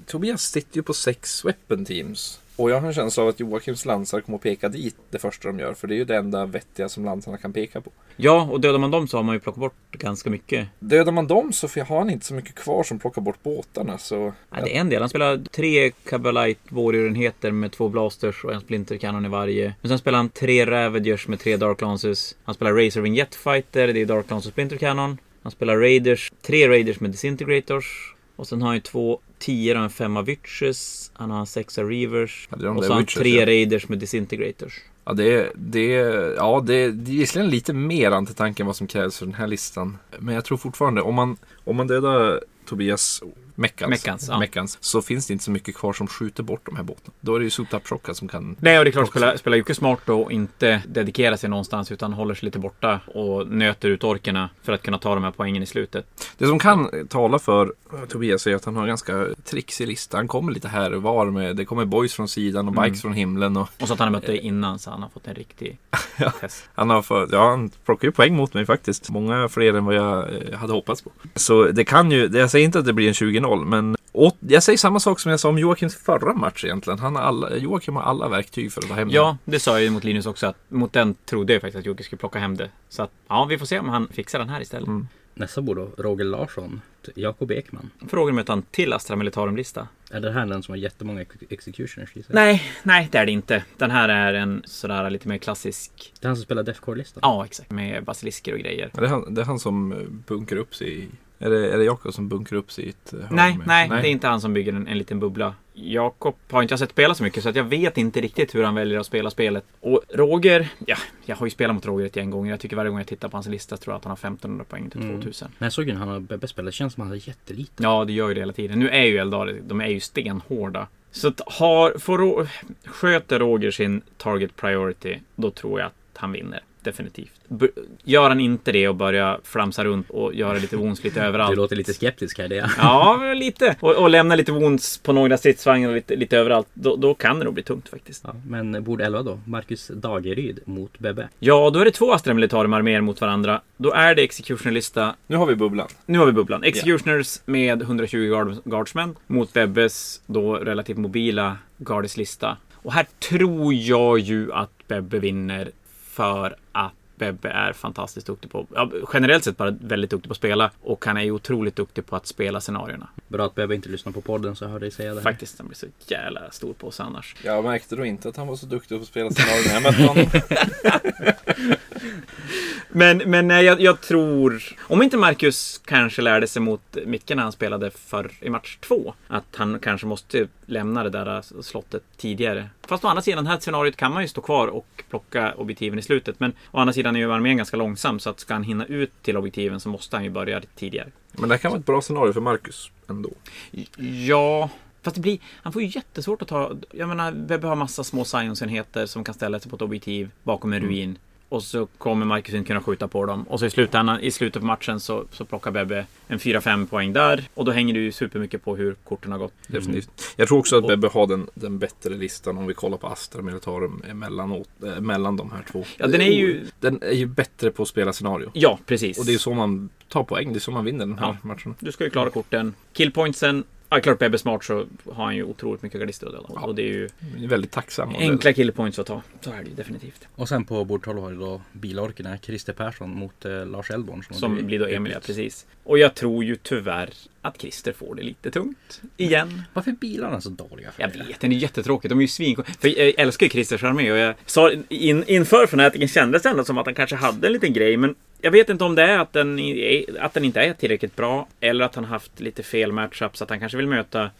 Speaker 8: Tobias sitter ju på sex weapon teams. Och jag har en känsla av att Joakims lansar kommer att peka dit det första de gör. För det är ju det enda vettiga som lansarna kan peka på.
Speaker 5: Ja, och dödar man dem så har man ju plockat bort ganska mycket.
Speaker 8: Dödar man dem så får- har han inte så mycket kvar som plockar bort båtarna. Så
Speaker 5: Ja, det är en del. Han spelar tre Cabalite Warrior-enheter med två blasters och en splinterkanon i varje. Men sen spelar han tre Ravagers med tre Dark Lances. Han spelar Razor Wing Jetfighter, det är Dark Lance och splinterkanon. Han spelar Raiders, tre Raiders med Disintegrators. Och sen har han ju två tior och en femma Witches. Han har en sexa Reavers.
Speaker 8: Ja, det är de
Speaker 5: och
Speaker 8: där
Speaker 5: så har han
Speaker 8: Witches,
Speaker 5: tre
Speaker 8: ja.
Speaker 5: Raiders med Disintegrators.
Speaker 8: Ja, det, det, ja det, det är visserligen lite mer antitanke än vad som krävs för den här listan. Men jag tror fortfarande, om man, om man dödar Tobias Meckans,
Speaker 5: Meccans, ja.
Speaker 8: Meccans, så finns det inte så mycket kvar som skjuter bort de här båtarna. Då är det ju Sotapchocka som kan...
Speaker 5: Nej, och det är klart, spelar, spelar Jocke smart då och inte dedikerar sig någonstans utan håller sig lite borta och nöter ut orkerna för att kunna ta de här poängen i slutet.
Speaker 8: Det som kan eh, tala för eh, Tobias är att han har en ganska trixig lista. Han kommer lite här och var med, det kommer boys från sidan och bikes från himlen och
Speaker 5: Och så att han har mött dig innan så han har fått en riktig test.
Speaker 8: Han har för, ja, han plockar ju poäng mot mig faktiskt. Många fler än vad jag eh, hade hoppats på. Så det kan ju, det jag säger inte att det blir en 20-0, men åt, jag säger samma sak som jag sa om Joakims förra match egentligen. Han har alla, Joakim har alla verktyg för att ta hem den.
Speaker 5: Ja, det sa jag ju mot Linus också. Att mot den trodde jag faktiskt att Jocke skulle plocka hem det. Så att, ja, vi får se om han fixar den här istället.
Speaker 8: Mm.
Speaker 1: Nästa bord då, Roger Larsson, Jakob Ekman.
Speaker 5: Frågan om han till Astra Militarum-lista.
Speaker 1: Är det här den som har jättemånga ex- executioners i sig?
Speaker 5: Nej, nej det är det inte. Den här är en sådär lite mer klassisk.
Speaker 1: Det är han som spelar Defcore-listan?
Speaker 5: Ja, exakt. Med basilisker och grejer.
Speaker 8: Det, är han, det är han som eh, bunkrar upp sig i... Är det, är det Jakob som bunkrar upp sig i ett eh, hörn
Speaker 5: Nej,
Speaker 8: med-
Speaker 5: nej, det är inte han som bygger en, en liten bubbla. Jakob har inte jag sett spela så mycket så att jag vet inte riktigt hur han väljer att spela spelet. Och Roger, ja, jag har ju spelat mot Roger ett gäng gånger. Jag tycker varje gång jag tittar på hans lista tror jag att han har 1500 poäng till
Speaker 1: Mm.
Speaker 5: 2000.
Speaker 1: När jag såg den han har Bebbe spela, det känns som att han hade jättelite.
Speaker 5: Ja, det gör ju det hela tiden. Nu är ju Eldar, de är ju stenhårda. Så att har, får, Ro- sköter Roger sin target priority, då tror jag att han vinner. Definitivt. B- gör han inte det och börjar flamsa runt och göra lite wounds lite överallt.
Speaker 1: Du låter lite skeptisk här, det är
Speaker 5: Ja, men lite. Och, och lämna lite wounds på några stridsvagnar och lite, lite överallt. Då, då kan det nog bli tungt faktiskt.
Speaker 1: ja, Men bord 11 då, Marcus Dageryd mot Bebbe.
Speaker 5: Ja, då är det två Astra Militarum-arméer mot varandra. Då är det Executioner-lista
Speaker 8: Nu har vi bubblan.
Speaker 5: Nu har vi bubblan. Executioners med 120 guard, guardsmen mot Bebbes då relativt mobila guards lista. Och här tror jag ju att Bebbe vinner för att Bebbe är fantastiskt duktig på, ja, generellt sett bara väldigt duktig på att spela och han är ju otroligt duktig på att spela scenarierna.
Speaker 1: Bra att Bebbe inte lyssnar på podden så jag hörde dig säga det. här.
Speaker 5: Faktiskt, han blir så jävla stor på oss annars.
Speaker 8: Jag märkte då inte att han var så duktig på att spela scenario när jag mötte honom.
Speaker 5: Men, men nej, jag, jag tror... Om inte Marcus kanske lärde sig mot Micke när han spelade för i match två. Att han kanske måste lämna det där eh, slottet tidigare. Fast å andra sidan, det här scenariot kan man ju stå kvar och plocka objektiven i slutet. Men å andra sidan är ju armén ganska långsam. Så att ska han hinna ut till objektiven så måste han ju börja tidigare.
Speaker 8: Men det här kan vara ett bra scenario för Marcus ändå.
Speaker 5: Ja... Fast det blir, han får ju jättesvårt att ta... Jag menar, Webbe har massa små science-enheter som kan ställa sig på ett objektiv bakom
Speaker 8: Mm.
Speaker 5: en ruin. Och så kommer Marcus inte kunna skjuta på dem. Och så i, slutändan, i slutet på matchen så, så plockar Bebbe en 4-5 poäng där. Och då hänger det ju supermycket på hur korten har gått.
Speaker 8: Definitivt. Jag tror också att Bebbe har den, den bättre listan om vi kollar på Astra Militarum emellanåt, eh, mellan de här två. Oh,
Speaker 5: Ja, den är ju...
Speaker 8: Den är ju bättre på att spela scenario.
Speaker 5: Ja, precis.
Speaker 8: Och det är så man tar poäng, det är så man vinner den här
Speaker 5: Ja.
Speaker 8: matchen.
Speaker 5: Du ska ju klara korten. Killpointsen. Ja, klart Bebbe är smart så har han ju otroligt mycket gardister att döda. Och det är ju
Speaker 8: Jag är väldigt tacksam. om det.
Speaker 5: enkla killpoints att ta. Så är det ju definitivt.
Speaker 1: Och sen på bord 12 har du då bilorkerna Christer Persson mot eh, Lars Elborn.
Speaker 5: Som blir då Emilia, precis. Och jag tror ju tyvärr att Christer får det lite tungt. Igen.
Speaker 1: Varför är bilarna så dåliga? För
Speaker 5: Jag
Speaker 1: det?
Speaker 5: vet, den är jättetråkig. De är ju svin... För jag älskar ju Christers armé och jag sa in, inför fanatiken kändes det ändå som att han kanske hade en liten grej. Men jag vet inte om det är att den, i- att den inte är tillräckligt bra eller att han haft lite fel matchup så att han kanske vill möta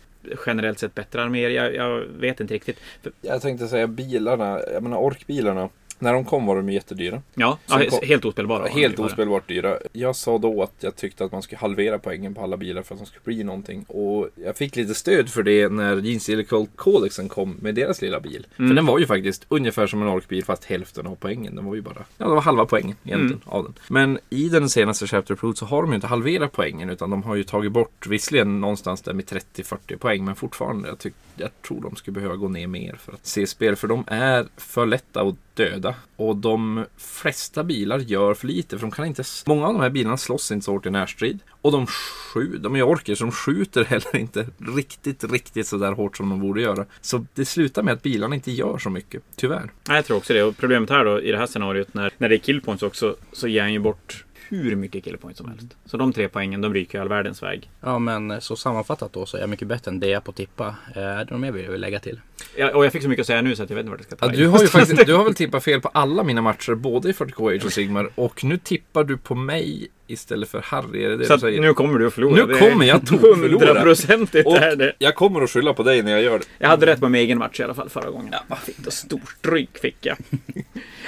Speaker 5: generellt sett bättre arméer. Jag, jag vet inte riktigt. För,
Speaker 8: Jag tänkte säga bilarna, jag menar orkbilarna. När de kom var de ju jättedyra.
Speaker 5: ja,
Speaker 8: Som
Speaker 5: ja,
Speaker 8: kom-
Speaker 5: helt ospelbara.
Speaker 8: Helt ospelbart dyra. Jag sa då att jag tyckte att man skulle halvera poängen på alla bilar för att de skulle bli någonting. Och jag fick lite stöd för det när Jeans Illegal Codexen kom med deras lilla bil. För den var ju faktiskt ungefär som en orkbil fast hälften av poängen. Den var ju bara, ja det var halva poängen egentligen av den. Men i den senaste Chapter Proof så har de ju inte halverat poängen utan de har ju tagit bort, visserligen någonstans där med 30-40 poäng, men fortfarande. Jag, tyck, jag tror de skulle behöva gå ner mer för att se spel, för de är för lätta att döda. Och de flesta bilar gör för lite, för de kan inte... s- Många av de här bilarna slåss inte så hårt i närstrid. Och de skjuter, de är orker, så de skjuter heller inte riktigt, riktigt så där hårt som de borde göra. Så det slutar med att bilarna inte gör så mycket, tyvärr.
Speaker 5: Nej, jag tror också det. Och problemet här då i det här scenariot när, när det är killpoints också så ger han ju bort hur mycket killpoints som helst. Så de tre poängen, de ryker ju all världens väg.
Speaker 1: Ja men eh, så sammanfattat då så är jag mycket bättre än det jag på tippa. Eh, Är det något mer vi vill lägga till?
Speaker 5: Jag, och jag fick så mycket att säga nu så att jag vet inte vart jag ska ta
Speaker 8: Ja,
Speaker 5: vägen.
Speaker 8: du har ju faktiskt, du har väl tippat fel på alla mina matcher, både i 40K Age och Sigmar, och nu tippar du på mig istället för Harry, är det det
Speaker 5: Så
Speaker 8: du
Speaker 5: att
Speaker 8: säger?
Speaker 5: nu kommer du att förlora.
Speaker 8: Nu
Speaker 5: Det är
Speaker 8: kommer jag tokförlora.
Speaker 5: Hundraprocentigt
Speaker 8: Och-
Speaker 5: är det.
Speaker 8: Jag kommer att skylla på dig när jag gör det.
Speaker 5: Jag hade rätt på min egen match i alla fall förra gången. Ja, fick då stort rygg fick jag.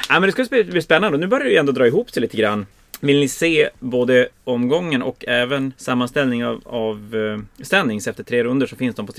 Speaker 5: ja, men det ska bli- bli spännande. Nu börjar det ju ändå dra ihop sig lite grann. Vill ni se både omgången och även sammanställning av, av eh, standings efter tre runder så finns de på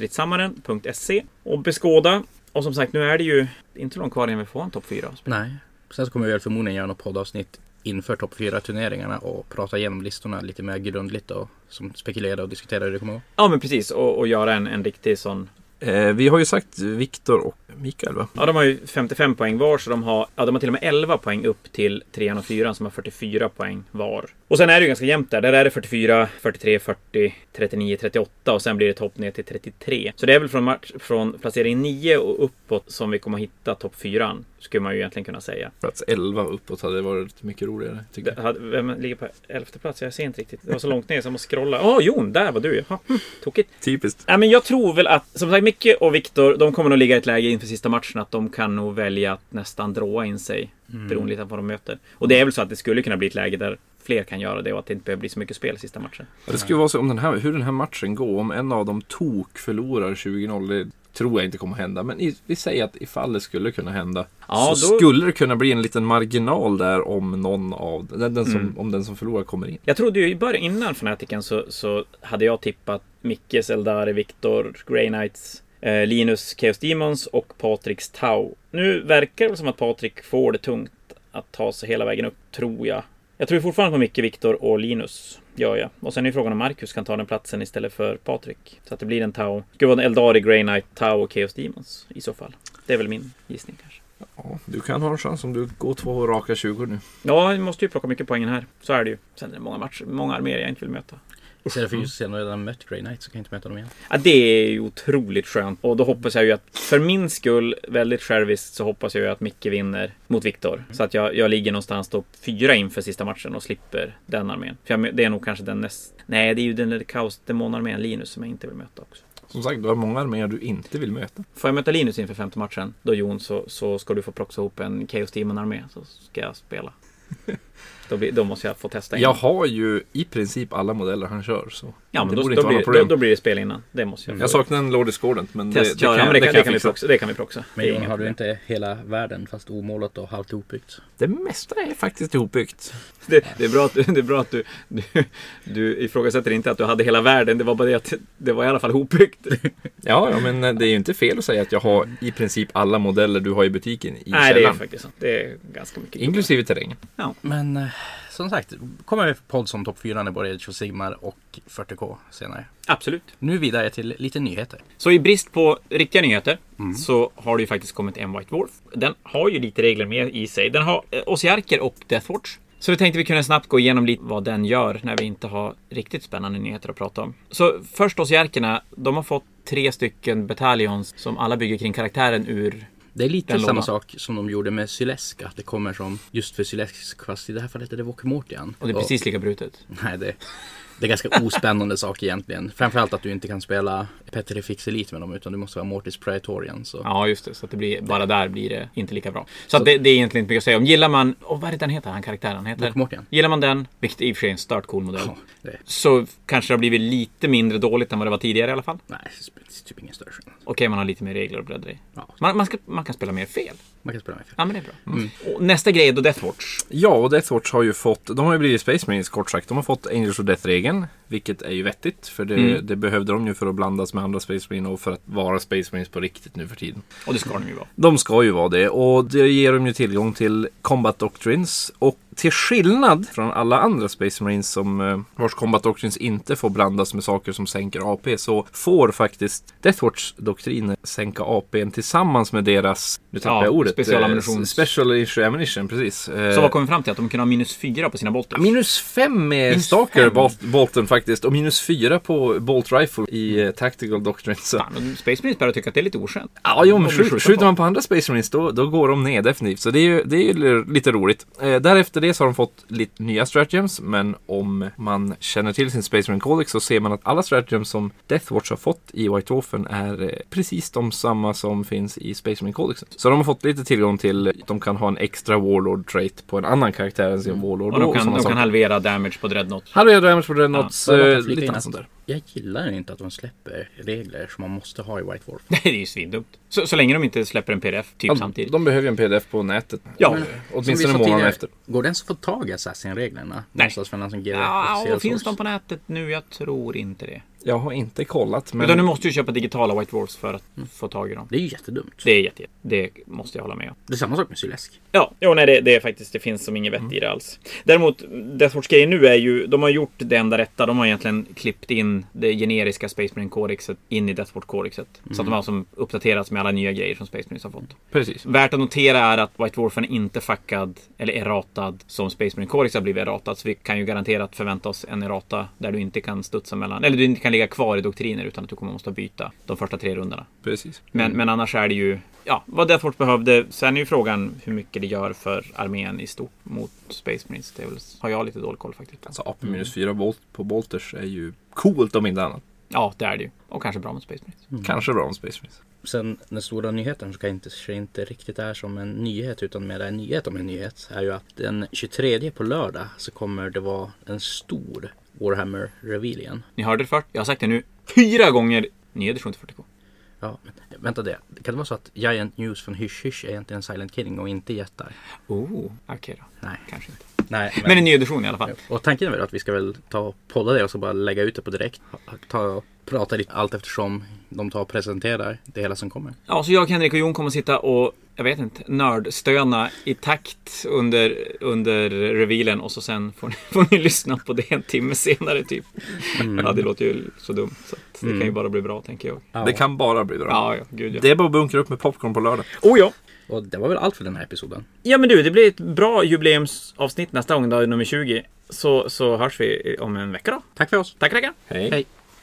Speaker 5: stridshammaren.se och beskåda. Och som sagt, nu är det ju inte så långt kvar innan vi får en topp fyra.
Speaker 1: Nej. Sen så kommer vi väl förmodligen göra något poddavsnitt inför topp 4 turneringarna och prata igenom listorna lite mer grundligt och som spekulera och diskutera hur det kommer att gå.
Speaker 5: Ja, men precis. Och, och göra en, en riktig sån
Speaker 8: Eh, vi har ju sagt Viktor och Mikael va?
Speaker 5: Ja, de har ju 55 poäng var, så de har, ja, de har till och med 11 poäng upp till trean och fyran som har 44 poäng var. Och sen är det ju ganska jämnt där. Där är det 44, 43, 40, 39, 38 och sen blir det ett hopp ner till 33. Så det är väl från, match, från placering 9 och uppåt som vi kommer att hitta topp 4 skulle man ju egentligen kunna säga.
Speaker 8: Plats 11 uppåt hade varit mycket roligare. Tycker
Speaker 5: Det
Speaker 8: jag.
Speaker 5: hade- Vem ligger på elfte plats? Jag ser inte riktigt. Det var så långt ner så jag måste scrolla. Åh, Jon! Där var du! Jaha, hm, tokigt.
Speaker 8: Typiskt.
Speaker 5: Ja, men jag tror väl att, som sagt, Micke och Viktor, de kommer nog ligga i ett läge inför sista matchen att de kan nog välja att nästan dråa in sig. Beroende lite på vad de möter. Och det är väl så att det skulle kunna bli ett läge där fler kan göra det och att det inte behöver bli så mycket spel i sista matchen.
Speaker 8: Ja, det skulle vara så om den här, hur den här matchen går. Om en av dem tok förlorar 20-0. Det tror jag inte kommer hända. Men i, vi säger att ifall det skulle kunna hända.
Speaker 5: Ja,
Speaker 8: så
Speaker 5: då-
Speaker 8: skulle det kunna bli en liten marginal där om någon av den, den som,
Speaker 5: Mm.
Speaker 8: om den som förlorar kommer in.
Speaker 5: Jag trodde ju i början, innan Fanatiken, så, så hade jag tippat Mickes, Eldari, Viktor, Grey Knights, eh, Linus, Chaos Demons och Patriks Tau. Nu verkar det väl som att Patrik får det tungt att ta sig hela vägen upp, tror jag. Jag tror fortfarande på Micke, Viktor och Linus. Gör jag. Och sen är ju frågan om Marcus kan ta den platsen istället för Patrik. Så att det blir en Tau. Det skulle vara en Eldari, Grey Knight, Tau och Chaos Demons i så fall. Det är väl min gissning kanske.
Speaker 8: Ja, du kan ha en chans om du går två raka 20 nu.
Speaker 5: Ja, vi måste ju plocka mycket poäng här. Så är det ju. Sen är det många matcher, många arméer jag inte vill möta.
Speaker 1: Istället för just sen har jag redan mött Grey Knight så kan jag inte möta dem igen.
Speaker 5: Ja, det är ju otroligt skönt. Och då hoppas jag ju att, för min skull, väldigt själviskt, så hoppas jag ju att Micke vinner mot Viktor. Så att jag, jag ligger någonstans då fyra inför sista matchen och slipper den armén. För jag, det är nog kanske den näst... Nej, det är ju den där kaosdemonarmén Linus som jag inte vill möta också.
Speaker 8: Som sagt, du har många arméer du inte vill möta.
Speaker 5: Får jag möta Linus inför femte matchen, då Jon, så, så ska du få proxa ihop en Chaos Demon-armé. Så ska jag spela. Då, blir, då måste jag få testa in.
Speaker 8: Jag har ju i princip alla modeller han kör. Så.
Speaker 5: ja,
Speaker 8: det
Speaker 5: men då,
Speaker 8: borde inte
Speaker 5: då,
Speaker 8: vara
Speaker 5: blir,
Speaker 8: något
Speaker 5: då,
Speaker 8: problem.
Speaker 5: då blir det spel innan. Det måste jag få.
Speaker 8: Jag saknar en Lord Discordant, men det, det,
Speaker 5: Testköra.
Speaker 8: kan,
Speaker 5: ja, men det, kan, det, kan vi
Speaker 8: fixa.
Speaker 5: proxa. det kan vi proxa.
Speaker 1: Men
Speaker 5: Det är
Speaker 1: Johan,
Speaker 5: inga
Speaker 1: har du
Speaker 5: problem.
Speaker 1: inte hela världen fast omålat och halvt ihopbyggt?
Speaker 8: Det mesta är faktiskt ihopbyggt.
Speaker 5: Det, det är bra att, det är bra att du, du, du ifrågasätter inte att du hade hela världen. Det var bara det att det var i alla fall hopbyggt.
Speaker 8: Ja, ja, men eh, det är ju inte fel att säga att jag har i princip alla modeller du har i butiken i
Speaker 5: Nej, det är
Speaker 8: källaren.
Speaker 5: faktiskt sant. Det är ganska mycket.
Speaker 8: Inklusive terrängen.
Speaker 1: Men eh, som sagt, kommer vi podd som topp 4 när både Age of Sigmar och 40K senare.
Speaker 5: Absolut.
Speaker 1: Nu vidare till lite nyheter.
Speaker 5: Så i brist på riktiga nyheter så har det ju faktiskt kommit en White Wolf. Den har ju lite regler med i sig. Den har eh, Osiarker och Deathwatch. Så vi tänkte vi kunde snabbt gå igenom lite vad den gör när vi inte har riktigt spännande nyheter att prata om. Så först Osiarkerna, de har fått tre stycken bataljons som alla bygger kring karaktären ur
Speaker 1: Det är lite
Speaker 5: Den
Speaker 1: samma
Speaker 5: lådan.
Speaker 1: sak som de gjorde med Sylesk, att det kommer som just för Sylesk, fast i det här fallet är det Vokmortian.
Speaker 5: och det är precis lika brutet.
Speaker 1: Nej, det, det är ganska ospännande sak egentligen. Framförallt att du inte kan spela Petrifix Elite med dem, utan du måste vara Mortis Praetorian. Så.
Speaker 5: Ja, just det. Så att det blir, bara där blir det inte lika bra. Så, att det, det är egentligen inte mycket att säga om. Gillar man... Och vad är det den heter, han karaktären heter?
Speaker 1: Vokmortian.
Speaker 5: Gillar man den, vilket i och för sig är en stört cool modell,
Speaker 1: Ja, det,
Speaker 5: så kanske det har blivit lite mindre dåligt än vad det var tidigare i alla fall.
Speaker 1: nej, det är typ ingen större skillnad.
Speaker 5: Okej, man har lite mer regler att bläddra i.
Speaker 1: Ja.
Speaker 5: Man, man, ska, man kan spela mer fel.
Speaker 1: Man kan spela med fel.
Speaker 5: Ja, men det är bra. Och nästa grej är då Deathwatch.
Speaker 8: Ja, och Deathwatch har ju fått, de har ju blivit Space Marines kort sagt. De har fått Angels of Death-regeln, vilket är ju vettigt. För det,
Speaker 5: Mm.
Speaker 8: det behövde de ju för att blandas med andra Space Marines och för att vara Space Marines på riktigt nu för tiden.
Speaker 5: Och det ska de ju vara.
Speaker 8: De ska ju vara det och det ger dem ju tillgång till Combat Doctrines. Och till skillnad från alla andra Space Marines som eh, vars Combat Doctrines inte får blandas med saker som sänker AP så får faktiskt Deathwatch doktriner sänka APn tillsammans med deras, nu tappar
Speaker 5: Ja,
Speaker 8: jag ordet,
Speaker 5: specialammunition.
Speaker 8: eh, Special issue ammunition, precis. Eh,
Speaker 5: Så vad kom vi fram till? Att de kan ha minus fyra på sina bolter.
Speaker 8: Minus fem med
Speaker 5: Minus
Speaker 8: Stalker
Speaker 5: fem?
Speaker 8: Bolt, Bolten faktiskt och minus fyra på Bolt Rifle i eh, Tactical Doctrine. Så.
Speaker 5: Fan, och Space Marines börjar tycka att det är lite oskönt.
Speaker 8: Ja, jo, men
Speaker 5: Om du
Speaker 8: skjut,
Speaker 5: skjuter
Speaker 8: skjuter
Speaker 5: på.
Speaker 8: man på andra Space Marines då, då går de ner definitivt. Så det är ju, det är ju li- lite roligt. Eh, därefter det så har de fått lite nya stratagems. Men om man känner till sin Space Marine Codex så ser man att alla stratagems som Deathwatch har fått i White Orphan är eh, precis de samma som finns i Space Marine Codex. Så de har fått lite tillgång till, eh, de kan ha en extra Warlord trait på en annan karaktär än sin
Speaker 5: Mm.
Speaker 8: Warlord.
Speaker 5: Och de kan,
Speaker 8: sådana
Speaker 5: de kan
Speaker 8: saker.
Speaker 5: halvera damage på Dreadnought.
Speaker 8: Halvera damage på Dreadnoughts,
Speaker 1: Ja, bara för
Speaker 8: eh,
Speaker 1: att flika
Speaker 8: lite
Speaker 1: in
Speaker 8: annat
Speaker 1: att-
Speaker 8: sånt där.
Speaker 1: Jag gillar inte att de släpper regler som man måste ha i White Wolf.
Speaker 5: Nej, det är ju svindumt. Så, så länge de inte släpper en pdf typ
Speaker 8: Ja,
Speaker 5: samtidigt.
Speaker 8: De behöver ju en pdf på nätet.
Speaker 5: Ja.
Speaker 1: Som vi
Speaker 8: Åtminstone
Speaker 1: sa
Speaker 8: månaden
Speaker 1: tidigare,
Speaker 8: efter.
Speaker 1: Går den så får tag i Assassin-reglerna? Någonstans mellan som GW
Speaker 5: Ja,
Speaker 1: och
Speaker 5: finns de
Speaker 1: Salesforce.
Speaker 5: på nätet nu? Jag tror inte det.
Speaker 8: Jag har inte kollat men...
Speaker 5: Utan du måste ju köpa digitala White Wolves för att få tag i dem.
Speaker 1: Det är ju jättedumt.
Speaker 5: Det är jätte, det måste jag hålla med om.
Speaker 1: Det är samma sak med syrläsk.
Speaker 5: Ja, jo, nej, det, det är faktiskt, det finns som inget vett i det alls. Däremot, Deathwatch-grejen nu är ju, de har gjort det enda rätta. De har egentligen klippt in det generiska Space marine kodexet in i Deathwatch-kodexet. Så att de har som uppdaterats med alla nya grejer som Space Marines har fått.
Speaker 8: Precis.
Speaker 5: Värt att notera är att White Wolfen är inte fackad eller erratad som Space Marine Codex har blivit erratad. Så vi kan ju garanterat förvänta oss en errata där du inte kan studsa mellan, eller du inte kan ligga kvar i doktriner utan att du kommer måste byta de första tre rundorna.
Speaker 8: Precis.
Speaker 5: Men, men annars är det ju ja, vad Deathwatch behövde. Sen är ju frågan hur mycket det gör för armén i stort mot Space Marines. Det är väl, har jag lite dålig koll faktiskt.
Speaker 8: Alltså AP minus 4 volt på Bolters är ju coolt om inte annat.
Speaker 5: Ja, det är det ju. Och kanske bra mot Space Marines.
Speaker 8: Kanske bra om Space Marines.
Speaker 1: Sen den stora nyheten som kanske inte, kanske inte riktigt är som en nyhet utan mer en nyhet om en nyhet är ju att den 23 på lördag så kommer det vara en stor Warhammer Reveal igen.
Speaker 5: Ni hörde det först. Jag har sagt det nu fyra gånger. Ny edition till 40K.
Speaker 1: Ja, men, vänta det. Kan det vara så att Giant News från Hysch Hysch är egentligen Silent Killing och inte jättar?
Speaker 5: Oh, okej då.
Speaker 1: Nej.
Speaker 5: Kanske inte.
Speaker 1: Nej,
Speaker 5: Men en ny edition i alla fall.
Speaker 1: Och tanken är väl att vi ska väl ta och podda det och så bara lägga ut det på direkt. Ta och prata lite allt eftersom de tar och presenterar det hela som kommer.
Speaker 5: Ja, så jag, Henrik och Jon kommer sitta och, jag vet inte, nördstöna i takt under, under revealen och så sen får ni, får ni lyssna på det en timme senare typ.
Speaker 8: Mm.
Speaker 5: Ja, det låter ju så dumt så att det kan ju bara bli bra tänker jag.
Speaker 8: Det kan bara bli Mm. bra.
Speaker 5: Ja, ja, gud ja.
Speaker 8: Det är bara att bunkra upp med popcorn på lördag.
Speaker 5: Oh ja!
Speaker 1: Och det var väl allt för den här episoden.
Speaker 5: Ja men du, det blir ett bra jubileumsavsnitt nästa gång, dag nummer 20. Så, så hörs vi om en vecka då.
Speaker 1: Tack för oss.
Speaker 5: Tack, tackar!
Speaker 1: Hej.